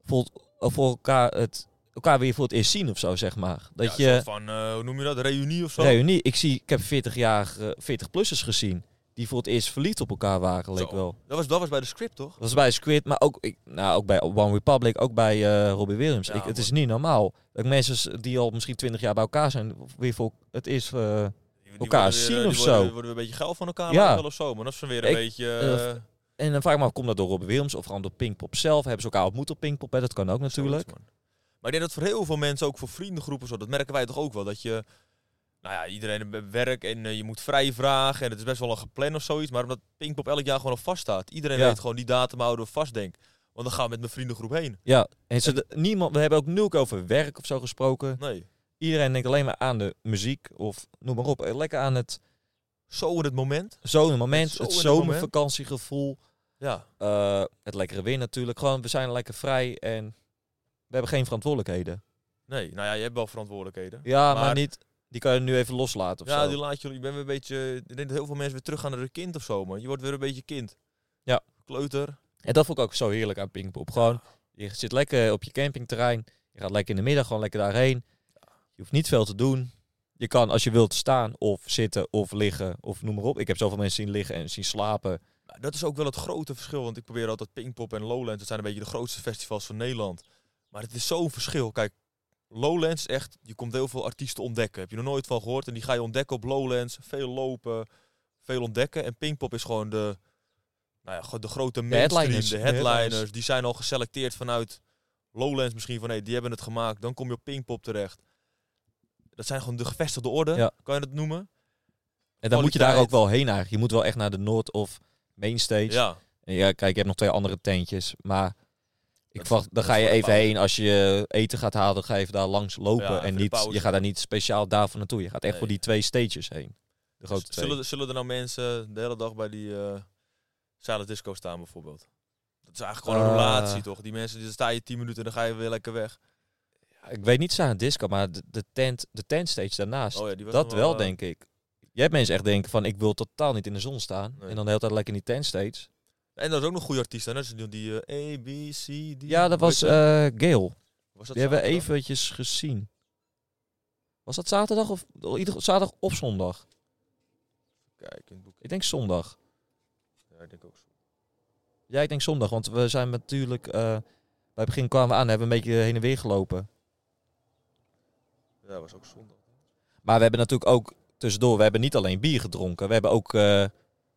Speaker 3: voor, voor elkaar, het, elkaar weer voor het eerst zien of zo, zeg maar. Dat
Speaker 2: ja, een
Speaker 3: je,
Speaker 2: soort van, eh, hoe noem je dat? Reunie of zo?
Speaker 3: reunie, ik, zie, ik heb 40 jaar, eh, 40-plussers gezien die voor het eerst verliefd op elkaar waren, leek
Speaker 2: Zo.
Speaker 3: wel.
Speaker 2: Dat, was, dat was bij de script, toch?
Speaker 3: Dat was bij Squid, maar ook, ik, nou, ook bij One Republic, ook bij eh Robbie Williams.
Speaker 2: Ja,
Speaker 3: ik, het
Speaker 2: man.
Speaker 3: is niet normaal dat mensen s- die al misschien 20 jaar bij elkaar zijn, weer voor het is. eh,
Speaker 2: Die- die
Speaker 3: elkaar
Speaker 2: worden weer,
Speaker 3: zien
Speaker 2: eh, die
Speaker 3: of
Speaker 2: worden-
Speaker 3: zo.
Speaker 2: Worden, we een beetje geil van elkaar
Speaker 3: Ja.
Speaker 2: ja. of zo. Maar dat is dan weer een
Speaker 3: Ik-
Speaker 2: beetje...
Speaker 3: eh,
Speaker 2: eh,
Speaker 3: en dan vraag ik me af, komt dat door Robbie Williams of gewoon door Pinkpop zelf? Hebben ze elkaar ontmoet op Pinkpop? Hè? Dat kan ook natuurlijk.
Speaker 2: Zoiets, man. Maar ik denk dat voor heel veel mensen, ook voor vriendengroepen, zo, dat merken wij toch ook wel. Dat je, nou ja, iedereen be- werk en eh, je moet vrij vragen. En het is best wel een gepland of zoiets. Maar omdat Pinkpop elk jaar gewoon al vaststaat. Iedereen
Speaker 3: Ja.
Speaker 2: weet gewoon die datum houden we vast, denk. Want dan gaan we met mijn vriendengroep heen.
Speaker 3: Ja, en ze, niemand, we hebben ook nul keer over werk of zo gesproken.
Speaker 2: Nee.
Speaker 3: Iedereen denkt alleen maar aan de muziek of noem maar op. eh, Lekker aan het
Speaker 2: Zo in het moment.
Speaker 3: zomermoment,
Speaker 2: Zo
Speaker 3: het
Speaker 2: in het moment.
Speaker 3: zomervakantiegevoel.
Speaker 2: Ja.
Speaker 3: eh, het lekkere weer natuurlijk. Gewoon, we zijn lekker vrij en we hebben geen verantwoordelijkheden.
Speaker 2: Nee. Nou ja, je hebt wel verantwoordelijkheden.
Speaker 3: Ja, maar,
Speaker 2: Maar-
Speaker 3: niet. Die kan je nu even loslaten of
Speaker 2: Ja,
Speaker 3: zo.
Speaker 2: die laat je, je bent weer een beetje, ik denk dat heel veel mensen weer teruggaan naar een kind of zo, man. Je wordt weer een beetje kind.
Speaker 3: Ja.
Speaker 2: Kleuter.
Speaker 3: En dat vond ik ook zo heerlijk aan Pinkpop. Gewoon, je zit lekker op je campingterrein. Je gaat lekker in de middag gewoon lekker daarheen. Je hoeft niet veel te doen. Je kan als je wilt staan of zitten of liggen of noem maar op. Ik heb zoveel mensen zien liggen en zien slapen.
Speaker 2: Maar Nou, Dat is ook wel het grote verschil. Want ik probeer altijd Pinkpop en Lowlands. Dat zijn een beetje de grootste festivals van Nederland. Maar het is zo'n verschil. Kijk, Lowlands is echt... Je komt heel veel artiesten ontdekken. Heb je nog nooit van gehoord. En die ga je ontdekken op Lowlands. Veel lopen, veel ontdekken. En Pinkpop is gewoon de... Nou ja, gewoon de grote mainstream.
Speaker 3: headliners.
Speaker 2: De
Speaker 3: De
Speaker 2: headliners.
Speaker 3: headliners.
Speaker 2: Die zijn al geselecteerd vanuit Lowlands misschien. Van hé, die hebben het gemaakt. Dan kom je op Pinkpop terecht. Dat zijn gewoon de gevestigde orde.
Speaker 3: Ja.
Speaker 2: Kan je dat noemen?
Speaker 3: En dan moet je daar ook
Speaker 2: Kwaliteit.
Speaker 3: wel heen eigenlijk. Je moet wel echt naar de Noord of Mainstage. Ja,
Speaker 2: Ja.
Speaker 3: ja kijk, je hebt nog twee andere tentjes. Maar ik
Speaker 2: Dat-
Speaker 3: wacht, dan
Speaker 2: dat
Speaker 3: ga
Speaker 2: is
Speaker 3: je
Speaker 2: voor de
Speaker 3: even
Speaker 2: pauze.
Speaker 3: heen als je eten gaat halen. Dan ga je even daar langs lopen.
Speaker 2: Ja,
Speaker 3: en
Speaker 2: voor de
Speaker 3: niet,
Speaker 2: pauze.
Speaker 3: je gaat daar niet speciaal daarvoor naartoe. Je gaat echt
Speaker 2: Nee.
Speaker 3: voor die twee stages heen. De grote
Speaker 2: Z-
Speaker 3: twee.
Speaker 2: Zullen, zullen er nou mensen de hele dag bij die eh silent disco staan bijvoorbeeld? Dat is eigenlijk gewoon een
Speaker 3: Ah.
Speaker 2: relatie, toch? Die mensen, die sta je 10 minuten en dan ga je weer lekker weg.
Speaker 3: Ik weet niet aan disco, maar de, de tent, de tent stage daarnaast.
Speaker 2: Oh ja, die was
Speaker 3: dat
Speaker 2: nog
Speaker 3: wel,
Speaker 2: eh,
Speaker 3: denk ik. Je hebt mensen echt denken van, ik wil totaal niet in de zon staan.
Speaker 2: Nee.
Speaker 3: En dan de hele tijd lekker in die tent stage.
Speaker 2: En dat is ook nog een goede artiest. hè? Dat is die, die eh, A, B, C, D.
Speaker 3: Ja,
Speaker 2: Hoe
Speaker 3: dat was
Speaker 2: heet dat?
Speaker 3: eh Gail.
Speaker 2: Was dat
Speaker 3: Die hebben we
Speaker 2: zaterdag?
Speaker 3: eventjes gezien. Was dat zaterdag of oh, ieder, zaterdag of zondag?
Speaker 2: Kijk, in het boek.
Speaker 3: Ik denk zondag.
Speaker 2: Ja, ik denk ook zo.
Speaker 3: Ja, ik denk zondag, want we zijn natuurlijk... eh, bij het begin kwamen we aan, hebben we een beetje heen en weer gelopen.
Speaker 2: Ja, dat was ook zondag.
Speaker 3: Maar we hebben natuurlijk ook tussendoor, we hebben niet alleen bier gedronken. We hebben ook, eh,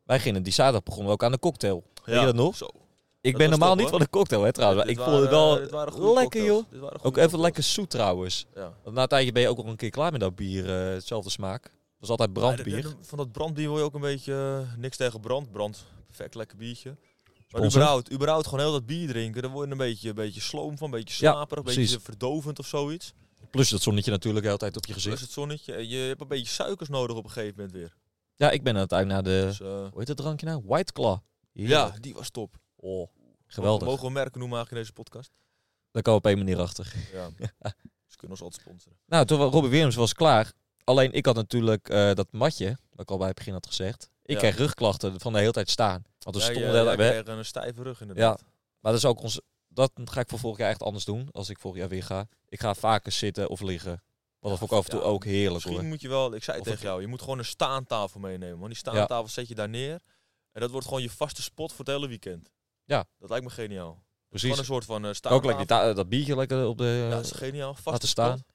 Speaker 3: wij gingen die zaterdag begonnen we ook aan de cocktail. Weet je dat nog?
Speaker 2: Zo.
Speaker 3: Ik
Speaker 2: Dat
Speaker 3: ben
Speaker 2: was
Speaker 3: normaal
Speaker 2: top,
Speaker 3: niet
Speaker 2: hoor.
Speaker 3: van de cocktail, hè trouwens.
Speaker 2: Dit
Speaker 3: ik
Speaker 2: waren-
Speaker 3: vond het wel
Speaker 2: dit waren goede
Speaker 3: lekker,
Speaker 2: cocktails.
Speaker 3: joh.
Speaker 2: Dit waren goede
Speaker 3: ook even
Speaker 2: cocktails.
Speaker 3: lekker zoet trouwens.
Speaker 2: Ja.
Speaker 3: Want na een tijdje ben je ook wel een keer klaar met dat bier, eh, hetzelfde smaak. Dat was altijd brandbier.
Speaker 2: Ja, de- de- van dat brandbier wil je ook een beetje eh, niks tegen brand. Brand, perfect, lekker biertje. Maar
Speaker 3: Sponsor.
Speaker 2: überhaupt, überhaupt gewoon heel dat bier drinken, daar word je een beetje, een beetje sloom van, een beetje
Speaker 3: Ja,
Speaker 2: slaperig, een
Speaker 3: precies.
Speaker 2: beetje verdovend of zoiets.
Speaker 3: Plus dat zonnetje natuurlijk altijd op je
Speaker 2: Dus
Speaker 3: gezicht.
Speaker 2: het zonnetje, eh, je hebt een beetje suikers nodig op een gegeven moment weer.
Speaker 3: Ja, ik ben aan het uit naar de...
Speaker 2: Dus, eh,
Speaker 3: Hoe heet dat drankje nou? White Claw.
Speaker 2: ja,
Speaker 3: Heerlijk.
Speaker 2: die was top.
Speaker 3: Oh, geweldig.
Speaker 2: Mogen we merken noemen eigenlijk in deze podcast?
Speaker 3: Daar kwam op één manier achter.
Speaker 2: Ja. Ze kunnen ons altijd sponsoren.
Speaker 3: Nou, toen wa- Robbie Williams was klaar. Alleen ik had natuurlijk eh, dat matje, wat ik al bij het begin had gezegd. Ik
Speaker 2: Ja.
Speaker 3: kreeg rugklachten van de hele tijd staan. Want we
Speaker 2: Ja,
Speaker 3: stonden...
Speaker 2: ja,
Speaker 3: de hele
Speaker 2: jij
Speaker 3: tijd-
Speaker 2: kreeg een stijve rug
Speaker 3: Ja,
Speaker 2: inderdaad.
Speaker 3: maar dat is ook ons. Dat ga ik voor vorig jaar echt anders doen. Als ik vorig jaar weer ga. Ik ga vaker zitten of liggen. Want dat vond ik af en toe
Speaker 2: Ja,
Speaker 3: ook heerlijk
Speaker 2: Misschien
Speaker 3: hoor.
Speaker 2: moet je wel, ik zei
Speaker 3: Of
Speaker 2: tegen
Speaker 3: een-
Speaker 2: jou, je moet gewoon een staantafel meenemen. Want die staantafel zet je daar neer. En dat wordt gewoon je vaste spot voor het hele weekend.
Speaker 3: Ja.
Speaker 2: Dat lijkt me geniaal.
Speaker 3: Precies.
Speaker 2: Gewoon een soort van eh
Speaker 3: Ook
Speaker 2: staantafel.
Speaker 3: lekker die ta- dat biertje lekker op de.
Speaker 2: Ja, dat is geniaal. Vaste
Speaker 3: laten
Speaker 2: staan.
Speaker 3: staan.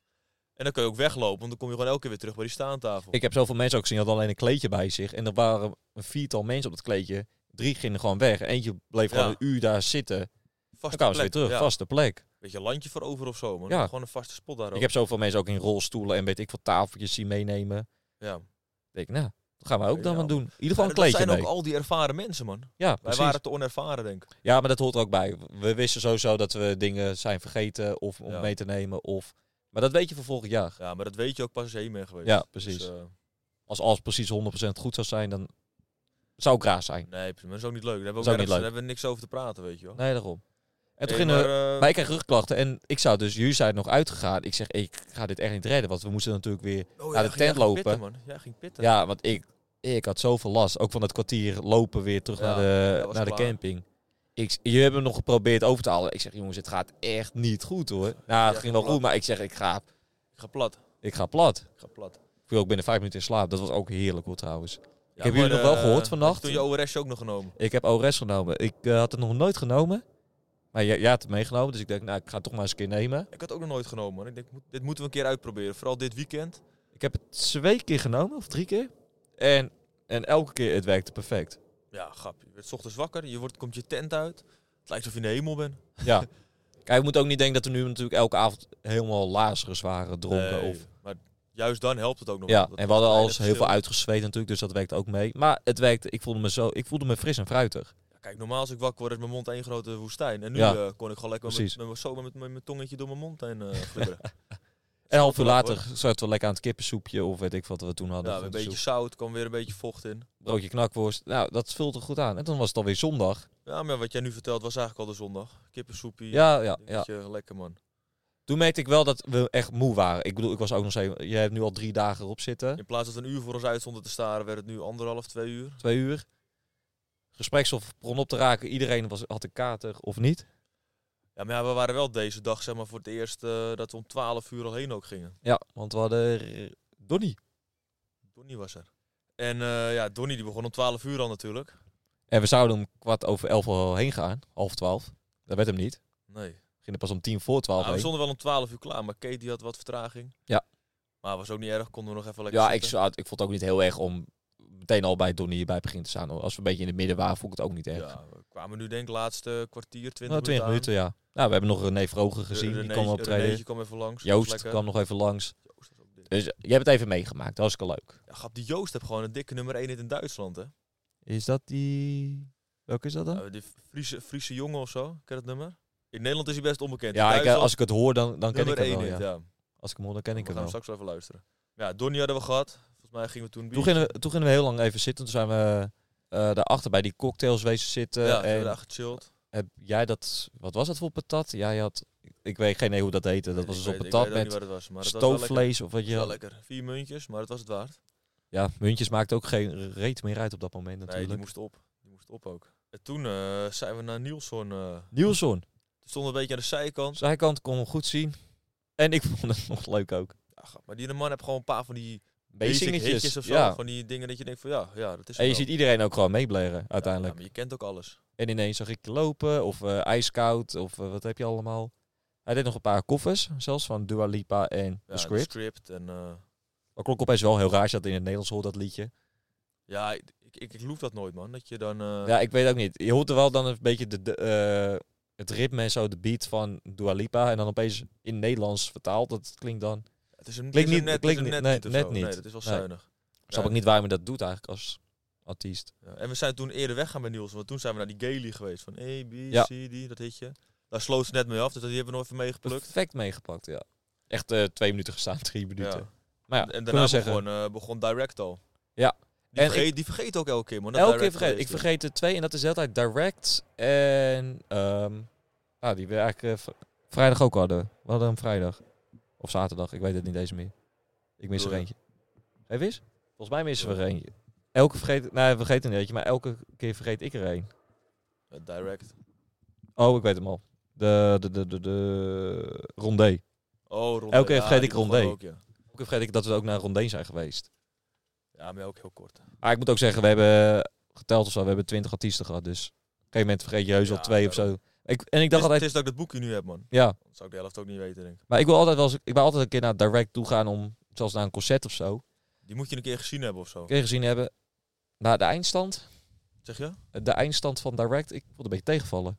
Speaker 2: En dan kun je ook weglopen, want dan kom je gewoon elke keer weer terug bij die staantafel.
Speaker 3: Ik heb zoveel mensen ook gezien. Die hadden alleen een kleedje bij zich. En er waren een viertal mensen op dat kleedje. Drie gingen gewoon weg. Eentje bleef gewoon
Speaker 2: Ja.
Speaker 3: een uur daar zitten. Dan
Speaker 2: vaste
Speaker 3: kwamen ze weer
Speaker 2: plek,
Speaker 3: terug.
Speaker 2: ja.
Speaker 3: Vaste plek.
Speaker 2: Weet je, landje voor over of zo, man.
Speaker 3: Ja.
Speaker 2: Gewoon een vaste spot daarop.
Speaker 3: Ik heb zoveel mensen ook in rolstoelen en weet ik wat tafeltjes zien meenemen.
Speaker 2: ja.
Speaker 3: Ik denk, nou, dat gaan we ook
Speaker 2: Ja.
Speaker 3: dan maar doen. In ieder
Speaker 2: Maar
Speaker 3: geval een
Speaker 2: dat
Speaker 3: kleedje
Speaker 2: zijn
Speaker 3: mee.
Speaker 2: ook al die ervaren mensen, man. Wij
Speaker 3: Ja, precies.
Speaker 2: waren te onervaren, denk ik.
Speaker 3: Ja, maar dat hoort er ook bij. We wisten sowieso dat we dingen zijn vergeten of om
Speaker 2: Ja.
Speaker 3: mee te nemen. Of... Maar dat weet je van vorig jaar.
Speaker 2: Ja, maar dat weet je ook pas als je heen bent geweest.
Speaker 3: Ja, precies.
Speaker 2: Dus, eh,
Speaker 3: Als alles precies 100% goed zou zijn, dan zou ik raar zijn.
Speaker 2: nee, precies. maar dat is ook niet leuk. Daar hebben
Speaker 3: Dat
Speaker 2: we ook nergens-
Speaker 3: is ook niet leuk.
Speaker 2: daar hebben we niks over te praten, weet je wel.
Speaker 3: Nee, daarom. En toen
Speaker 2: Hey,
Speaker 3: gingen we...
Speaker 2: maar, eh,
Speaker 3: Maar ik kreeg rugklachten en ik zou dus, jullie zijn nog uitgegaan. Ik zeg, ik ga dit echt niet redden, want we moesten natuurlijk weer...
Speaker 2: oh,
Speaker 3: naar
Speaker 2: ja, jij
Speaker 3: de tent
Speaker 2: ging
Speaker 3: lopen.
Speaker 2: Pitten, man. Jij ging pitten.
Speaker 3: Ja, want ik, ik had zoveel last. Ook van dat kwartier lopen weer terug
Speaker 2: Ja,
Speaker 3: naar de,
Speaker 2: dat was
Speaker 3: naar de
Speaker 2: klaar.
Speaker 3: camping. Ik, s- jullie hebben me nog geprobeerd over te halen. Ik zeg, jongens, het gaat echt niet goed hoor. Nou,
Speaker 2: Ja,
Speaker 3: het ging wel
Speaker 2: plat.
Speaker 3: goed, maar ik zeg, ik ga,
Speaker 2: Ik ga plat.
Speaker 3: ik ga plat.
Speaker 2: Ik ga plat.
Speaker 3: Ik viel ook binnen vijf minuten in slaap. Dat was ook heerlijk hoor trouwens.
Speaker 2: Ja,
Speaker 3: heb jullie
Speaker 2: maar,
Speaker 3: nog wel
Speaker 2: eh,
Speaker 3: gehoord
Speaker 2: had je
Speaker 3: vannacht?
Speaker 2: Toen je ORS ook nog genomen.
Speaker 3: Ik heb ORS genomen. Ik eh, had het nog nooit genomen. Maar jij, jij had het meegenomen. Dus ik denk, nou, ik ga het toch maar eens een keer nemen.
Speaker 2: Ik had het ook nog nooit genomen, man. Ik denk, moet- dit moeten we een keer uitproberen. Vooral dit weekend.
Speaker 3: Ik heb het twee keer genomen, of drie keer. En, en elke keer, het werkte perfect.
Speaker 2: Ja, grap. Je wordt 's ochtends wakker. Je wordt, komt je tent uit. Het lijkt alsof je in de hemel bent.
Speaker 3: Ja. Kijk, we moeten ook niet denken dat we nu natuurlijk elke avond helemaal lazerus waren, dronken.
Speaker 2: Nee,
Speaker 3: of,
Speaker 2: Maar juist dan helpt het ook nog.
Speaker 3: ja,
Speaker 2: wel. Dat
Speaker 3: en we hadden
Speaker 2: kleine
Speaker 3: al heel
Speaker 2: verschil.
Speaker 3: veel uitgezweet natuurlijk, dus dat werkte ook mee. Maar het werkte, ik voelde me, zo, ik voelde me fris en fruitig.
Speaker 2: Ja, Kijk, normaal als ik wakker word is mijn mond één grote woestijn. En nu
Speaker 3: Ja.
Speaker 2: eh, kon ik gewoon lekker met,
Speaker 3: Precies.
Speaker 2: met, zo met, met mijn tongetje door mijn mond heen eh glibberen.
Speaker 3: En een half uur
Speaker 2: wel lekker,
Speaker 3: later zaten we lekker aan het kippensoepje of weet ik wat we toen hadden.
Speaker 2: ja,
Speaker 3: van
Speaker 2: een
Speaker 3: de
Speaker 2: beetje
Speaker 3: soep.
Speaker 2: zout, kwam weer een beetje vocht in.
Speaker 3: broodje knakworst. Nou, dat vult er goed aan. En dan was het alweer zondag.
Speaker 2: Ja, maar wat jij nu vertelt was eigenlijk al de zondag. Kippensoepie.
Speaker 3: Ja, ja, ja.
Speaker 2: dingetje, Lekker man.
Speaker 3: Toen merkte ik wel dat we echt moe waren. Ik bedoel, ik was ook nog steeds... Jij hebt nu al drie dagen erop zitten.
Speaker 2: In plaats dat we een uur voor ons uit stonden te staren, werd het nu anderhalf, twee uur.
Speaker 3: Twee uur. Gespreksstof begon op te raken. Iedereen was, had een kater of niet.
Speaker 2: Ja, maar ja, we waren wel deze dag zeg maar voor het eerst eh, dat we om 12 uur al heen ook gingen.
Speaker 3: Ja, want we hadden... eh, Donnie.
Speaker 2: Donnie was er. En eh, ja, Donnie die begon om 12 uur al natuurlijk.
Speaker 3: En we zouden om kwart over elf al heen gaan. Half twaalf. Dat werd hem niet. We
Speaker 2: Nee.
Speaker 3: gingen pas om tien voor twaalf
Speaker 2: Nou, we
Speaker 3: heen.
Speaker 2: stonden wel om 12 uur klaar, maar Kate die had wat vertraging.
Speaker 3: Ja.
Speaker 2: Maar was ook niet erg, konden we nog even lekker
Speaker 3: Ja, ik,
Speaker 2: zitten.
Speaker 3: zou- ik vond het ook niet heel erg om meteen al bij Donnie hierbij begin te staan. hoor. Als we een beetje in het midden waren, vond ik het ook niet erg.
Speaker 2: Ja, we kwamen nu denk ik laatste kwartier, 20
Speaker 3: Nou, 20
Speaker 2: minuten
Speaker 3: minuten, ja. Nou, we hebben nog René Vroger
Speaker 2: aan.
Speaker 3: gezien.
Speaker 2: René-
Speaker 3: die kwam optreden.
Speaker 2: Renéetje kwam even langs. dat was
Speaker 3: Joost
Speaker 2: lekker.
Speaker 3: kwam nog even langs.
Speaker 2: Joost was ook dik.
Speaker 3: Dus eh, je hebt het even meegemaakt. Dat was ook leuk.
Speaker 2: Ja, grap, die Joost heeft gewoon een dikke nummer 1 in Duitsland, hè?
Speaker 3: Is dat die... Welke is dat dan?
Speaker 2: Eh, die Friese, Friese jongen of zo, ken je dat nummer? In Nederland is hij best onbekend. In
Speaker 3: ja, ik, eh,
Speaker 2: Duitsland
Speaker 3: als ik het hoor, dan, dan ken ik
Speaker 2: nummer
Speaker 3: hem
Speaker 2: één
Speaker 3: wel.
Speaker 2: hit,
Speaker 3: Ja.
Speaker 2: ja.
Speaker 3: Als ik hem hoor, dan ken ik
Speaker 2: we
Speaker 3: hem
Speaker 2: gaan
Speaker 3: wel.
Speaker 2: hem straks wel even luisteren. Ja, Donnie hadden we gehad. Volgens mij gingen we toen
Speaker 3: Toen
Speaker 2: biertje-
Speaker 3: gingen, we, toen gingen we heel lang even zitten. Toen zijn we eh daarachter bij die cocktails wezen zitten.
Speaker 2: ja, toen hebben
Speaker 3: en
Speaker 2: we daar gechilled.
Speaker 3: heb jij dat... Wat was dat voor patat? Ja, je had... Ik weet geen idee hoe dat heette. Dat was
Speaker 2: Ik
Speaker 3: dus op
Speaker 2: weet- ik
Speaker 3: patat
Speaker 2: weet ook niet wat
Speaker 3: met
Speaker 2: het was, maar het was wel lekker.
Speaker 3: stoofvlees of wat
Speaker 2: Het was
Speaker 3: je...
Speaker 2: wel lekker. Vier muntjes, maar het was het waard.
Speaker 3: Ja, muntjes maakten ook geen reet meer uit op dat moment
Speaker 2: Nee, die
Speaker 3: natuurlijk.
Speaker 2: moest op. Die moest op ook. En toen eh, zijn we naar Nielson. eh
Speaker 3: Nielsen,
Speaker 2: stonden een beetje aan de zijkant.
Speaker 3: zijkant kon hem goed zien. En ik vond het nog leuk ook.
Speaker 2: Ja, grap, maar die man heeft gewoon een paar van die basic hitjes
Speaker 3: Basingetjes.
Speaker 2: of zo.
Speaker 3: Ja.
Speaker 2: Van die dingen dat je denkt van ja, ja dat is
Speaker 3: En je
Speaker 2: het wel.
Speaker 3: ziet iedereen ook gewoon meebleren
Speaker 2: Ja,
Speaker 3: uiteindelijk.
Speaker 2: ja, maar je kent ook alles.
Speaker 3: En ineens zag ik je lopen of eh, ijskoud of eh, wat heb je allemaal. Hij deed nog een paar koffers, zelfs van Dua Lipa en
Speaker 2: Ja,
Speaker 3: The Script.
Speaker 2: script en eh,
Speaker 3: Maar klonk opeens wel heel raar als je dat in het Nederlands hoort, dat liedje.
Speaker 2: Ja, ik, ik, ik loef dat nooit, man. Dat je dan... eh,
Speaker 3: Ja, ik weet ook niet. Je hoort er wel dan een beetje de, de, eh, het ritme en zo, de beat van Dua Lipa. En dan opeens in het Nederlands vertaald. Dat klinkt dan...
Speaker 2: Het is hem het
Speaker 3: Klinkt
Speaker 2: is
Speaker 3: niet-
Speaker 2: hem net,
Speaker 3: klinkt
Speaker 2: het is hem
Speaker 3: niet-
Speaker 2: net,
Speaker 3: nee,
Speaker 2: niet, of
Speaker 3: net
Speaker 2: zo.
Speaker 3: niet.
Speaker 2: Nee, dat is wel
Speaker 3: Nee.
Speaker 2: zuinig.
Speaker 3: Snap
Speaker 2: Ja.
Speaker 3: ik niet waarom je dat doet eigenlijk als artiest.
Speaker 2: Ja, En we zijn toen eerder weggaan bij Niels, want toen zijn we naar die Gaily geweest. Van E, B,
Speaker 3: Ja.
Speaker 2: C, D, dat hitje. Daar sloot ze net mee af, dus die hebben we nog even meegeplukt.
Speaker 3: Perfect meegepakt, ja. Echt eh, twee minuten gestaan, drie minuten.
Speaker 2: Ja.
Speaker 3: Maar ja,
Speaker 2: En
Speaker 3: kunnen
Speaker 2: daarna
Speaker 3: we zeggen,
Speaker 2: begon, eh, begon Direct al.
Speaker 3: Ja.
Speaker 2: Die,
Speaker 3: En
Speaker 2: vergeet, die vergeet ook elke keer, man. dat
Speaker 3: elke keer
Speaker 2: Direct
Speaker 3: vergeet ik.
Speaker 2: geweest is.
Speaker 3: vergeet er twee en dat is altijd direct en... ehm nou, die we eigenlijk eh, v- vrijdag ook hadden. We hadden hem vrijdag. Of zaterdag, ik weet het niet eens meer. Ik mis er
Speaker 2: Doe je?
Speaker 3: eentje. Even eens? Volgens mij missen we er eentje. Elke vergeet... Nou, we vergeten een eentje, maar elke keer vergeet ik er een.
Speaker 2: Ja, eh, Direct.
Speaker 3: Oh, ik weet hem al. De, de, de, de, de rondé.
Speaker 2: Oh, Rondé.
Speaker 3: Elke keer
Speaker 2: Ja,
Speaker 3: vergeet
Speaker 2: die
Speaker 3: ik
Speaker 2: begon
Speaker 3: Rondé.
Speaker 2: ook, ja.
Speaker 3: Elke keer vergeet ik dat we ook naar een rondé zijn geweest.
Speaker 2: ja, maar ook heel kort.
Speaker 3: Maar ik moet ook zeggen, we hebben geteld of zo, we hebben 20 artiesten gehad. Dus op een gegeven moment vergeet je heus wel
Speaker 2: Ja,
Speaker 3: twee of zo. Ik, en
Speaker 2: het,
Speaker 3: ik dacht
Speaker 2: is, het
Speaker 3: altijd,
Speaker 2: is dat ik dat boekje nu heb, man.
Speaker 3: ja,
Speaker 2: Dan zou ik de helft ook niet weten, denk ik.
Speaker 3: maar ik wil altijd wel eens, ik wil altijd een keer naar direct toe gaan om, zoals naar een concert of zo, een
Speaker 2: Die moet je een keer gezien hebben of zo.
Speaker 3: keer gezien hebben. Maar de eindstand,
Speaker 2: Zeg je?
Speaker 3: de eindstand van direct, ik vond een beetje tegenvallen.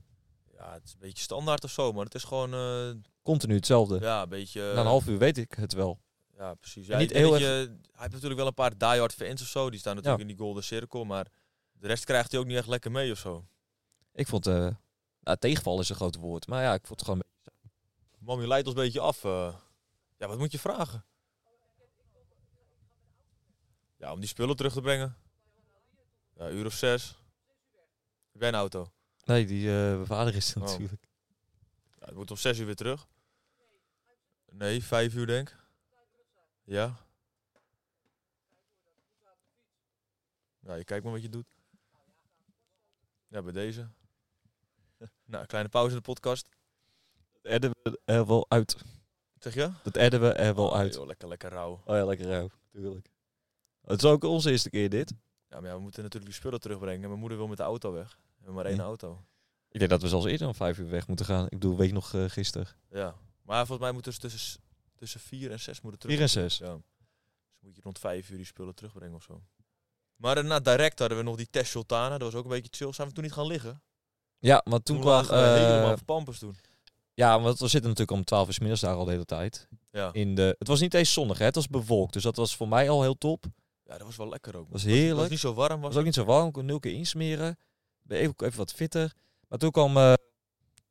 Speaker 2: Ja, het is een beetje standaard of zo, maar het is gewoon... eh,
Speaker 3: Continu hetzelfde.
Speaker 2: ja, een beetje... eh,
Speaker 3: Na een half uur weet ik het wel.
Speaker 2: Ja, precies.
Speaker 3: En
Speaker 2: Ja,
Speaker 3: niet
Speaker 2: ik denk
Speaker 3: heel
Speaker 2: dat je- hij heeft natuurlijk wel een paar diehard fans of zo. Die staan natuurlijk in die golden cirkel. Maar de rest krijgt hij ook niet echt lekker mee of zo.
Speaker 3: Ik vond, eh nou, tegenvallen is een groot woord, maar ja, ik vond het gewoon...
Speaker 2: Mam, je leidt ons een beetje af. eh. ja, wat moet je vragen? Ja, om die spullen terug te brengen. Ja, een uur of zes. Ik ben een auto.
Speaker 3: Nee, die eh, mijn vader is er
Speaker 2: Oh.
Speaker 3: natuurlijk.
Speaker 2: Ja, het moet om zes uur weer terug. Nee, vijf uur denk ik. Ja. Nou, je kijkt maar wat je doet. Ja, bij deze. Nou, kleine pauze in de podcast.
Speaker 3: Dat edden we er wel uit.
Speaker 2: Zeg je?
Speaker 3: Dat edden we er wel
Speaker 2: Oh,
Speaker 3: uit.
Speaker 2: joh, lekker, lekker rauw.
Speaker 3: Oh ja, lekker ruim, natuurlijk. Het is ook onze eerste keer dit.
Speaker 2: Ja, maar ja, we moeten natuurlijk die spullen terugbrengen. Mijn moeder wil met de auto weg. We hebben maar één
Speaker 3: Ja.
Speaker 2: auto.
Speaker 3: Ik denk dat we zelfs eerder om vijf uur weg moeten gaan. Ik bedoel, weet je nog eh, gisteren?
Speaker 2: Ja. Maar volgens mij moeten ze tussen, s- tussen vier en zes moeten terug.
Speaker 3: Vier en zes.
Speaker 2: Ja. Dus moet je rond vijf uur die spullen terugbrengen of zo. Maar daarna direct hadden we nog die Tess Sultana. Dat was ook een beetje chill. Zijn we toen niet gaan liggen?
Speaker 3: Ja, want toen, kwam...
Speaker 2: lagen we
Speaker 3: eh,
Speaker 2: helemaal van pampers toen.
Speaker 3: ja, want we zitten natuurlijk om twaalf uur 's middags daar al de hele tijd.
Speaker 2: Ja.
Speaker 3: In de, het was niet eens zonnig, hè? het was bewolkt. Dus dat was voor mij al heel top. Het
Speaker 2: ja, dat was wel lekker ook. man.
Speaker 3: was
Speaker 2: Het was
Speaker 3: heerlijk. Het
Speaker 2: niet zo warm. Was
Speaker 3: was ook niet zo warm, kon nul keer insmeren. Ben even, even wat fitter. Maar toen kwam... eh,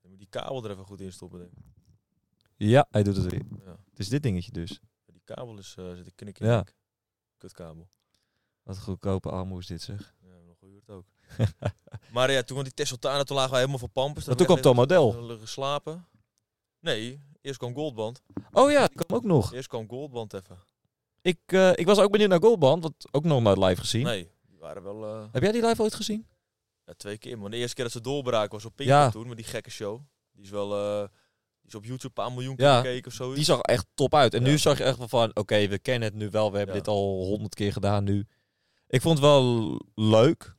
Speaker 2: Je moet die kabel er even goed in stoppen. Denk ik.
Speaker 3: ja, hij doet het weer.
Speaker 2: Ja.
Speaker 3: Het is dit dingetje dus.
Speaker 2: Die kabel is, eh zit een knik in.
Speaker 3: Ja.
Speaker 2: denk ik. Kutkabel.
Speaker 3: Wat goedkope armoe is dit, zeg.
Speaker 2: Ja, we hebben nog gehuurd ook. maar ja, toen kwam die Tess Sultana. Toen lagen we helemaal van pampers.
Speaker 3: Maar toen kwam Tom Model.
Speaker 2: model. Geslapen. Nee, eerst kwam Goldband.
Speaker 3: Oh ja, die kwam ook nog.
Speaker 2: Eerst kwam Goldband even.
Speaker 3: Ik, eh, ik was ook benieuwd naar Goldband, wat ook nog nooit live gezien.
Speaker 2: Nee, die waren wel... eh,
Speaker 3: Heb jij die live ooit gezien?
Speaker 2: Ja, twee keer. Maar de eerste keer dat ze doorbraken was op Pink
Speaker 3: Ja.
Speaker 2: toen, met die gekke show. Die is wel eh, die is op YouTube een paar miljoen keer
Speaker 3: Ja.
Speaker 2: gekeken of zoiets.
Speaker 3: Die zag echt top uit. En
Speaker 2: Ja.
Speaker 3: nu zag je echt wel van, oké, we kennen het nu wel. We hebben
Speaker 2: Ja.
Speaker 3: dit al honderd keer gedaan nu. Ik vond het wel leuk.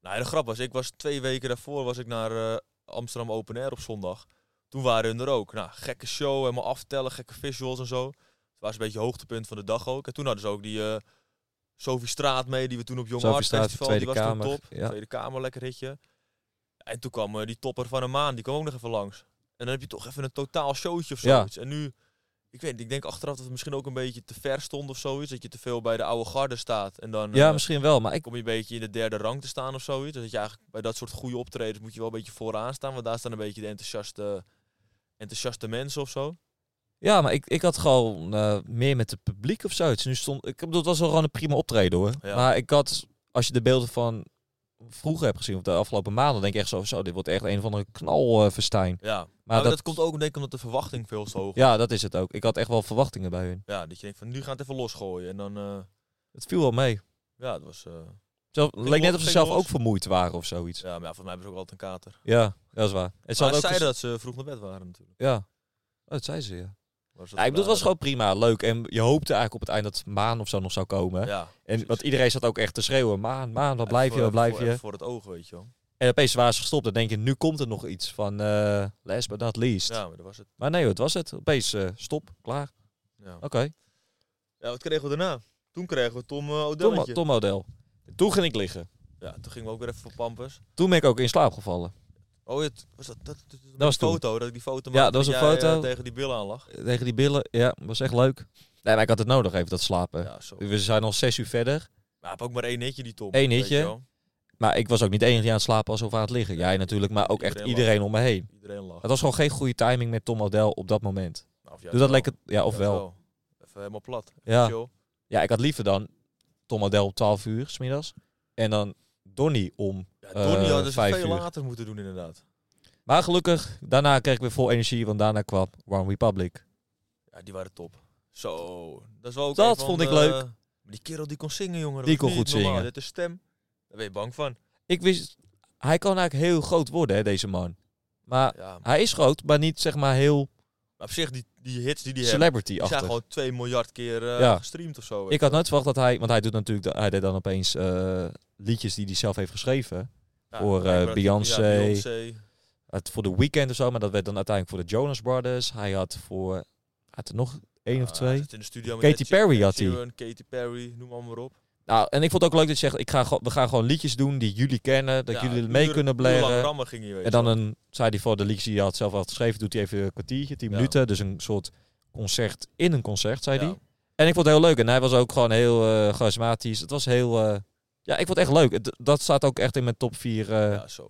Speaker 2: Nou, de grap was, ik was twee weken daarvoor was ik naar eh, Amsterdam Open Air op zondag. Toen waren hun er ook. Nou, gekke show, helemaal aftellen, gekke visuals en zo. Het was een beetje hoogtepunt van de dag ook. En toen hadden ze ook die eh Sophie Straat mee, die we toen op Jong
Speaker 3: Sophie
Speaker 2: Art
Speaker 3: Straat,
Speaker 2: Festival,
Speaker 3: Tweede
Speaker 2: die was
Speaker 3: Kamer,
Speaker 2: toen top.
Speaker 3: ja.
Speaker 2: Tweede Kamer, lekker hitje. En toen kwam eh, die topper van een maan, die kwam ook nog even langs. En dan heb je toch even een totaal showtje of
Speaker 3: Ja.
Speaker 2: zoiets. En nu, ik weet niet, ik denk achteraf dat het misschien ook een beetje te ver stond of zoiets. Dat je te veel bij de oude garde staat. En dan,
Speaker 3: ja,
Speaker 2: eh,
Speaker 3: misschien wel. Maar ik,
Speaker 2: kom je een beetje in de derde rang te staan of zoiets. Dus dat je eigenlijk bij dat soort goede optredens moet je wel een beetje vooraan staan. Want daar staan een beetje de enthousiaste, enthousiaste mensen of zo.
Speaker 3: ja, maar ik, ik had gewoon eh, meer met het publiek of zoiets. Nu stond, ik bedoel, het was wel gewoon een prima optreden hoor.
Speaker 2: Ja.
Speaker 3: Maar ik had, als je de beelden van vroeger hebt gezien, of de afgelopen maanden, denk ik echt zo, zo dit wordt echt een of andere knalverstijn.
Speaker 2: Ja, maar,
Speaker 3: maar
Speaker 2: Oh, dat...
Speaker 3: dat,
Speaker 2: komt ook denk ik omdat de verwachting veel te hoog is.
Speaker 3: ja, dat is het ook. Ik had echt wel verwachtingen bij hun.
Speaker 2: Ja, dat je denkt van nu gaan het even losgooien. En dan, eh,
Speaker 3: Het viel wel mee.
Speaker 2: ja, dat was... eh,
Speaker 3: Zelf, het leek net
Speaker 2: los,
Speaker 3: of ze
Speaker 2: ging
Speaker 3: zelf
Speaker 2: los.
Speaker 3: ook vermoeid waren of zoiets. Ja,
Speaker 2: ja, maar ja, voor mij hebben ze ook altijd een kater.
Speaker 3: dat is waar. En ze
Speaker 2: Maar ze
Speaker 3: hadden ook
Speaker 2: zeiden
Speaker 3: gez-
Speaker 2: dat ze vroeg naar bed waren natuurlijk.
Speaker 3: Ja. Oh, dat zei ze, ja.
Speaker 2: Maar ze
Speaker 3: ja ik bedoel,
Speaker 2: dat
Speaker 3: het was gewoon prima, leuk. En je hoopte eigenlijk op het eind dat Maan of zo nog zou komen.
Speaker 2: gedaan hebben. Ja,
Speaker 3: en, want
Speaker 2: precies.
Speaker 3: iedereen zat ook echt te schreeuwen. Maan, Maan, wat blijf je,
Speaker 2: Even
Speaker 3: wat blijf
Speaker 2: voor,
Speaker 3: je.
Speaker 2: even voor het oog, weet je wel.
Speaker 3: En opeens waren ze gestopt. Dan denk je, nu komt er nog iets van eh last but not least.
Speaker 2: Ja, maar dat was het.
Speaker 3: Maar nee, hoor, het was het. Opeens eh, stop, klaar.
Speaker 2: Ja.
Speaker 3: Oké.
Speaker 2: ja, wat kregen we daarna? Toen kregen we Tom eh
Speaker 3: Tom,
Speaker 2: Odelletje.
Speaker 3: Tom Odell. Toen ging ik liggen.
Speaker 2: Ja, toen gingen we ook weer even voor Pampers.
Speaker 3: Toen ben ik ook in slaap gevallen.
Speaker 2: Oh, het, was dat, dat, dat, die
Speaker 3: was toen.
Speaker 2: foto, dat ik die foto
Speaker 3: Ja,
Speaker 2: maakte
Speaker 3: dat was een
Speaker 2: jij, eh,
Speaker 3: foto.
Speaker 2: tegen die billen aan lag.
Speaker 3: Tegen die billen, ja, was echt leuk. Nee, maar ik had het nodig even, dat slapen.
Speaker 2: Ja, zo.
Speaker 3: We zijn al zes uur verder.
Speaker 2: Maar heb ook maar één hitje die Tom.
Speaker 3: Eén
Speaker 2: weet
Speaker 3: hitje.
Speaker 2: je wel.
Speaker 3: Maar ik was ook niet de enige die aan het slapen was of aan het liggen. Jij natuurlijk, maar ook echt
Speaker 2: Iedereen
Speaker 3: iedereen om me heen.
Speaker 2: Iedereen lag.
Speaker 3: Het was gewoon geen goede timing met Tom Odell op dat moment.
Speaker 2: Nou, of juist
Speaker 3: dus dat
Speaker 2: wel.
Speaker 3: leek het... Ja,
Speaker 2: Juist
Speaker 3: ofwel.
Speaker 2: Even helemaal plat.
Speaker 3: Ja.
Speaker 2: Chill.
Speaker 3: ja, ik had liever dan Tom Odell om 12 uur, smiddags. En dan Donny om...
Speaker 2: Ja, Donnie
Speaker 3: Eh,
Speaker 2: had dus
Speaker 3: vijf
Speaker 2: veel
Speaker 3: uur.
Speaker 2: later moeten doen inderdaad.
Speaker 3: Maar gelukkig, daarna kreeg ik weer vol energie, want daarna kwam One Republic.
Speaker 2: Ja, die waren top. Zo, dat is wel ook
Speaker 3: Dat
Speaker 2: een van
Speaker 3: vond ik
Speaker 2: de-
Speaker 3: leuk.
Speaker 2: Maar die kerel die kon zingen, jongen. dat
Speaker 3: Die
Speaker 2: was niet
Speaker 3: kon goed
Speaker 2: normaal.
Speaker 3: zingen.
Speaker 2: Dit is stem. Daar ben je bang van.
Speaker 3: Ik wist... Hij kan eigenlijk heel groot worden, hè, deze man. Maar
Speaker 2: Ja, maar
Speaker 3: hij is groot, maar niet zeg maar heel
Speaker 2: op zich, die, die hits die die hebben, die zijn
Speaker 3: celebrity-achtig.
Speaker 2: gewoon 2 miljard keer eh,
Speaker 3: Ja.
Speaker 2: gestreamd of zo.
Speaker 3: Ik had nooit verwacht dat hij... Want hij, doet natuurlijk, hij deed dan opeens eh, liedjes die hij zelf heeft geschreven.
Speaker 2: Ja,
Speaker 3: voor,
Speaker 2: blijkbaar
Speaker 3: eh,
Speaker 2: dat-
Speaker 3: Beyoncé.
Speaker 2: ja, Beyoncé.
Speaker 3: Het voor The Weeknd of zo, maar dat werd dan uiteindelijk voor de Jonas Brothers. Hij had voor... hij Had er nog één of
Speaker 2: Ja,
Speaker 3: twee?
Speaker 2: zit in de studio met
Speaker 3: Katy
Speaker 2: Ed Sheer-
Speaker 3: Perry
Speaker 2: Ed
Speaker 3: had hij.
Speaker 2: Sheeran, Katy Perry, noem allemaal maar op.
Speaker 3: Nou, en ik vond het ook leuk dat je zegt, ik ga, gewoon- we gaan gewoon liedjes doen die jullie kennen, dat
Speaker 2: Ja,
Speaker 3: jullie
Speaker 2: een
Speaker 3: mee
Speaker 2: uur-
Speaker 3: kunnen
Speaker 2: een uur lang
Speaker 3: blaren.
Speaker 2: rammen ging hij, weet
Speaker 3: eh, En dan
Speaker 2: je wel.
Speaker 3: een, zei hij voor de liedjes die hij had zelf had geschreven, doet hij even een kwartiertje, tien
Speaker 2: Ja.
Speaker 3: minuten. Dus een soort concert in een concert, zei
Speaker 2: Ja.
Speaker 3: hij. En ik vond het heel leuk. En hij was ook gewoon heel eh, charismatisch. Het was heel... eh, ja, ik vond het echt leuk. Het- dat staat ook echt in mijn top 4. eh
Speaker 2: Ja, zo.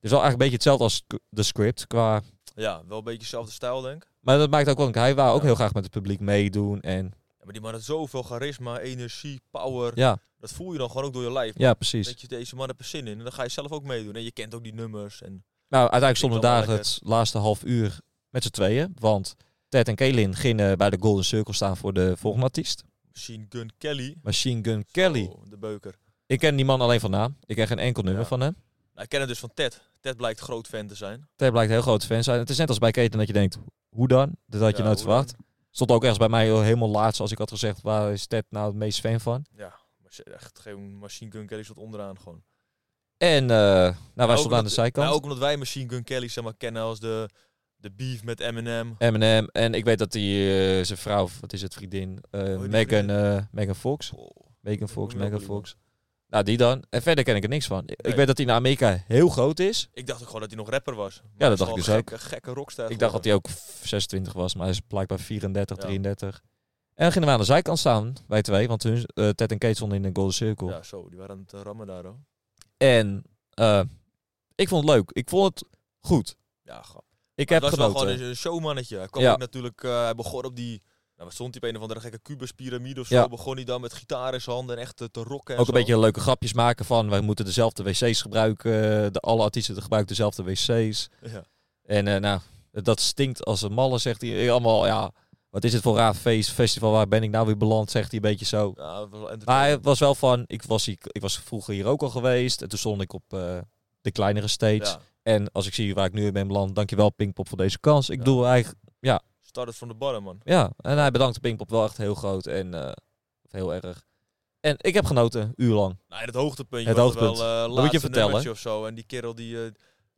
Speaker 3: Dus wel eigenlijk een beetje hetzelfde als k- de script. Qua...
Speaker 2: Ja, wel een beetje dezelfde stijl, denk ik.
Speaker 3: Maar dat maakt ook wel... Hij wou ook
Speaker 2: Ja.
Speaker 3: heel graag met het publiek meedoen. En
Speaker 2: Ja, maar die man had zoveel charisma, energie, power.
Speaker 3: ja,
Speaker 2: Dat voel je dan gewoon ook door je lijf.
Speaker 3: ja precies.
Speaker 2: Weet je, deze man heeft er zin in. En dan ga je zelf ook meedoen. En je kent ook die nummers. En
Speaker 3: Nou, uiteindelijk
Speaker 2: Klinkt
Speaker 3: stonden we
Speaker 2: wel
Speaker 3: daar
Speaker 2: lekker.
Speaker 3: het laatste half uur met z'n tweeën. Want Ted en Kaylin gingen bij de Golden Circle staan voor de volgende artiest.
Speaker 2: Machine Gun Kelly.
Speaker 3: Machine Gun Kelly.
Speaker 2: Oh, de beuker.
Speaker 3: Ik ken die man alleen van naam. Ik ken geen enkel nummer
Speaker 2: Ja.
Speaker 3: van hem.
Speaker 2: Nou, ik ken hem dus van Ted. Ted blijkt groot fan te zijn.
Speaker 3: Ted blijkt een heel groot fan te zijn. Het is net als bij Kaylin dat je denkt, hoe dan? Dat had je
Speaker 2: Ja,
Speaker 3: nooit
Speaker 2: hoe dan?
Speaker 3: verwacht. Stond ook ergens bij mij helemaal laatst als ik had gezegd, waar is Ted nou het meest fan van?
Speaker 2: Ja, maar ze- echt geen Machine Gun Kelly stond onderaan gewoon.
Speaker 3: En eh, nou, wij
Speaker 2: ook
Speaker 3: stonden aan de
Speaker 2: omdat-
Speaker 3: zijkant.
Speaker 2: Nou, ook omdat wij Machine Gun Kelly zeg maar, kennen als de, de beef met Eminem.
Speaker 3: Eminem. En ik weet dat die eh, zijn vrouw, wat is het, vriendin? eh
Speaker 2: Oh, die
Speaker 3: Megan,
Speaker 2: vriendin?
Speaker 3: eh, Megan Fox.
Speaker 2: Oh,
Speaker 3: Megan
Speaker 2: Ik
Speaker 3: Fox,
Speaker 2: moet wel
Speaker 3: Megan
Speaker 2: iemand.
Speaker 3: Fox. Nou, die dan. En verder ken ik er niks van.
Speaker 2: Nee.
Speaker 3: Ik weet dat hij naar Amerika heel groot is.
Speaker 2: Ik dacht ook gewoon dat hij nog rapper was. Maar
Speaker 3: dat
Speaker 2: hij is
Speaker 3: dacht ik
Speaker 2: wel
Speaker 3: dus
Speaker 2: een
Speaker 3: ook.
Speaker 2: gekke, Gekke rockster.
Speaker 3: ik dacht dat
Speaker 2: geworden.
Speaker 3: hij ook 26 was, maar hij is blijkbaar 34,
Speaker 2: Ja.
Speaker 3: 33. En dan gingen we aan de zijkant staan, wij twee. Want hun, eh, Ted en Kate stonden in een golden circle.
Speaker 2: Ja, zo. Die waren aan het eh, rammen daar, hoor.
Speaker 3: En eh, ik vond het leuk. Ik vond het goed.
Speaker 2: Ja, grap.
Speaker 3: Ik
Speaker 2: Maar
Speaker 3: heb
Speaker 2: dat was wel
Speaker 3: genoten.
Speaker 2: gewoon een een showmannetje. Hij kwam
Speaker 3: Ja.
Speaker 2: ook natuurlijk, eh, hij begon op die... Nou, wat stond hij op een of andere gekke Cubus-pyramide of zo?
Speaker 3: Ja.
Speaker 2: Begon hij dan met gitaar in zijn handen en echt eh, te rocken en
Speaker 3: ook een
Speaker 2: zo.
Speaker 3: beetje leuke grapjes maken van, wij moeten dezelfde wc's gebruiken. eh, De, alle artiesten gebruiken dezelfde wc's.
Speaker 2: Ja.
Speaker 3: En eh, nou, dat stinkt als een malle, zegt hij. Eh, Allemaal, ja, wat is het voor raar feest, festival, waar ben ik nou weer beland, zegt hij een beetje zo.
Speaker 2: Ja, dat was wel
Speaker 3: Maar
Speaker 2: entertainend.
Speaker 3: hij was wel van, ik was, hier, ik was vroeger hier ook al geweest. En toen stond ik op eh, de kleinere stage.
Speaker 2: Ja.
Speaker 3: En als ik zie waar ik nu in ben beland, dankjewel Pinkpop voor deze kans. Ik
Speaker 2: Ja.
Speaker 3: doe eigenlijk,
Speaker 2: Start het van de barren, man.
Speaker 3: ja. En hij bedankt Pinkpop wel echt heel groot en eh, heel erg. En ik heb genoten, een uur lang.
Speaker 2: Nou, het hoogtepuntje
Speaker 3: Het
Speaker 2: was
Speaker 3: hoogtepunt.
Speaker 2: wel eh
Speaker 3: je
Speaker 2: laatste
Speaker 3: vertellen.
Speaker 2: nummertje of zo. En die kerel die... eh,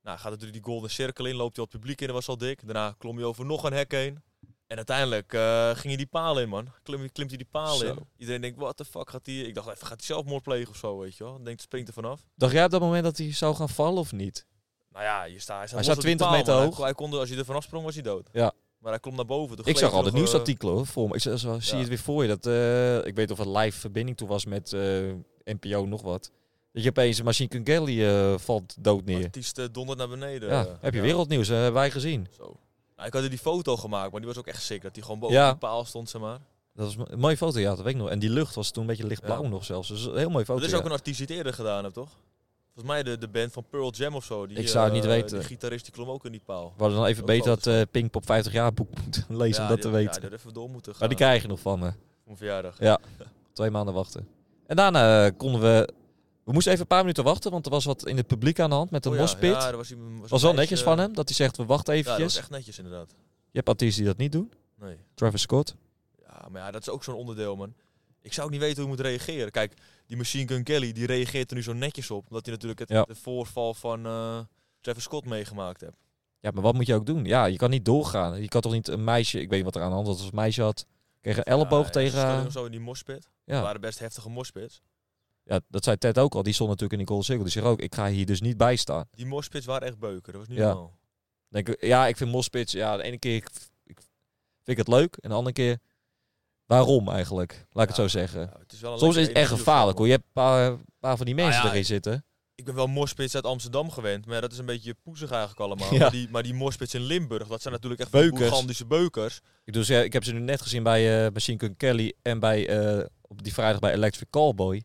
Speaker 2: nou, gaat natuurlijk die golden cirkel in, loopt hij al het publiek in, dat was al dik. Daarna klom hij over nog een hek heen. En uiteindelijk eh, ging hij die paal in, man. Klim, klimt hij die paal
Speaker 3: Zo.
Speaker 2: in. Iedereen denkt, what the fuck gaat hij... Ik dacht even, gaat hij zelfmoord plegen of zo, weet je wel. Denkt, springt er vanaf.
Speaker 3: Dacht jij op dat moment dat hij zou gaan vallen of niet?
Speaker 2: Nou ja, je staat, hij staat,
Speaker 3: Hij staat
Speaker 2: los op die
Speaker 3: 20
Speaker 2: paal,
Speaker 3: meter
Speaker 2: man. Hij
Speaker 3: hoog.
Speaker 2: kon- Hij, kon, er- als je er vanaf sprong, was hij dood.
Speaker 3: Ja.
Speaker 2: Maar hij klom naar boven. Toen
Speaker 3: Ik
Speaker 2: gleed
Speaker 3: zag
Speaker 2: hij
Speaker 3: al de
Speaker 2: nog, eh,
Speaker 3: nieuwsartikelen hoor, voor me. Ik z- zo- zie
Speaker 2: Ja.
Speaker 3: het weer voor je. Dat, eh, ik weet of er live verbinding toen was met eh, NPO nog wat. Dat je opeens Machine Gun Kelly eh, valt dood neer.
Speaker 2: Artiest eh, dondert naar beneden.
Speaker 3: ja,
Speaker 2: eh,
Speaker 3: heb je
Speaker 2: ja.
Speaker 3: wereldnieuws, eh, hebben wij gezien.
Speaker 2: Zo. Nou, ik had er die foto gemaakt, maar die was ook echt sick. Dat hij gewoon boven
Speaker 3: Ja.
Speaker 2: die paal stond, zeg maar.
Speaker 3: Dat was mo- een mooie foto, ja, dat weet ik nog. En die lucht was toen een beetje lichtblauw
Speaker 2: Ja.
Speaker 3: nog zelfs. Dus een heel mooie foto.
Speaker 2: Dat is
Speaker 3: ja.
Speaker 2: ook een artiest die het eerder gedaan heeft, toch? Volgens mij de, de band van Pearl Jam of zo. Die,
Speaker 3: Ik zou het niet
Speaker 2: eh,
Speaker 3: weten.
Speaker 2: Die gitarist die klom ook in die paal.
Speaker 3: We hadden dan even
Speaker 2: Ook
Speaker 3: beter dat
Speaker 2: foto's.
Speaker 3: eh Pinkpop 50 jaar boek moeten lezen om dat
Speaker 2: die-
Speaker 3: te weten.
Speaker 2: Ja, die had even door moeten gaan.
Speaker 3: maar die krijg je nog van me.
Speaker 2: Voor mijn verjaardag.
Speaker 3: Twee maanden wachten. En daarna eh, konden we... We moesten even een paar minuten wachten, want er was wat in het publiek aan de hand met een
Speaker 2: Oh ja,
Speaker 3: mospit.
Speaker 2: Ja, er was, iemand-
Speaker 3: was
Speaker 2: een
Speaker 3: wel
Speaker 2: meisje,
Speaker 3: netjes
Speaker 2: eh,
Speaker 3: van hem, dat hij zegt, we wachten
Speaker 2: Ja, dat
Speaker 3: eventjes.
Speaker 2: was echt netjes inderdaad.
Speaker 3: Je hebt artiesten die dat niet doen.
Speaker 2: Nee.
Speaker 3: Travis Scott.
Speaker 2: Ja, maar ja, dat is ook zo'n onderdeel, man. Ik zou ook niet weten hoe ik moet reageren. Kijk, die Machine Gun Kelly, die reageert er nu zo netjes op. Omdat hij natuurlijk het
Speaker 3: Ja.
Speaker 2: de voorval van eh Travis Scott meegemaakt hebt.
Speaker 3: Ja, maar wat moet je ook doen? Ja, je kan niet doorgaan. Je kan toch niet een meisje... Ik weet niet wat er aan de hand was. Als een meisje had, kreeg een elleboog
Speaker 2: Ja, ja,
Speaker 3: tegen
Speaker 2: ze stonden
Speaker 3: haar.
Speaker 2: Zo in die mospit.
Speaker 3: Ja.
Speaker 2: waren best heftige morspits.
Speaker 3: Ja, dat zei Ted ook al. Die stond natuurlijk in die goal circle. Die zegt ook, ik ga hier dus niet bij staan.
Speaker 2: Die morspits waren echt beuken. Dat was niet
Speaker 3: Ja.
Speaker 2: normaal.
Speaker 3: Dan Denk, ik, ja, ik vind Mospits, ja, de ene keer ik, ik vind ik het leuk. En de andere keer, waarom eigenlijk? Laat ik het
Speaker 2: Ja,
Speaker 3: zo zeggen.
Speaker 2: Ja, het is wel een
Speaker 3: Soms is
Speaker 2: leuke
Speaker 3: het echt
Speaker 2: energie
Speaker 3: gevaarlijk
Speaker 2: of
Speaker 3: hoor. Je hebt een paar, eh, paar van die mensen
Speaker 2: Ah, ja.
Speaker 3: erin zitten.
Speaker 2: Ik ben wel morspits uit Amsterdam gewend, maar dat is een beetje poezig eigenlijk allemaal.
Speaker 3: Ja.
Speaker 2: Maar, die, maar die morspits in Limburg, dat zijn natuurlijk echt
Speaker 3: Beukers.
Speaker 2: gigantische beukers.
Speaker 3: Ik, dus, ja, ik heb ze nu net gezien bij eh, Machine Gun Kelly en bij, eh, op die vrijdag bij Electric Callboy.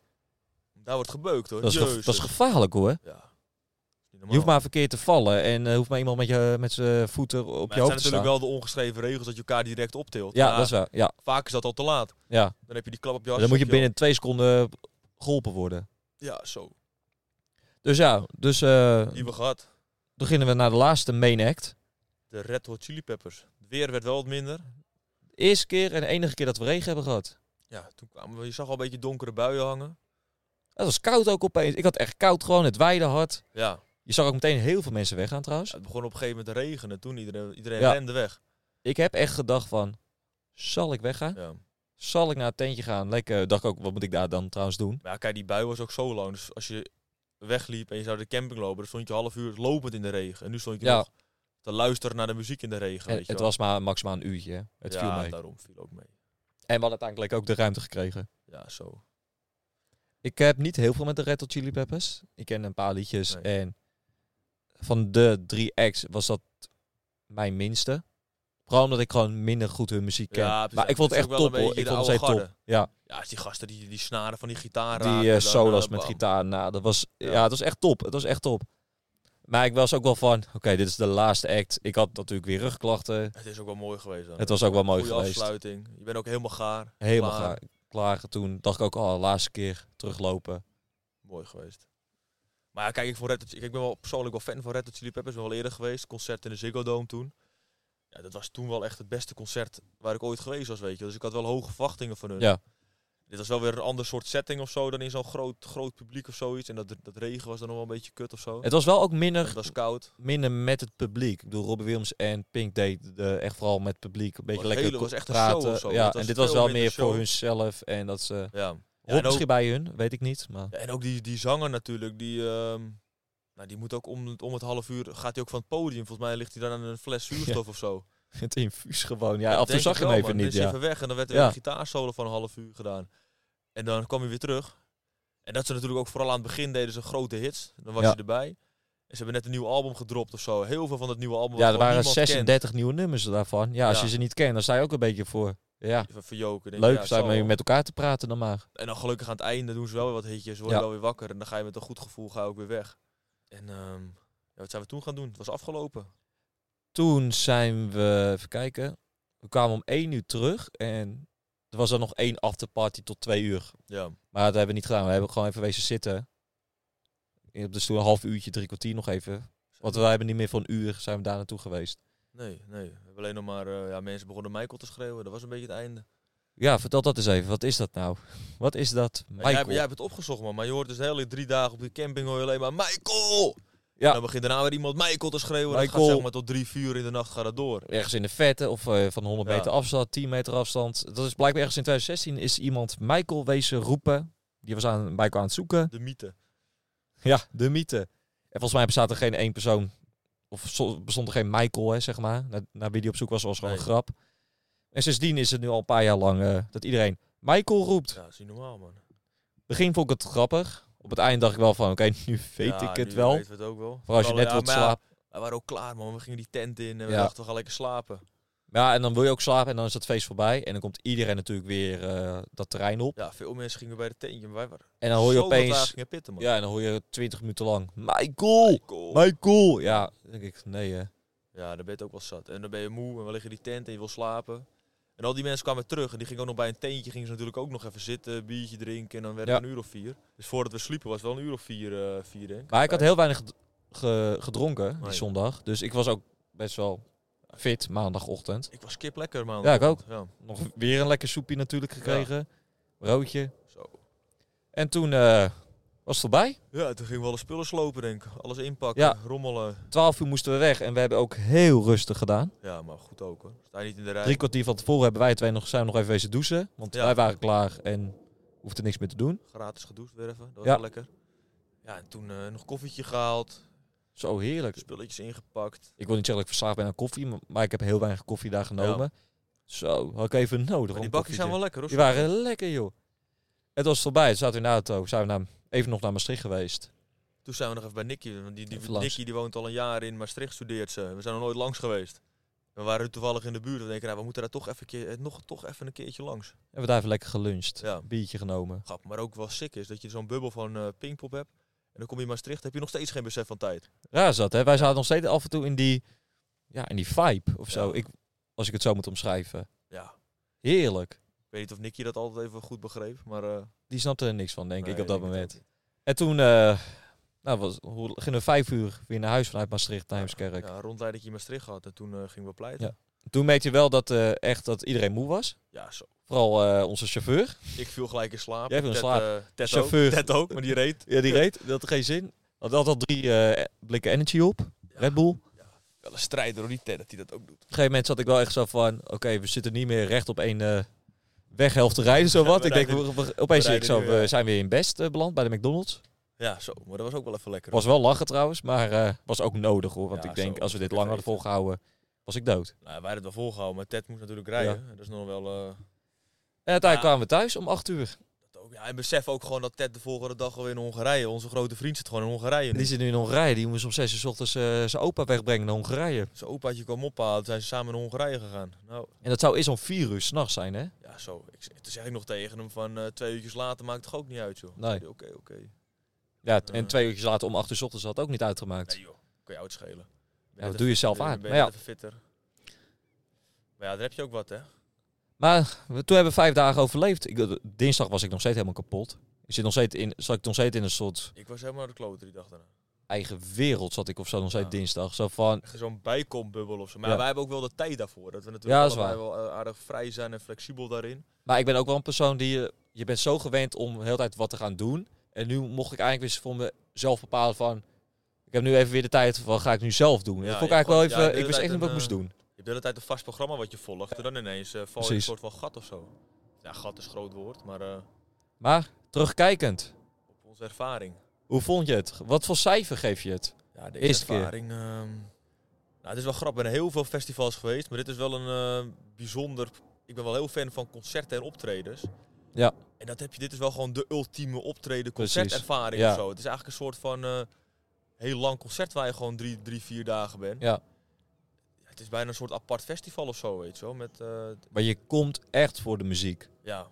Speaker 2: Daar wordt gebeukt hoor.
Speaker 3: Dat is, ge-
Speaker 2: Jezus.
Speaker 3: dat is gevaarlijk hoor.
Speaker 2: Ja. Dat is niet
Speaker 3: Je hoeft
Speaker 2: normaal.
Speaker 3: maar verkeerd te vallen en eh, hoeft maar iemand met, je, met zijn voeten op
Speaker 2: Maar
Speaker 3: je
Speaker 2: het
Speaker 3: hoofd
Speaker 2: zijn
Speaker 3: te staan.
Speaker 2: natuurlijk wel de ongeschreven regels dat je elkaar direct optilt.
Speaker 3: Ja,
Speaker 2: Maar
Speaker 3: dat is wel. Ja,
Speaker 2: Vaak is dat al te laat.
Speaker 3: ja. Dus
Speaker 2: Dan heb je die klap op je
Speaker 3: Dan
Speaker 2: hart,
Speaker 3: moet je
Speaker 2: heb al-
Speaker 3: binnen twee seconden geholpen worden.
Speaker 2: Ja, zo.
Speaker 3: Dus ja, dus eh,
Speaker 2: Die we gehad.
Speaker 3: beginnen we naar de laatste main act.
Speaker 2: De Red Hot Chili Peppers. Het weer werd wel wat minder.
Speaker 3: De eerste keer en de enige keer dat we regen hebben gehad.
Speaker 2: Ja, toen kwamen we, je zag al een beetje donkere buien hangen.
Speaker 3: Het was koud ook opeens. Ik had echt koud gewoon, het waaide hard.
Speaker 2: Ja,
Speaker 3: Je zag ook meteen heel veel mensen weggaan trouwens.
Speaker 2: het begon op een gegeven moment te regenen. Toen iedereen, iedereen
Speaker 3: Ja.
Speaker 2: rende weg.
Speaker 3: Ik heb echt gedacht van, zal ik weggaan?
Speaker 2: Ja.
Speaker 3: Zal ik naar het tentje gaan? Lekker, dacht ik ook, wat moet ik daar dan trouwens doen?
Speaker 2: Maar ja, kijk, die bui was ook zo lang. Dus als je wegliep en je zou de camping lopen, dan stond je een half uur lopend in de regen. En nu stond je
Speaker 3: Ja.
Speaker 2: nog te luisteren naar de muziek in de regen.
Speaker 3: En
Speaker 2: weet je
Speaker 3: het
Speaker 2: wel.
Speaker 3: was maar maximaal een uurtje. hè. Het
Speaker 2: ja,
Speaker 3: viel mee.
Speaker 2: daarom viel ook mee.
Speaker 3: En we hadden uiteindelijk ook de ruimte gekregen.
Speaker 2: Ja, zo.
Speaker 3: Ik heb niet heel veel met de Red Hot Chili Peppers. Ik ken een paar liedjes
Speaker 2: Nee.
Speaker 3: en van de drie acts was dat mijn minste. Vooral omdat ik gewoon minder goed hun muziek ken.
Speaker 2: Ja, precies.
Speaker 3: maar ik vond het
Speaker 2: Het
Speaker 3: echt
Speaker 2: is ook wel
Speaker 3: top
Speaker 2: een
Speaker 3: hoor. Ik
Speaker 2: beetje
Speaker 3: vond het
Speaker 2: de
Speaker 3: steeds
Speaker 2: oude
Speaker 3: top. Ja,
Speaker 2: Ja, als die gasten die, die snaren van die gitaar raken,
Speaker 3: die eh
Speaker 2: dan,
Speaker 3: solos
Speaker 2: eh,
Speaker 3: met
Speaker 2: bam.
Speaker 3: gitaar. Nou, dat was, ja.
Speaker 2: Ja.
Speaker 3: het was echt top. Het was echt top. Maar ik was ook wel van, oké, dit is de laatste act. Ik had natuurlijk weer rugklachten.
Speaker 2: Het is ook wel mooi geweest. Dan.
Speaker 3: Het was ook wel mooi
Speaker 2: Goeie
Speaker 3: geweest.
Speaker 2: afsluiting. Je bent ook helemaal gaar.
Speaker 3: Helemaal
Speaker 2: Klaar.
Speaker 3: klaar. klaar. Toen dacht ik ook, oh, laatste keer teruglopen.
Speaker 2: Mooi geweest. Maar ja, kijk, ik, vond Red Hot- ik ben wel persoonlijk wel fan van Red Hot Chili Peppers. Ik ben wel eerder geweest. Concert in de Ziggo Dome toen. Ja, dat was toen wel echt het beste concert waar ik ooit geweest was, weet je. Dus ik had wel hoge verwachtingen van hun.
Speaker 3: Ja.
Speaker 2: Dit was wel weer een ander soort setting of zo dan in zo'n groot, groot publiek of zoiets. En dat, dat regen was dan nog wel een beetje kut of zo.
Speaker 3: Het was wel ook minder
Speaker 2: Het was koud.
Speaker 3: minder met het publiek. Ik bedoel, Robbie Williams en Pink deed eh, echt vooral met het publiek. Een beetje
Speaker 2: Was
Speaker 3: lekker
Speaker 2: hele- was echt een
Speaker 3: praten.
Speaker 2: show of zo.
Speaker 3: Ja,
Speaker 2: Het was
Speaker 3: en dit was
Speaker 2: veel
Speaker 3: wel
Speaker 2: minder
Speaker 3: meer voor
Speaker 2: show.
Speaker 3: hunzelf. En dat ze...
Speaker 2: Ja. Ja,
Speaker 3: Rob
Speaker 2: en, ook,
Speaker 3: misschien bij hun, weet ik niet. Maar
Speaker 2: ja, en ook die, die zanger natuurlijk, die... ehm, nou, die moet ook om, het- om het half uur... Gaat hij ook van het podium? Volgens mij ligt hij dan aan een fles zuurstof of zo.
Speaker 3: het infuus gewoon. Ja,
Speaker 2: Ja,
Speaker 3: af en toe
Speaker 2: denk
Speaker 3: zag
Speaker 2: ik
Speaker 3: je hem
Speaker 2: wel,
Speaker 3: even
Speaker 2: man.
Speaker 3: niet.
Speaker 2: Dan is hij
Speaker 3: Ja.
Speaker 2: even weg en dan werd er
Speaker 3: Ja.
Speaker 2: weer een gitaarsolo van een half uur gedaan. En dan kwam hij weer terug. En dat ze natuurlijk ook vooral aan het begin deden ze grote hits. Dan was
Speaker 3: Ja.
Speaker 2: je erbij. En ze hebben net een nieuw album gedropt of zo. Heel veel van het nieuwe album
Speaker 3: ja,
Speaker 2: wat
Speaker 3: er
Speaker 2: gewoon
Speaker 3: waren
Speaker 2: niemand
Speaker 3: 36 nieuwe nummers daarvan. Ja, als
Speaker 2: Ja.
Speaker 3: je ze niet kent, dan sta je ook een beetje voor. Ja,
Speaker 2: kent. Even verjoken. Denk ik, ja,
Speaker 3: leuk
Speaker 2: het
Speaker 3: zijn
Speaker 2: zal
Speaker 3: we
Speaker 2: wel.
Speaker 3: met elkaar te praten dan maar.
Speaker 2: En dan gelukkig aan het einde doen ze wel weer wat hitjes. Word je
Speaker 3: Ja.
Speaker 2: wel weer wakker. En dan ga je met een goed gevoel ga je ook weer weg. En ehm, ja, wat zijn we toen gaan doen? Het was afgelopen.
Speaker 3: Toen zijn we, even kijken, we kwamen om 1 uur terug. En er was dan nog één afterparty tot 2 uur.
Speaker 2: Ja.
Speaker 3: Maar dat hebben we niet gedaan. We hebben gewoon even wezen zitten. Op de stoel een half uurtje, drie kwartier nog even. Want wij hebben niet meer van een uur zijn we daar naartoe geweest.
Speaker 2: Nee, nee. We hebben alleen nog maar... eh, ja, mensen begonnen Michael te schreeuwen. Dat was een beetje het einde.
Speaker 3: Ja, vertel dat eens even. Wat is dat nou? Wat is dat?
Speaker 2: Ja, Jij,
Speaker 3: Michael.
Speaker 2: jij hebt het opgezocht, man. Maar je hoort dus de hele drie dagen op die camping hoor je alleen maar Michael!
Speaker 3: Ja.
Speaker 2: En dan begint daarna weer iemand Michael te schreeuwen. Dat
Speaker 3: Michael.
Speaker 2: gaat zeg maar tot drie, vier uur in de nacht gaat dat door.
Speaker 3: Ergens in de vette of eh, van 100
Speaker 2: Ja.
Speaker 3: meter afstand, 10 meter afstand. Dat is blijkbaar ergens in 2016 is iemand Michael wezen roepen. Die was aan Michael aan het zoeken.
Speaker 2: De mythe.
Speaker 3: Ja, de mythe. En volgens mij bestaat er geen één persoon. Of zo- bestond er geen Michael, hè, zeg maar. Naar, naar wie die op zoek was, was gewoon
Speaker 2: Nee.
Speaker 3: een grap. En sindsdien is het nu al een paar jaar lang eh, dat iedereen Michael roept.
Speaker 2: Ja, dat is niet normaal, man.
Speaker 3: begin vond ik het grappig. Op het eind dacht ik wel van, oké, nu weet
Speaker 2: Ja,
Speaker 3: ik het
Speaker 2: nu
Speaker 3: wel.
Speaker 2: weten we het ook wel.
Speaker 3: Voor als je
Speaker 2: Vooral,
Speaker 3: net
Speaker 2: ja,
Speaker 3: wilt
Speaker 2: maar ja,
Speaker 3: slapen.
Speaker 2: we waren ook klaar, man. We gingen die tent in en we
Speaker 3: Ja.
Speaker 2: dachten, we gaan lekker slapen.
Speaker 3: Ja. en dan wil je ook slapen en dan is dat feest voorbij. En dan komt iedereen natuurlijk weer eh, dat terrein op.
Speaker 2: Ja, veel mensen gingen bij de tentje, maar wij waren
Speaker 3: En dan hoor je
Speaker 2: zo laag
Speaker 3: opeens...
Speaker 2: gingen pitten, man.
Speaker 3: Ja, Oh. en dan hoor je 20 minuten lang, Michael,
Speaker 2: Michael.
Speaker 3: Michael. Ja, dan denk ik, nee hè.
Speaker 2: Ja, dan ben je het ook wel zat. En dan ben je moe en we liggen in die tent en je wil slapen. En al die mensen kwamen terug en die gingen ook nog bij een tentje. Gingen ze natuurlijk ook nog even zitten, biertje drinken en dan werd het
Speaker 3: Ja.
Speaker 2: een uur of vier. Dus voordat we sliepen was het wel een uur of vier, eh, vier denk ik.
Speaker 3: Maar ik had heel weinig ged- ge- gedronken die
Speaker 2: Nee.
Speaker 3: zondag. Dus ik was ook best wel fit maandagochtend.
Speaker 2: Ik was kip lekker, man.
Speaker 3: Ja, ik ook.
Speaker 2: Ja,
Speaker 3: Nog weer een lekker soepje natuurlijk gekregen. Broodje.
Speaker 2: zo.
Speaker 3: En toen eh, was het voorbij.
Speaker 2: Ja, toen gingen we alle spullen slopen, denk ik. Alles inpakken,
Speaker 3: Ja.
Speaker 2: rommelen.
Speaker 3: 12 uur moesten we weg en we hebben ook heel rustig gedaan.
Speaker 2: Ja, maar goed ook, hoor. Sta je niet in de rij.
Speaker 3: Drie kwartier van tevoren hebben wij twee nog, zijn we nog even wezen douchen. Want
Speaker 2: Ja.
Speaker 3: wij waren klaar en Hoeft er niks meer te doen.
Speaker 2: Gratis gedoucht weer even. Dat was
Speaker 3: Ja.
Speaker 2: wel lekker. Ja, en toen eh, nog koffietje gehaald.
Speaker 3: Zo heerlijk.
Speaker 2: Spulletjes ingepakt.
Speaker 3: Ik wil niet zeggen dat ik verslaafd ben aan koffie, maar- maar ik heb heel weinig koffie daar genomen. Zo, had ik even nodig.
Speaker 2: Maar
Speaker 3: om
Speaker 2: die
Speaker 3: koffietje.
Speaker 2: bakjes zijn wel lekker hoor.
Speaker 3: Die waren lekker, joh. Het was voorbij. Toen zaten we in de auto. Zijn we naar, even nog naar Maastricht geweest.
Speaker 2: Toen zijn we nog even bij Nicky. Want die, die,
Speaker 3: Even langs.
Speaker 2: Nicky die woont al een jaar in Maastricht, studeert ze. We zijn er nooit langs geweest. We waren er toevallig in de buurt. We denken, nou, we moeten daar toch even, een keer- eh, nog, toch even een keertje langs.
Speaker 3: Hebben we daar even lekker geluncht.
Speaker 2: Ja.
Speaker 3: Biertje genomen.
Speaker 2: Grap, maar ook wel sick is dat je zo'n bubbel van eh, Pinkpop hebt. En dan kom je in Maastricht, heb je nog steeds geen besef van tijd.
Speaker 3: Raar zat, hè? Wij zaten nog steeds af en toe in die, ja, in die vibe of zo.
Speaker 2: Ja.
Speaker 3: Ik, als ik het zo moet omschrijven.
Speaker 2: Ja,
Speaker 3: Heerlijk.
Speaker 2: ik weet niet of Nicky dat altijd even goed begreep, maar... eh,
Speaker 3: Die snapte er niks van, denk
Speaker 2: nee,
Speaker 3: ik, op dat
Speaker 2: denk het
Speaker 3: moment.
Speaker 2: ook niet.
Speaker 3: En toen eh, nou, was, hoe, gingen we vijf uur weer naar huis vanuit Maastricht naar Heemskerk.
Speaker 2: Ja, een rondleidingje in Maastricht gehad en toen eh, gingen we pleiten.
Speaker 3: Ja. Toen meet je wel dat, eh, echt dat iedereen moe was.
Speaker 2: Ja, zo.
Speaker 3: Vooral eh, onze chauffeur.
Speaker 2: Ik viel gelijk in slaap.
Speaker 3: Jij viel in
Speaker 2: Ted,
Speaker 3: slaap.
Speaker 2: eh, Ted
Speaker 3: Chauffeur.
Speaker 2: Ook. Ted ook, maar die reed.
Speaker 3: Ja, die reed. Dat had geen zin. Had altijd al drie eh, blikken energy op. Red Bull. Op een
Speaker 2: Wel een strijder hoor, die Ted, dat hij dat ook doet.
Speaker 3: gegeven moment zat ik wel echt zo van... Oké, we zitten niet meer recht op één eh, weghelft te rijden, zo wat.
Speaker 2: we
Speaker 3: ik denk, we, we- opeens zie ik
Speaker 2: rijden
Speaker 3: zo,
Speaker 2: nu,
Speaker 3: we
Speaker 2: ja.
Speaker 3: zijn weer in Best eh, beland bij de McDonald's.
Speaker 2: Ja, zo. Maar dat was ook wel even lekker.
Speaker 3: Was wel lachen trouwens, maar eh, was ook nodig hoor. Want
Speaker 2: Ja,
Speaker 3: ik denk,
Speaker 2: zo,
Speaker 3: als we dit
Speaker 2: lekker
Speaker 3: langer hadden
Speaker 2: eten.
Speaker 3: volgehouden, was ik dood.
Speaker 2: Nou, wij hadden het wel volgehouden, maar Ted moest natuurlijk rijden. Dat is nog wel... eh,
Speaker 3: En
Speaker 2: Ja.
Speaker 3: uiteindelijk kwamen we thuis om acht uur.
Speaker 2: dat ook, ja, en besef ook gewoon dat Ted de volgende dag alweer in Hongarije... Onze grote vriend zit gewoon in Hongarije.
Speaker 3: Die
Speaker 2: nu.
Speaker 3: zit nu in Hongarije. Die moest om zes uur 's ochtends eh, zijn opa wegbrengen naar Hongarije.
Speaker 2: Zijn opaatje kwam ophalen, toen zijn ze samen naar Hongarije gegaan. Nou,
Speaker 3: En dat zou eerst om vier uur s'nachts zijn, hè?
Speaker 2: ja, zo. Ik, toen zeg ik nog tegen hem van eh, twee uurtjes later maakt het toch ook niet uit, joh.
Speaker 3: Nee.
Speaker 2: Zei hij, Oké, oké.
Speaker 3: Ja, t-
Speaker 2: Eh.
Speaker 3: en twee uurtjes later om acht uur 's ochtends had het ook niet uitgemaakt.
Speaker 2: Nee joh, kan je oud schelen.
Speaker 3: Ja, dat doe je zelf aan.
Speaker 2: Ben
Speaker 3: Maar
Speaker 2: je
Speaker 3: ja.
Speaker 2: net even fitter. Maar ja, daar heb je ook wat, hè?
Speaker 3: Maar we, toen hebben we vijf dagen overleefd. Ik, dinsdag was ik nog steeds helemaal kapot. Ik zit nog steeds in, zat ik nog steeds in een soort
Speaker 2: Ik was helemaal de klote die dag daarna.
Speaker 3: eigen wereld, zat ik of zo nog steeds
Speaker 2: Ja.
Speaker 3: dinsdag. Zo van,
Speaker 2: Echt zo'n bijkombubbel of zo. Maar
Speaker 3: Ja.
Speaker 2: ja, wij hebben ook wel de tijd daarvoor. Dat we natuurlijk
Speaker 3: Ja, dat is
Speaker 2: allebei wel eh, aardig vrij zijn en flexibel daarin.
Speaker 3: maar ik ben ook wel een persoon die, eh, je bent zo gewend om de hele tijd wat te gaan doen. En nu mocht ik eigenlijk weer voor mezelf bepalen van, ik heb nu even weer de tijd, wat ga ik nu zelf doen? En
Speaker 2: Ja,
Speaker 3: dat vond
Speaker 2: je
Speaker 3: ik eigenlijk
Speaker 2: hebt
Speaker 3: wel even,
Speaker 2: gewoon- ja,
Speaker 3: ik wist
Speaker 2: de hele
Speaker 3: echt niet wat ik moest
Speaker 2: tijd
Speaker 3: doen.
Speaker 2: Je hebt de hele tijd een eh, vast programma wat je volgt. En dan ineens eh, val je in een
Speaker 3: Precies.
Speaker 2: soort van gat of zo. Ja, gat is groot woord, maar eh,
Speaker 3: Maar, terugkijkend,
Speaker 2: op onze ervaring.
Speaker 3: hoe vond je het? Wat voor cijfer geef je het?
Speaker 2: Ja, de
Speaker 3: Eerste keer.
Speaker 2: ervaring. ehm, nou, het is wel grappig. Ik ben heel veel festivals geweest, maar dit is wel een eh, bijzonder. Ik ben wel heel fan van concerten en optredens.
Speaker 3: Ja.
Speaker 2: En dat heb je. Dit is wel gewoon de ultieme optreden
Speaker 3: Precies.
Speaker 2: concertervaring
Speaker 3: Ja.
Speaker 2: of zo. Het is eigenlijk een soort van eh, heel lang concert waar je gewoon drie, drie vier dagen bent.
Speaker 3: Ja.
Speaker 2: Ja, Het is bijna een soort apart festival of zo, weet je wel. Met, eh, t-
Speaker 3: Maar je komt echt voor de muziek.
Speaker 2: ja.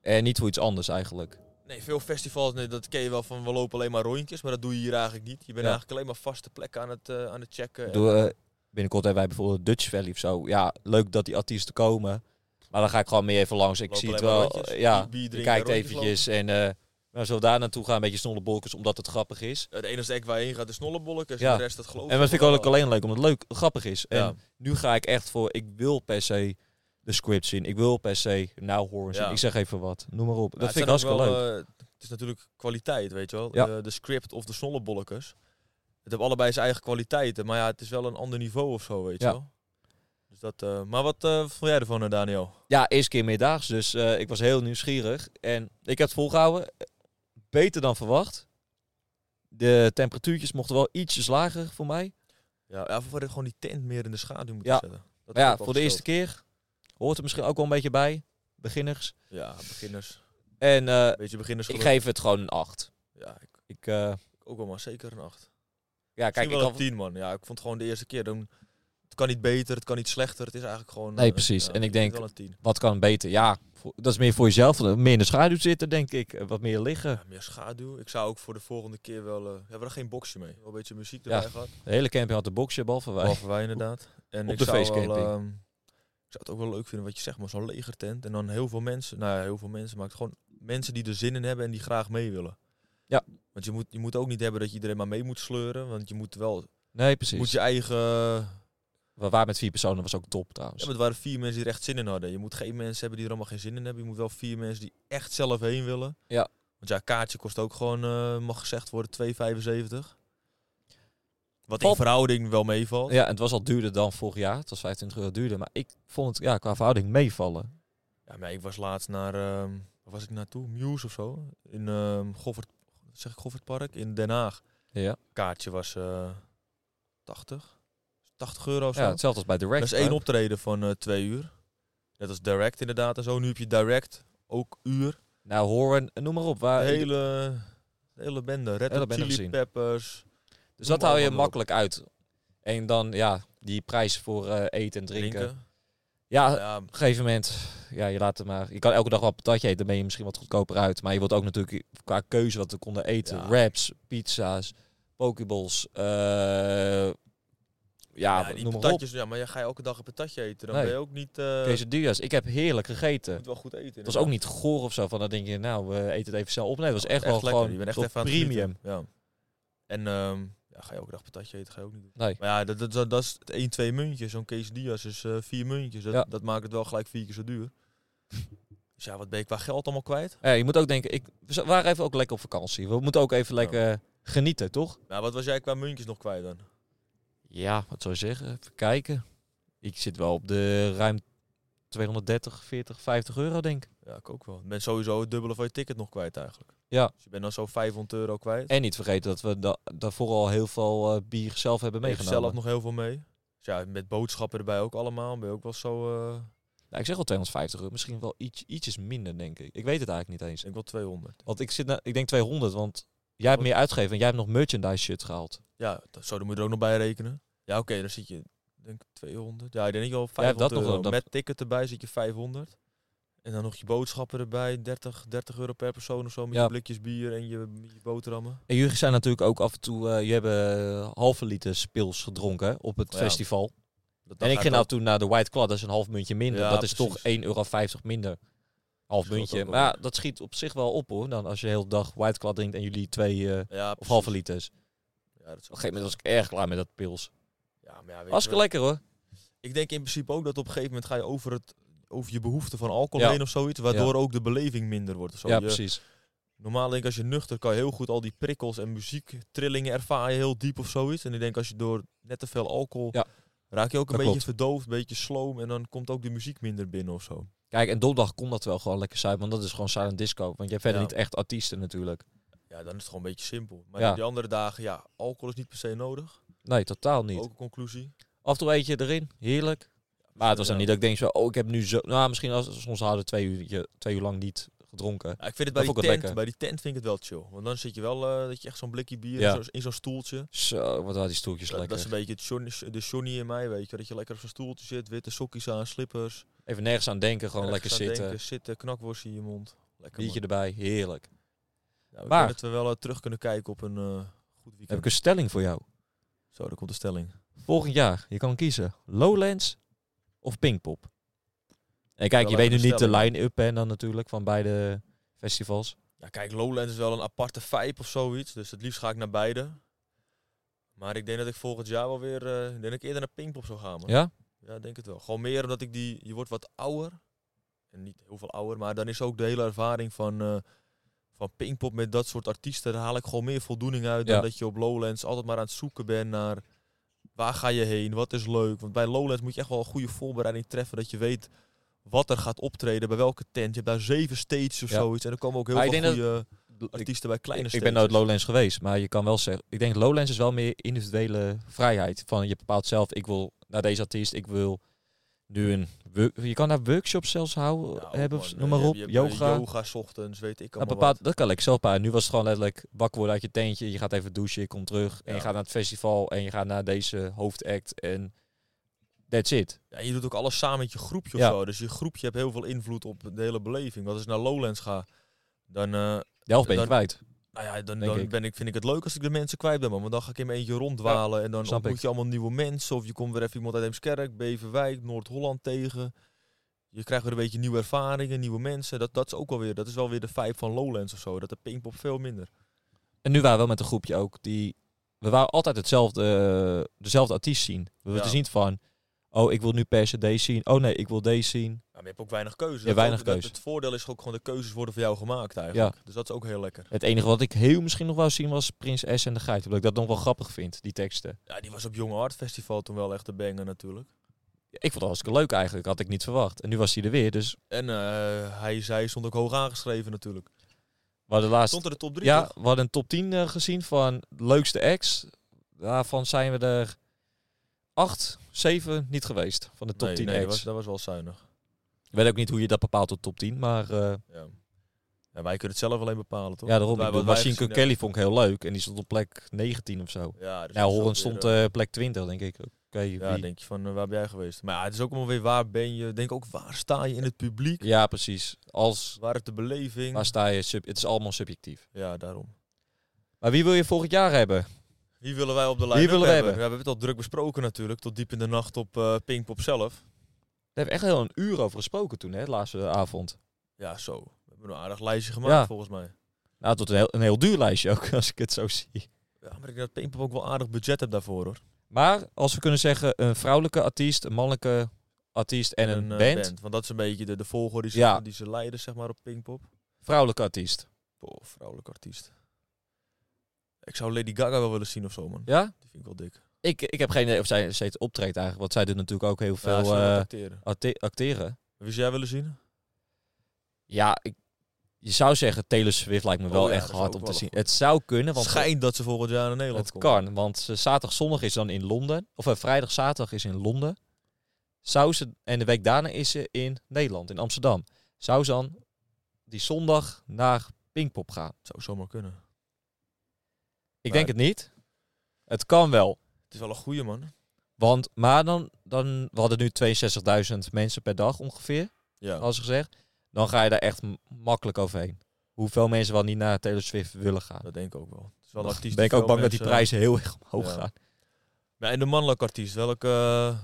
Speaker 3: En niet voor iets anders eigenlijk.
Speaker 2: Nee, veel festivals, nee, dat ken je wel van we lopen alleen maar rondjes, maar dat doe je hier eigenlijk niet. Je bent
Speaker 3: Ja.
Speaker 2: eigenlijk alleen maar vaste plekken aan het, eh, aan het checken. en-
Speaker 3: Doe, eh, binnenkort hebben wij bijvoorbeeld Dutch Valley of zo. Ja, leuk dat die artiesten komen. Maar dan ga ik gewoon mee even langs. Ik
Speaker 2: Lopen
Speaker 3: zie het
Speaker 2: alleen maar
Speaker 3: wel.
Speaker 2: rondjes,
Speaker 3: eh, ja,
Speaker 2: bier- bier
Speaker 3: je
Speaker 2: drinken,
Speaker 3: kijkt
Speaker 2: rondjes
Speaker 3: eventjes. En eh nou, zullen we daar naartoe gaan? Een beetje snollebokkers, omdat het grappig is.
Speaker 2: Het enige act waar je heen gaat is snollebolletjes,
Speaker 3: Ja.
Speaker 2: de rest dat geloof ik
Speaker 3: En dat vind ik
Speaker 2: wel. eh,
Speaker 3: ook alleen leuk, omdat het leuk grappig is.
Speaker 2: Oh, Ja.
Speaker 3: En nu ga ik echt voor, ik wil per se de scripts zien. Ik wil per se nou horen zien.
Speaker 2: Ja.
Speaker 3: Ik zeg even wat. Noem maar op.
Speaker 2: Ja,
Speaker 3: dat
Speaker 2: het
Speaker 3: vind ik
Speaker 2: zijn ook
Speaker 3: hartstikke leuk.
Speaker 2: wel, eh, het is natuurlijk kwaliteit, weet je wel.
Speaker 3: Ja.
Speaker 2: De, de script of de snollebolletjes. Het hebben allebei zijn eigen kwaliteiten, maar ja, het is wel een ander niveau of zo, weet je
Speaker 3: Ja.
Speaker 2: wel. Dus dat, eh, maar wat eh, vond jij ervan, eh, Daniel?
Speaker 3: Ja, eerste keer meerdaags. Dus eh, ik was heel nieuwsgierig. En ik heb het volgehouden. Beter dan verwacht. De temperatuurtjes mochten wel ietsjes lager voor mij.
Speaker 2: Ja, ja voor gewoon die tent meer in de schaduw moeten
Speaker 3: Ja.
Speaker 2: zetten. Dat
Speaker 3: Maar
Speaker 2: is
Speaker 3: ja,
Speaker 2: ook wel
Speaker 3: voor de eerste
Speaker 2: verschil.
Speaker 3: keer hoort het misschien ook wel een beetje bij. Beginners.
Speaker 2: Ja, beginners.
Speaker 3: En eh,
Speaker 2: Beetje beginners.
Speaker 3: ik geef het gewoon een 8.
Speaker 2: Ja, ik,
Speaker 3: Ik, eh,
Speaker 2: ook wel maar zeker een acht.
Speaker 3: ja,
Speaker 2: Kijk,
Speaker 3: kijk, ik
Speaker 2: wel een
Speaker 3: had...
Speaker 2: tien, man. Ja, ik vond gewoon de eerste keer. Dan, het kan niet beter, het kan niet slechter. Het is eigenlijk gewoon...
Speaker 3: Nee,
Speaker 2: eh,
Speaker 3: precies.
Speaker 2: ja,
Speaker 3: En
Speaker 2: vind
Speaker 3: ik denk-
Speaker 2: wel een tien.
Speaker 3: wat kan beter? Ja, voor- dat is meer voor jezelf. Meer in de schaduw zitten, denk ik. Eh, Wat meer liggen.
Speaker 2: Ja, meer schaduw. Ik zou ook voor de volgende keer wel... eh, ja, we hadden geen boxje mee. Wel een beetje muziek erbij
Speaker 3: Ja,
Speaker 2: gehad.
Speaker 3: De hele camping had de boxje, behalve wij.
Speaker 2: Behalve wij inderdaad. En
Speaker 3: Op
Speaker 2: ik
Speaker 3: de
Speaker 2: zou
Speaker 3: feestcamping.
Speaker 2: wel, ehm, ik zou het ook wel leuk vinden wat je zegt, maar zo'n legertent. En dan heel veel mensen... Nou ja, heel veel mensen. Maar het gewoon mensen die er zin in hebben en die graag mee willen.
Speaker 3: Ja.
Speaker 2: Want je moet, je moet ook niet hebben dat je iedereen maar mee moet sleuren. Want je moet wel...
Speaker 3: Nee, precies.
Speaker 2: Moet je eigen...
Speaker 3: We waren met vier personen, was ook top trouwens.
Speaker 2: Ja, maar het waren vier mensen die er echt zin in hadden. Je moet geen mensen hebben die er allemaal geen zin in hebben. Je moet wel vier mensen die echt zelf heen willen.
Speaker 3: Ja.
Speaker 2: Want ja, kaartje kost ook gewoon, eh, mag gezegd worden, 2,75. Wat in
Speaker 3: Valt-
Speaker 2: verhouding wel meevalt. Ja.
Speaker 3: Ja, en het was al duurder dan vorig jaar. Het was 25 euro duurder. Maar ik vond het ja, qua verhouding meevallen.
Speaker 2: maar ik was laatst naar ehm waar was ik naartoe? Muse of zo. In ehm Goffert, zeg ik Goffertpark in Den Haag.
Speaker 3: Ja.
Speaker 2: Kaartje was eh 80. 80 euro of zo.
Speaker 3: ja, hetzelfde als bij Direct.
Speaker 2: dat is één optreden van eh, twee uur. Net als direct inderdaad en zo. Nu heb je direct ook uur.
Speaker 3: Nou, Horen, noem maar op.
Speaker 2: De
Speaker 3: Waar,
Speaker 2: hele, de hele bende. Red
Speaker 3: Ah, Hele
Speaker 2: Hot
Speaker 3: bende
Speaker 2: Chili
Speaker 3: gezien.
Speaker 2: Peppers.
Speaker 3: dus
Speaker 2: noem
Speaker 3: dat hou je
Speaker 2: allemaal
Speaker 3: makkelijk uit. En dan, ja, die prijs voor eh, eten en drinken. Ah,
Speaker 2: Drinken.
Speaker 3: Ja, op
Speaker 2: Ja,
Speaker 3: een gegeven moment, ja, je laat het maar. Je kan elke dag wel een patatje eten, dan ben je misschien wat goedkoper uit. Maar je wilt ook natuurlijk qua keuze wat we konden eten.
Speaker 2: Ja.
Speaker 3: Wraps, pizza's, pokeballs. eh, ja,
Speaker 2: ja, die
Speaker 3: ah, noem maar op.
Speaker 2: patatjes. Ja, maar ja, ga je elke dag een patatje eten? Dan
Speaker 3: Nee.
Speaker 2: ben je ook niet... eh,
Speaker 3: Quesadillas. Ik heb heerlijk gegeten.
Speaker 2: moet wel goed eten.
Speaker 3: Het was ook niet goor of zo. Van dan denk je, nou, we eten het even snel op. Nee, het was echt, wel
Speaker 2: lekker.
Speaker 3: gewoon
Speaker 2: Je bent echt
Speaker 3: toch
Speaker 2: even aan het
Speaker 3: premium.
Speaker 2: genieten. Ja. En ehm, ja, ga je elke dag patatje eten? Ga je ook niet doen.
Speaker 3: Nee.
Speaker 2: Maar ja, dat, dat, dat, dat is het 1, 2 muntjes. Zo'n quesadillas is eh vier muntjes. Dat,
Speaker 3: Ja.
Speaker 2: dat maakt het wel gelijk vier keer zo duur. dus ja, wat ben ik qua geld allemaal kwijt?
Speaker 3: Ja, je moet ook denken, ik, we za- waren even ook lekker op vakantie. We moeten ook even lekker eh, genieten, toch?
Speaker 2: Nou, wat was jij qua muntjes nog kwijt dan?
Speaker 3: Ja, wat zou je zeggen? Even kijken. Ik zit wel op de ruim 230, 40, 50 euro, denk ik.
Speaker 2: Ja, ik ook wel. Je bent sowieso het dubbele van je ticket nog kwijt eigenlijk.
Speaker 3: Ja.
Speaker 2: Dus je bent dan zo 500 euro kwijt.
Speaker 3: En niet vergeten dat we da- daarvoor al heel veel eh, bier zelf hebben
Speaker 2: Je hebt
Speaker 3: meegenomen.
Speaker 2: zelf nog heel veel mee. Dus ja, met boodschappen erbij ook allemaal. Ben je ook wel zo... eh,
Speaker 3: Nou, ik zeg al 250 euro, misschien wel iets, ietsjes minder, denk ik. Ik weet het eigenlijk niet
Speaker 2: ik
Speaker 3: eens.
Speaker 2: denk wel 200.
Speaker 3: Want ik, zit na, ik denk 200, want jij hebt
Speaker 2: Wat?
Speaker 3: meer uitgegeven en jij hebt nog merchandise shit gehaald.
Speaker 2: Ja, dat, zo, dan moet je er ook nog bij rekenen. Ja, oké, dan zit je, denk ik, 200. Ja, ik denk wel
Speaker 3: Ja, dat
Speaker 2: 500
Speaker 3: nog wel,
Speaker 2: euro.
Speaker 3: dat-
Speaker 2: Met ticket erbij zit je 500. En dan nog je boodschappen erbij, 30, 30 euro per persoon of zo. Met
Speaker 3: Ja.
Speaker 2: je blikjes bier en je, je boterhammen.
Speaker 3: En jullie zijn natuurlijk ook af en toe, eh, je hebben eh, halve liter pils gedronken hè, op het
Speaker 2: Ja.
Speaker 3: festival.
Speaker 2: Dat, dat
Speaker 3: En ik
Speaker 2: gaat
Speaker 3: ging
Speaker 2: wel-
Speaker 3: nou toen naar de White Claw, dat is een half muntje minder.
Speaker 2: Ja,
Speaker 3: dat is
Speaker 2: precies.
Speaker 3: toch 1,50 euro minder. Half
Speaker 2: Scheelt
Speaker 3: muntje.
Speaker 2: ook wel
Speaker 3: Maar ja,
Speaker 2: weer.
Speaker 3: dat schiet op zich wel op hoor. Dan als je de hele dag White Claw drinkt en jullie twee eh,
Speaker 2: Ja,
Speaker 3: of
Speaker 2: precies.
Speaker 3: halve liters. Op een
Speaker 2: Ja, dat is
Speaker 3: gegeven moment was ik erg klaar met dat pils.
Speaker 2: Ja, maar ja, weet je
Speaker 3: Hartstikke
Speaker 2: wel.
Speaker 3: lekker hoor.
Speaker 2: Ik denk in principe ook dat op een gegeven moment ga je over, het, over je behoefte van alcohol
Speaker 3: Ja.
Speaker 2: heen of zoiets. Waardoor ook de beleving minder wordt. of Zo.
Speaker 3: ja,
Speaker 2: Je-
Speaker 3: precies.
Speaker 2: Normaal denk ik als je nuchter kan je heel goed al die prikkels en muziek, trillingen ervaar je heel diep of zoiets. En ik denk als je door net te veel alcohol
Speaker 3: Ja.
Speaker 2: raak je ook een
Speaker 3: Dat
Speaker 2: beetje
Speaker 3: klopt.
Speaker 2: verdoofd, een beetje sloom en dan komt ook de muziek minder binnen of zo.
Speaker 3: Kijk, en donderdag kon dat wel gewoon lekker zuipen, want dat is gewoon silent disco. Want je hebt verder
Speaker 2: Ja.
Speaker 3: niet echt artiesten natuurlijk.
Speaker 2: Ja, dan is het gewoon een beetje simpel. Maar
Speaker 3: Ja.
Speaker 2: die andere dagen, ja, alcohol is niet per se nodig.
Speaker 3: Nee, totaal niet.
Speaker 2: Ook een conclusie.
Speaker 3: Af en toe eet je erin, heerlijk. Maar het was dan
Speaker 2: Ja.
Speaker 3: niet dat ik denk zo, oh ik heb nu zo... Nou, misschien als soms hadden we twee uur, twee uur lang niet gedronken.
Speaker 2: Ja, ik vind het bij
Speaker 3: Dat
Speaker 2: die
Speaker 3: vond ik wel
Speaker 2: tent,
Speaker 3: lekker.
Speaker 2: bij die tent vind ik het wel chill. Want dan zit je wel eh, dat je echt zo'n blikje bier
Speaker 3: Ja.
Speaker 2: in zo'n- in zo'n stoeltje.
Speaker 3: Zo, wat waren die stoeltjes
Speaker 2: Dat,
Speaker 3: lekker.
Speaker 2: dat is een beetje het Johnny, de Johnny in mij, weet je. Dat je lekker op zo'n stoeltje zit, witte sokjes aan, slippers.
Speaker 3: Even nergens aan denken, gewoon
Speaker 2: Ergens
Speaker 3: lekker
Speaker 2: aan
Speaker 3: zitten.
Speaker 2: Denken, zitten, knakworst in je mond. Lekker man.
Speaker 3: Biertje erbij, heerlijk.
Speaker 2: Nou, ik
Speaker 3: Maar-
Speaker 2: denk dat we wel eh, terug kunnen kijken op een eh, goed
Speaker 3: Heb
Speaker 2: weekend.
Speaker 3: ik een stelling voor jou.
Speaker 2: Zo, daar komt de stelling.
Speaker 3: Volgend jaar, je kan kiezen Lowlands of Pinkpop. En kijk,
Speaker 2: Wel even
Speaker 3: je weet nu
Speaker 2: een
Speaker 3: niet de
Speaker 2: stelling.
Speaker 3: line-up en dan natuurlijk van beide festivals.
Speaker 2: Ja, kijk, Lowlands is wel een aparte vibe of zoiets. Dus het liefst ga ik naar beide. Maar ik denk dat ik volgend jaar wel weer... eh, ik denk dat ik eerder naar Pinkpop zou gaan. man.
Speaker 3: Ja?
Speaker 2: Ja, ik denk het wel. Gewoon meer omdat ik die... Je wordt wat ouder. En niet heel veel ouder. Maar dan is ook de hele ervaring van... eh van Pinkpop met dat soort artiesten. Daar haal ik gewoon meer voldoening uit.
Speaker 3: Ja.
Speaker 2: Dan dat je op Lowlands altijd maar aan het zoeken bent naar... Waar ga je heen? Wat is leuk? Want bij Lowlands moet je echt wel een goede voorbereiding treffen. Dat je weet wat er gaat optreden. Bij welke tent. Je hebt daar zeven stages of
Speaker 3: Ja.
Speaker 2: zoiets. En er komen ook heel
Speaker 3: Maar ik
Speaker 2: veel
Speaker 3: denk
Speaker 2: goede...
Speaker 3: dat- Ik,
Speaker 2: artiesten bij kleine
Speaker 3: ik,
Speaker 2: steden.
Speaker 3: ben nooit Lowlands geweest, maar je kan wel zeggen... Ik denk Lowlands is wel meer individuele vrijheid. Van je bepaalt zelf, ik wil naar deze artiest, ik wil nu een... work- je kan daar workshops zelfs houden,
Speaker 2: Nou,
Speaker 3: hebben, of
Speaker 2: eh,
Speaker 3: noem maar op, yoga.
Speaker 2: Yoga 's ochtends, weet ik
Speaker 3: Dat,
Speaker 2: allemaal
Speaker 3: bepaalt, dat kan ik zelf bij. Nu was het gewoon letterlijk wakker worden uit je teentje. Je gaat even douchen, je komt terug. En je
Speaker 2: Ja.
Speaker 3: gaat naar het festival en je gaat naar deze hoofdact. En that's it.
Speaker 2: wat. Ja, je doet ook alles samen met je groepje
Speaker 3: Ja.
Speaker 2: of zo. Dus je groepje hebt heel veel invloed op de hele beleving. Want als ik naar Lowlands ga, dan, eh,
Speaker 3: De helft ben je
Speaker 2: Dan-
Speaker 3: kwijt.
Speaker 2: nou ja, dan,
Speaker 3: Denk
Speaker 2: dan
Speaker 3: ik.
Speaker 2: ben ik, vind ik het leuk als ik de mensen kwijt ben. man. Want dan ga ik in mijn eentje ronddwalen. en dan
Speaker 3: snap
Speaker 2: ontmoet
Speaker 3: ik.
Speaker 2: je allemaal nieuwe mensen. Of je komt weer even iemand uit Eemskerk, Beverwijk, Noord-Holland tegen. Je krijgt weer een beetje nieuwe ervaringen, nieuwe mensen. Dat, dat is ook wel weer, dat is wel weer de vibe van Lowlands of zo. Dat de Pinkpop veel minder.
Speaker 3: En nu waren we wel met een groepje ook. Die, we waren altijd hetzelfde, eh, dezelfde artiest zien. We
Speaker 2: Ja.
Speaker 3: weten niet van... Oh, ik wil nu per se deze zien. Oh nee, ik wil deze zien.
Speaker 2: Ja, maar je hebt ook weinig keuze.
Speaker 3: Ja, weinig
Speaker 2: ook- dat-
Speaker 3: keuze.
Speaker 2: Het voordeel is ook gewoon de keuzes worden voor jou gemaakt eigenlijk. Dus dat is ook heel lekker.
Speaker 3: Het enige wat ik heel misschien nog wou zien was Prins S en de Geit. Omdat ik dat nog wel grappig vind, die teksten.
Speaker 2: Ja, die was op Jonge Art Festival toen wel echt de banger natuurlijk.
Speaker 3: Ja, ik vond het hartstikke leuk eigenlijk, had ik niet verwacht. En nu was hij er weer, dus
Speaker 2: En eh, hij, zij stond ook hoog aangeschreven natuurlijk.
Speaker 3: we hadden laatst...
Speaker 2: Stond er de top 3?
Speaker 3: Ja, we hadden een top 10 eh, gezien van leukste acts. Daarvan zijn we er acht, zeven niet geweest van de top
Speaker 2: nee,
Speaker 3: 10
Speaker 2: dat
Speaker 3: acts.
Speaker 2: was, dat was wel zuinig.
Speaker 3: Ik weet ook niet hoe je dat bepaalt tot top 10, maar... eh,
Speaker 2: Ja. Ja, wij kunnen het zelf alleen bepalen, toch?
Speaker 3: Ja, daarom.
Speaker 2: Wij-
Speaker 3: Ik
Speaker 2: wat
Speaker 3: bedoel,
Speaker 2: wij
Speaker 3: Machine Gun
Speaker 2: gezien hebben.
Speaker 3: Kelly vond ik heel leuk. En die stond op plek 19 of zo.
Speaker 2: Ja, dus
Speaker 3: Nou,
Speaker 2: dat is
Speaker 3: Horen
Speaker 2: ook weer,
Speaker 3: stond
Speaker 2: eh,
Speaker 3: eh, plek 20, denk ik. Oké,
Speaker 2: Ja,
Speaker 3: wie-
Speaker 2: denk je van, eh, waar ben jij geweest? Maar ja, het is ook allemaal weer waar ben je. Denk ook, waar sta je in het publiek?
Speaker 3: ja, precies. Als,
Speaker 2: Waar het de beleving?
Speaker 3: waar sta je? Sub, het is allemaal subjectief.
Speaker 2: Ja, daarom.
Speaker 3: Maar wie wil je volgend jaar hebben?
Speaker 2: Wie willen wij op de
Speaker 3: Wie
Speaker 2: lijn
Speaker 3: willen we
Speaker 2: hebben?
Speaker 3: hebben?
Speaker 2: Ja, we hebben het al druk besproken natuurlijk, tot diep in de nacht op eh Pinkpop zelf.
Speaker 3: Daar hebben we echt heel een uur over gesproken toen, hè, de laatste avond.
Speaker 2: Ja, zo. We hebben een aardig lijstje gemaakt
Speaker 3: Ja.
Speaker 2: volgens mij.
Speaker 3: Nou, tot een heel, een heel duur lijstje ook, als ik het zo zie.
Speaker 2: Ja, maar ik denk dat Pinkpop ook wel aardig budget hebt daarvoor hoor.
Speaker 3: Maar als we kunnen zeggen, een vrouwelijke artiest, een mannelijke artiest en, een
Speaker 2: eh,
Speaker 3: band.
Speaker 2: Want dat is een beetje de, de volgorde die ze,
Speaker 3: Ja.
Speaker 2: die ze leiden zeg maar op Pinkpop.
Speaker 3: Vrouwelijke artiest.
Speaker 2: Oh, vrouwelijk artiest. Ik zou Lady Gaga wel willen zien of zo man.
Speaker 3: Ja?
Speaker 2: Die vind ik wel dik.
Speaker 3: Ik, ik heb geen idee of zij steeds optreedt eigenlijk. Want zij doet natuurlijk ook heel
Speaker 2: ja, ze
Speaker 3: veel
Speaker 2: wil
Speaker 3: eh,
Speaker 2: acteren.
Speaker 3: acte- acteren.
Speaker 2: Wie zou jij willen zien?
Speaker 3: Ja, ik, je zou zeggen Taylor Swift lijkt me wel
Speaker 2: Oh ja,
Speaker 3: echt
Speaker 2: dat is ook
Speaker 3: hard om
Speaker 2: wel
Speaker 3: te zien.
Speaker 2: goed.
Speaker 3: Het zou kunnen,
Speaker 2: Het
Speaker 3: want eh,
Speaker 2: schijnt dat ze volgend jaar naar Nederland
Speaker 3: het
Speaker 2: komt.
Speaker 3: kan. Want ze- zaterdag, zondag is dan in Londen. Of eh, vrijdag, zaterdag is in Londen. Zou ze, en de week daarna is ze in Nederland, in Amsterdam. Zou ze dan die zondag naar Pinkpop gaan?
Speaker 2: Zou zomaar kunnen.
Speaker 3: Ik
Speaker 2: Maar-
Speaker 3: denk het niet. Het kan wel.
Speaker 2: Het is wel een goeie man.
Speaker 3: Want, maar dan, dan, we hadden nu 62.000 mensen per dag ongeveer,
Speaker 2: Ja.
Speaker 3: als gezegd. Dan ga je daar echt m- makkelijk overheen. Hoeveel mensen wel niet naar Taylor Swift willen gaan.
Speaker 2: Dat denk ik ook wel. Het is wel een
Speaker 3: Dan
Speaker 2: artiest.
Speaker 3: ben ik
Speaker 2: die
Speaker 3: ook
Speaker 2: veel
Speaker 3: bang dat die
Speaker 2: mensen-
Speaker 3: prijzen heel erg omhoog
Speaker 2: Ja.
Speaker 3: gaan.
Speaker 2: Ja, en de mannelijke artiest, welke... eh,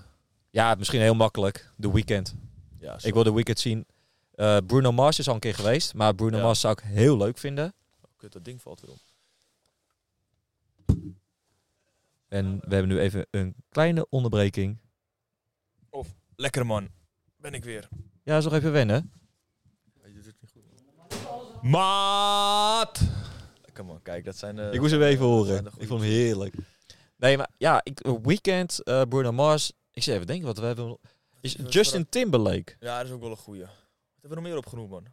Speaker 3: Ja, misschien heel makkelijk. The Weeknd.
Speaker 2: Ja,
Speaker 3: Ik wil The Weeknd zien. Eh, Bruno Mars is al een keer geweest, maar Bruno
Speaker 2: Ja.
Speaker 3: Mars zou ik heel leuk vinden.
Speaker 2: Kut, dat ding valt weer om.
Speaker 3: En we hebben nu even een kleine onderbreking.
Speaker 2: Lekker man. Ben ik weer.
Speaker 3: Ja, is nog even wennen.
Speaker 1: Maat!
Speaker 2: Lekker man, kijk, dat zijn... eh,
Speaker 3: ik moest hem even
Speaker 2: dat
Speaker 3: horen.
Speaker 2: zijn de goeie
Speaker 3: Ik vond hem heerlijk. Nee, maar ja, ik, The Weeknd, eh, Bruno Mars. Ik zit even denken, wat we hebben... Is
Speaker 2: Even
Speaker 3: Justin Timberlake.
Speaker 2: Ja, dat is ook wel een goeie. Wat hebben we nog meer opgenoemd, man?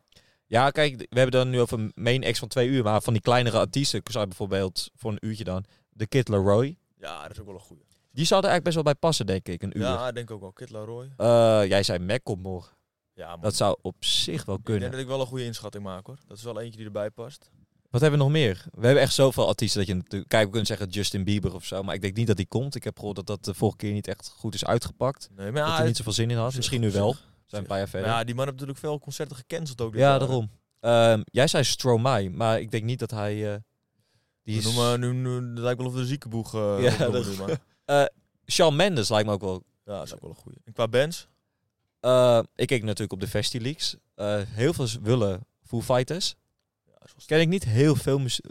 Speaker 3: Ja, kijk, we hebben dan nu over main acts van twee uur. Maar van die kleinere artiesten zou je bijvoorbeeld voor een uurtje dan... The Kid Laroi.
Speaker 2: Ja, dat is ook wel een goeie.
Speaker 3: Die zou er eigenlijk best wel bij passen, denk ik, een uur.
Speaker 2: Ja, ik denk ook wel. Kid Laroi.
Speaker 3: Eh, jij zei Macklemore.
Speaker 2: Ja, man.
Speaker 3: Dat zou op zich wel
Speaker 2: ik
Speaker 3: kunnen.
Speaker 2: denk dat ik wel een goede inschatting maak, hoor. Dat is wel eentje die erbij past.
Speaker 3: Wat hebben we nog meer? We hebben echt zoveel artiesten dat je natuurlijk... Kijk, we kunnen zeggen Justin Bieber of zo. Maar ik denk niet dat die komt. Ik heb gehoord dat dat de vorige keer niet echt goed is uitgepakt.
Speaker 2: Nee, maar
Speaker 3: dat
Speaker 2: ja,
Speaker 3: hij niet
Speaker 2: Nou, het-
Speaker 3: zoveel zin in
Speaker 2: op
Speaker 3: had.
Speaker 2: zich,
Speaker 3: Misschien nu
Speaker 2: op
Speaker 3: wel.
Speaker 2: zich.
Speaker 3: zijn een paar jaar
Speaker 2: Maar
Speaker 3: verder.
Speaker 2: ja, eh, die man heeft natuurlijk veel concerten gecanceld ook. dit
Speaker 3: ja,
Speaker 2: jaar.
Speaker 3: daarom. Ehm, jij zei Stromae, maar ik denk niet dat hij... eh, die
Speaker 2: We
Speaker 3: is...
Speaker 2: noemen, nu, nu, het lijkt wel of de ziekenboeg... eh
Speaker 3: Ja,
Speaker 2: opnoemen
Speaker 3: dat-
Speaker 2: nu, man. ja,
Speaker 3: Shawn Mendes lijkt me ook wel...
Speaker 2: dat is ook wel een goeie. En qua bands?
Speaker 3: Eh, ik keek natuurlijk op de FestiLeaks. Eh heel veel willen Foo Fighters.
Speaker 2: Ja, dat is wel
Speaker 3: ken ik niet heel veel muziek.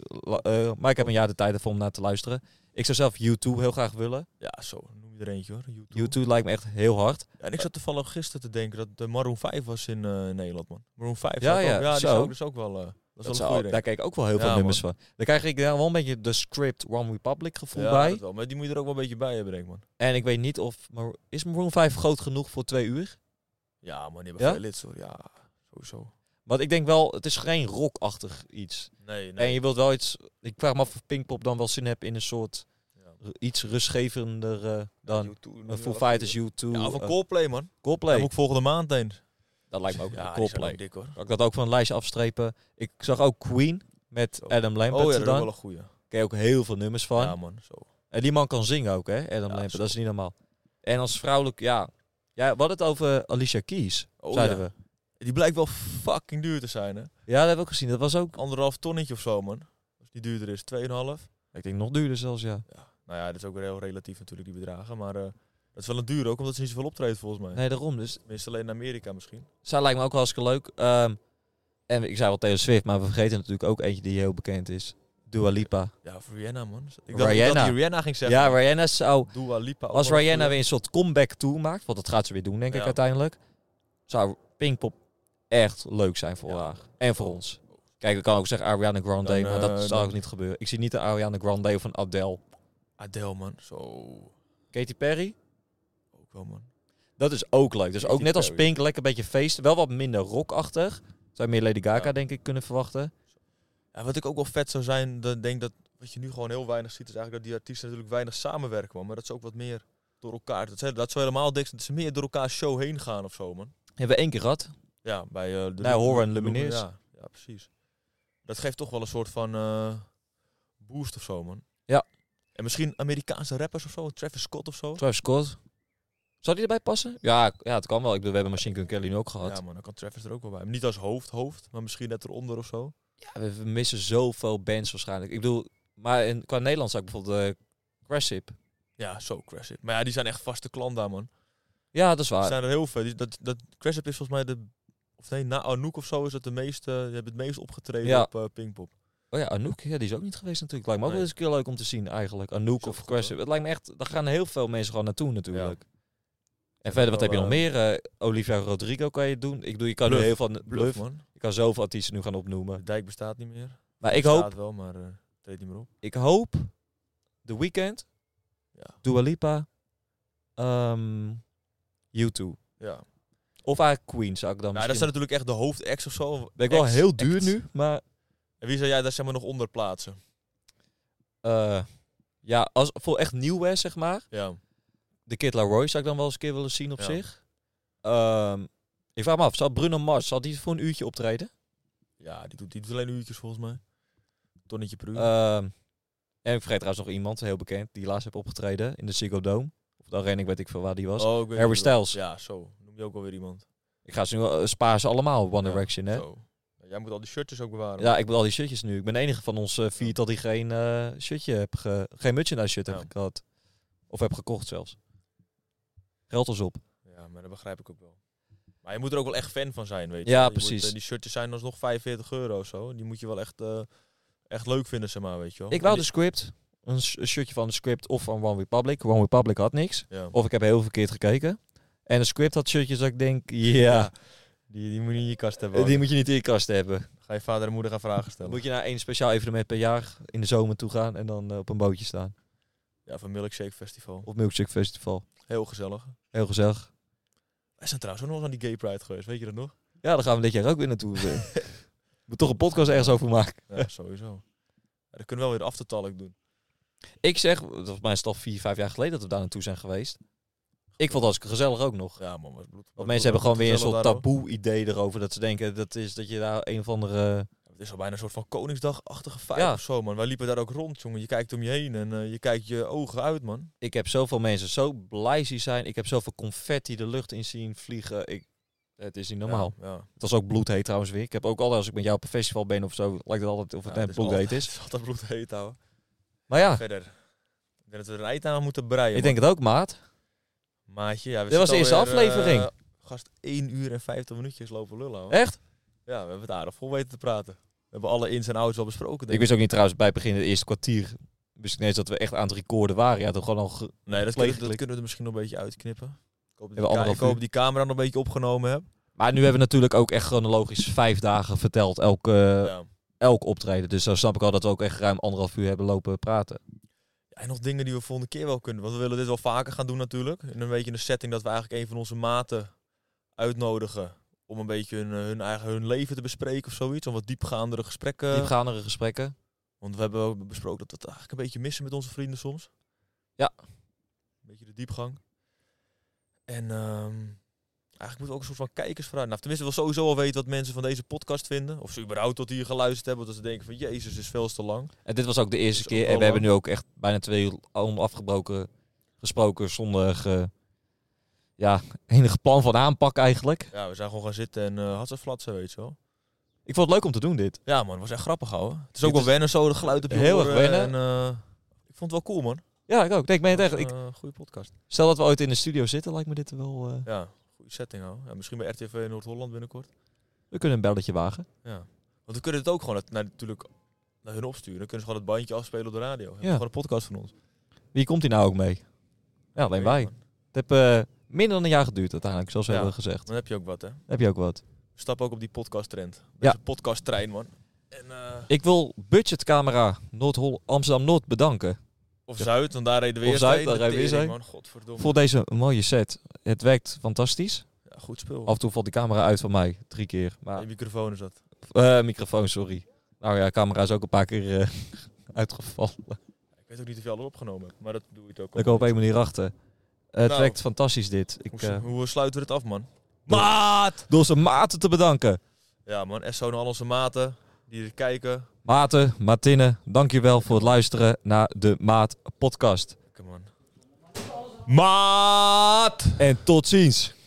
Speaker 3: maar ik heb een jaar de tijd ervoor om naar te luisteren. Ik zou zelf U2 heel graag willen.
Speaker 2: Ja, zo. Noem je er eentje hoor. YouTube.
Speaker 3: U2 lijkt me echt heel hard.
Speaker 2: Ja, en ik zat toevallig gisteren te denken dat de Maroon 5 was in eh, Nederland, man. Maroon 5.
Speaker 3: Ja,
Speaker 2: zou ik
Speaker 3: ja,
Speaker 2: ook- ja die
Speaker 3: zo.
Speaker 2: zou ik dus ook wel. eh, dat is
Speaker 3: Dat
Speaker 2: wel een
Speaker 3: zou-
Speaker 2: goede
Speaker 3: daar kijk ik ook wel heel
Speaker 2: Ja,
Speaker 3: veel nummers van. Daar krijg ik dan wel een beetje de script One Republic gevoel bij.
Speaker 2: wel. Maar die moet je er ook wel een beetje bij hebben, denk ik, man.
Speaker 3: En ik weet niet of... Maar is Maroon 5 groot genoeg voor twee uur?
Speaker 2: Ja, man, die hebben
Speaker 3: Ja?
Speaker 2: veel lids, hoor. Ja, sowieso.
Speaker 3: Want ik denk wel, het is geen rockachtig iets.
Speaker 2: Nee,
Speaker 3: En je wilt wel iets... Ik vraag me af of Pinkpop dan wel zin hebt in een soort...
Speaker 2: Ja.
Speaker 3: r- Iets rustgevender eh, dan...
Speaker 2: YouTube,
Speaker 3: Een Foo Fighters, U2,
Speaker 2: Ja, of een
Speaker 3: eh,
Speaker 2: Coldplay, man.
Speaker 3: Coldplay.
Speaker 2: Daar moet ik volgende maand heen.
Speaker 3: Dat lijkt me ook
Speaker 2: Ja,
Speaker 3: een
Speaker 2: die zijn
Speaker 3: Coldplay.
Speaker 2: ook dik, hoor.
Speaker 3: Kan ik dat ook van een lijstje afstrepen? Ik zag ook Queen met
Speaker 2: Zo.
Speaker 3: Adam Lambert
Speaker 2: Oh ja, dat is
Speaker 3: dan.
Speaker 2: wel
Speaker 3: Daar
Speaker 2: een goeie.
Speaker 3: ken je ook heel veel nummers van.
Speaker 2: Ja, man, zo.
Speaker 3: En die man kan zingen ook, hè? Adam Lambert,
Speaker 2: zo.
Speaker 3: dat is niet normaal. En als vrouwelijk, ja. ja we hadden het over Alicia Keys,
Speaker 2: Oh,
Speaker 3: zeiden
Speaker 2: ja.
Speaker 3: we.
Speaker 2: Die blijkt wel fucking duur te zijn, hè.
Speaker 3: Ja, dat hebben we ook gezien. Dat was ook,
Speaker 2: Anderhalf tonnetje of zo, man. Als die duurder is, 2,5.
Speaker 3: ik denk nog duurder zelfs, ja.
Speaker 2: Nou ja, dat is ook weer heel relatief natuurlijk, die bedragen. Maar eh, dat is wel een duur ook, omdat ze niet zoveel optreedt volgens mij.
Speaker 3: Nee, daarom. Dus
Speaker 2: Tenminste alleen in Amerika misschien.
Speaker 3: zij lijkt me ook wel hartstikke leuk. Ehm, en ik zei wel Taylor Swift, maar we vergeten natuurlijk ook eentje die heel bekend is. Dua Lipa.
Speaker 2: Ja, voor Rihanna man. Ik dacht
Speaker 3: Rihanna.
Speaker 2: dat die Rihanna ging zeggen.
Speaker 3: Ja, Rihanna zou...
Speaker 2: Dua Lipa. ook
Speaker 3: Als
Speaker 2: wel een
Speaker 3: Rihanna
Speaker 2: goeie.
Speaker 3: weer een soort comeback toe maakt, want dat gaat ze weer doen, denk
Speaker 2: Ja.
Speaker 3: ik uiteindelijk, zou Pinkpop echt leuk zijn voor
Speaker 2: Ja.
Speaker 3: haar en voor ons. Kijk, ik kan ook zeggen Ariana Grande,
Speaker 2: Dan,
Speaker 3: maar
Speaker 2: eh,
Speaker 3: dat zou
Speaker 2: dan-
Speaker 3: ook niet gebeuren. Ik zie niet de Ariana Grande of een Adele.
Speaker 2: Adele man. Zo.
Speaker 3: Katy Perry?
Speaker 2: Ook wel man.
Speaker 3: Dat is ook leuk. Dus ook
Speaker 2: Katy
Speaker 3: net als
Speaker 2: Perry.
Speaker 3: Pink, lekker een beetje feesten. Wel wat minder rockachtig. Zou je meer Lady Gaga,
Speaker 2: Ja.
Speaker 3: denk ik, kunnen verwachten.
Speaker 2: Ja, wat ik ook wel vet zou zijn, dat ik denk dat wat je nu gewoon heel weinig ziet, is eigenlijk dat die artiesten natuurlijk weinig samenwerken, man. Maar dat ze ook wat meer door elkaar. Dat ze, dat ze helemaal dik, dat ze meer door elkaar show heen gaan of zo, man.
Speaker 3: Hebben we één keer gehad.
Speaker 2: Ja, bij eh, de
Speaker 3: Nou,
Speaker 2: Lu-
Speaker 3: Horen en
Speaker 2: Lu-
Speaker 3: Lumineers.
Speaker 2: Ja, ja, precies. Dat geeft toch wel een soort van eh, boost of zo, man.
Speaker 3: Ja.
Speaker 2: En misschien Amerikaanse rappers of zo, Travis Scott of zo.
Speaker 3: Travis Scott. Zou die erbij passen? Ja, ja, het kan wel. Ik bedoel, we hebben Machine Gun Kelly nu ook gehad.
Speaker 2: Ja, man, dan kan Travis er ook wel bij. Niet als hoofd, hoofd, maar misschien net eronder of zo.
Speaker 3: Ja, we we missen zoveel bands waarschijnlijk. Ik bedoel, maar in, qua Nederland zou ik bijvoorbeeld eh Crash Hip.
Speaker 2: Ja, zo Crash It. Maar ja, die zijn echt vaste klant daar, man.
Speaker 3: Ja, dat is
Speaker 2: Er
Speaker 3: waar.
Speaker 2: zijn er heel veel. Die- Dat, dat Crash App is volgens mij de... Of nee, na Anouk of zo is het de meeste... Die hebben het meest opgetreden
Speaker 3: Ja.
Speaker 2: op eh, Pinkpop.
Speaker 3: Oh ja, Anouk, ja, die is ook niet geweest natuurlijk. Lijkt me ook
Speaker 2: Nee.
Speaker 3: wel eens een keer leuk om te zien eigenlijk. Anouk
Speaker 2: Is ook
Speaker 3: of
Speaker 2: goed,
Speaker 3: Crash
Speaker 2: hoor.
Speaker 3: Hip. Het lijkt me echt, daar gaan heel veel mensen gewoon naartoe natuurlijk. En
Speaker 2: vind
Speaker 3: verder, wat
Speaker 2: wel,
Speaker 3: heb je nog
Speaker 2: eh,
Speaker 3: meer? Eh, Olivia Rodrigo kan je doen. Ik bedoel, je kan nu
Speaker 2: Bluff.
Speaker 3: heel veel... Bluff.
Speaker 2: man.
Speaker 3: Ik kan zoveel artiesten nu gaan opnoemen.
Speaker 2: De dijk bestaat niet meer.
Speaker 3: Maar ik
Speaker 2: Bestaat
Speaker 3: hoop,
Speaker 2: wel, maar eh treedt niet meer op.
Speaker 3: ik hoop... The Weeknd,
Speaker 2: Ja.
Speaker 3: Dua Lipa, ehm U2.
Speaker 2: Ja.
Speaker 3: Of eigenlijk Queen zou ik dan
Speaker 2: Nou, dat zijn
Speaker 3: misschien...
Speaker 2: natuurlijk echt de hoofdact of zo.
Speaker 3: Ben ik wel
Speaker 2: Acts,
Speaker 3: heel duur
Speaker 2: acts.
Speaker 3: nu, maar...
Speaker 2: En wie zou jij daar zeg maar nog onder plaatsen?
Speaker 3: eh, ja, als, voor echt nieuwware, zeg maar.
Speaker 2: Ja.
Speaker 3: De Kid Laroi zou ik dan wel eens een keer willen zien op
Speaker 2: Ja.
Speaker 3: zich. Ehm, ik vraag me af, zal Bruno Mars, zal die voor een uurtje optreden?
Speaker 2: Ja, die doet, die doet alleen uurtjes volgens mij. Tonnetje per uur.
Speaker 3: Ehm, en ik vergeet trouwens nog iemand, heel bekend, die laatst heeft opgetreden in de Ziggo Dome. Of de arena, ik weet ik veel waar die was.
Speaker 2: oh, ik weet
Speaker 3: Harry
Speaker 2: wie je bedoelt.
Speaker 3: Styles.
Speaker 2: Ja, zo. Noem je ook alweer iemand.
Speaker 3: Ik ga ze nu eh, spaar ze allemaal op One
Speaker 2: Ja,
Speaker 3: Direction, hè?
Speaker 2: Zo. Jij moet al die shirtjes ook bewaren.
Speaker 3: Ja, ik bedoel al die shirtjes nu. Ik ben de enige van ons eh, viertal die geen eh, shirtje heb ge geen merchandise shirt
Speaker 2: Ja.
Speaker 3: heb gehad. Of heb gekocht zelfs. Geld ons op.
Speaker 2: Ja, maar dat begrijp ik ook wel. Maar je moet er ook wel echt fan van zijn, weet je.
Speaker 3: Ja,
Speaker 2: Je moet,
Speaker 3: precies.
Speaker 2: eh, die shirtjes zijn alsnog 45 euro of zo. Die moet je wel echt, eh, echt leuk vinden, zeg maar, weet je wel.
Speaker 3: Ik wou
Speaker 2: En die-
Speaker 3: de script. Een sh- een shirtje van de script of van One Republic. One Republic had niks.
Speaker 2: Ja.
Speaker 3: Of ik heb heel verkeerd gekeken. En de script had shirtjes dat ik denk,
Speaker 2: Ja.
Speaker 3: ja,
Speaker 2: Die, die moet je in je kast hebben.
Speaker 3: Eh, die moet je niet in je kast hebben.
Speaker 2: Ga je vader en moeder gaan vragen
Speaker 3: Dan
Speaker 2: stellen.
Speaker 3: moet je naar één speciaal evenement per jaar in de zomer toe gaan en dan eh, op een bootje staan.
Speaker 2: Ja, van Milkshake Festival.
Speaker 3: Op Milkshake Festival.
Speaker 2: Heel gezellig.
Speaker 3: Heel gezellig.
Speaker 2: Wij zijn trouwens ook nog eens aan die Gay Pride geweest, weet je dat nog?
Speaker 3: Ja, daar gaan we dit jaar ook weer naartoe. eh. We moet toch een podcast ergens over maken.
Speaker 2: Ja, sowieso. Ja, dan kunnen we wel weer aftertalk doen.
Speaker 3: Ik zeg, dat was mijn stap vier, vijf jaar geleden dat we daar naartoe zijn geweest. Ik vond dat gezellig ook nog.
Speaker 2: Ja, man. Was bloed, was
Speaker 3: Want
Speaker 2: bloed-
Speaker 3: mensen hebben gewoon
Speaker 2: was
Speaker 3: weer een
Speaker 2: gezellig
Speaker 3: soort
Speaker 2: daar, hoor.
Speaker 3: taboe idee erover. Dat ze denken dat, is, dat je daar een of andere...
Speaker 2: Het is al bijna een soort van Koningsdag-achtige vibe
Speaker 3: Ja.
Speaker 2: of zo, man. Wij liepen daar ook rond, jongen. Je kijkt om je heen en eh, je kijkt je ogen uit, man.
Speaker 3: Ik heb zoveel mensen zo blij zien zijn. Ik heb zoveel confetti de lucht in zien vliegen. Ik, het is niet normaal.
Speaker 2: Ja, ja.
Speaker 3: Het was ook bloedheet trouwens weer. Ik heb ook altijd, als ik met jou op een festival ben of zo, lijkt het altijd of het
Speaker 2: Ja,
Speaker 3: net
Speaker 2: is
Speaker 3: bloedheet
Speaker 2: altijd-
Speaker 3: is.
Speaker 2: Het is altijd bloedheet, ouwe.
Speaker 3: Maar ja,
Speaker 2: Verder. Ik denk dat we er een eind aan moeten breien.
Speaker 3: ik denk het ook, maat.
Speaker 2: man. Maatje, ja, we
Speaker 3: Dit was de
Speaker 2: zitten
Speaker 3: eerste
Speaker 2: alweer,
Speaker 3: aflevering.
Speaker 2: eh, gast, 1 uur en 50 minuutjes lopen lullen, hoor.
Speaker 3: Echt?
Speaker 2: Ja, we hebben het aardig vol weten te praten. We hebben alle ins en outs al besproken,
Speaker 3: Ik
Speaker 2: denk
Speaker 3: wist ook niet trouwens bij het begin, het eerste kwartier, wist ik ineens dat we echt aan het recorden waren. Ja, toch gewoon al... ge-
Speaker 2: Nee, dat,
Speaker 3: Pleeg-
Speaker 2: kunnen- dat
Speaker 3: klik.
Speaker 2: kunnen we er misschien nog een beetje uitknippen. Ik hoop dat
Speaker 3: Hebben
Speaker 2: die, ka-
Speaker 3: anderhalf
Speaker 2: ik hoop
Speaker 3: uur.
Speaker 2: dat die camera nog een beetje opgenomen heb.
Speaker 3: Maar nu hebben we natuurlijk ook echt chronologisch vijf dagen verteld, elke,
Speaker 2: ja.
Speaker 3: elk optreden. Dus dan snap ik al dat we ook echt ruim anderhalf uur hebben lopen praten.
Speaker 2: Ja, En nog dingen die we volgende keer wel kunnen. Want we willen dit wel vaker gaan doen natuurlijk. In een beetje een setting dat we eigenlijk een van onze maten uitnodigen. Om een beetje hun, eh, hun eigen hun leven te bespreken of zoiets. Om wat diepgaandere gesprekken.
Speaker 3: Diepgaandere gesprekken.
Speaker 2: Want we hebben ook besproken dat we het eigenlijk een beetje missen met onze vrienden soms.
Speaker 3: Ja.
Speaker 2: Een beetje de diepgang. En ehm, eigenlijk moeten we ook een soort van kijkersvraag. Nou, tenminste, we willen sowieso al weten wat mensen van deze podcast vinden. Of ze überhaupt tot hier geluisterd hebben. Dat ze denken van, jezus, dit is veel te lang.
Speaker 3: En dit was ook de eerste
Speaker 2: Is ook
Speaker 3: keer.
Speaker 2: wel
Speaker 3: En we hebben nu
Speaker 2: lang.
Speaker 3: ook echt bijna twee uur onafgebroken gesproken zonder eh, ja, enig plan van aanpak eigenlijk.
Speaker 2: Ja, we zijn gewoon gaan zitten en eh had ze flatsen, weet je wel.
Speaker 3: Ik vond het leuk om te doen dit.
Speaker 2: Ja, man, het was echt grappig, houden. Het is
Speaker 3: Dit
Speaker 2: ook wel
Speaker 3: is
Speaker 2: wennen zo, de geluid op je
Speaker 3: heel erg
Speaker 2: oren
Speaker 3: wennen.
Speaker 2: En, eh, ik vond het wel cool, man.
Speaker 3: Ja, ik ook. Nee, ik meen het echt.
Speaker 2: was,
Speaker 3: Ik,
Speaker 2: eh, goede podcast.
Speaker 3: stel dat we ooit in de studio zitten, lijkt me dit wel... eh,
Speaker 2: Ja, goede setting, houden. Ja, misschien bij RTV Noord-Holland binnenkort.
Speaker 3: we kunnen een belletje wagen.
Speaker 2: Ja. Want we kunnen het ook gewoon naar, naar- natuurlijk naar hun opsturen. Dan kunnen ze gewoon het bandje afspelen op de radio. Hebben Gewoon een podcast van ons.
Speaker 3: Wie komt hier nou ook mee? Ja, alleen wij.
Speaker 2: Man.
Speaker 3: Het heeft eh, minder dan een jaar geduurd uiteindelijk, zoals we
Speaker 2: Ja.
Speaker 3: hebben gezegd.
Speaker 2: Dan heb je ook wat, hè.
Speaker 3: Heb je ook wat.
Speaker 2: Stap ook op die podcast trend.
Speaker 3: Ja.
Speaker 2: Deze podcast trein, man. En, eh,
Speaker 3: Ik wil Budgetcamera Noord Amsterdam-Noord bedanken.
Speaker 2: Of
Speaker 3: Ja.
Speaker 2: Zuid, want daar reden we
Speaker 3: Of
Speaker 2: eerst
Speaker 3: Zuid,
Speaker 2: heen.
Speaker 3: daar
Speaker 2: De
Speaker 3: reden we eerst
Speaker 2: tering,
Speaker 3: heen.
Speaker 2: man. Godverdomme.
Speaker 3: Voor deze mooie set. Het werkt fantastisch.
Speaker 2: Ja, goed spul.
Speaker 3: Af en toe valt die camera uit van mij. Drie keer. Maar,
Speaker 2: Je microfoon is dat.
Speaker 3: eh, microfoon, sorry. Nou ja, camera is ook een paar keer eh, uitgevallen.
Speaker 2: Ik weet ook niet of je alles opgenomen hebt, maar dat doe je het ook.
Speaker 3: Ik hoop één manier achter. Eh, het
Speaker 2: Nou.
Speaker 3: werkt fantastisch dit. Ik,
Speaker 2: Hoe,
Speaker 3: eh,
Speaker 2: hoe sluiten we het af, man?
Speaker 3: Door-
Speaker 2: Maat!
Speaker 3: door zijn maten te bedanken.
Speaker 2: Ja, man. SO naar al onze maten die er kijken.
Speaker 3: Maten, Martinne, dankjewel voor het luisteren naar de Maat podcast.
Speaker 2: Lekker, man.
Speaker 1: Maat!
Speaker 3: En tot ziens.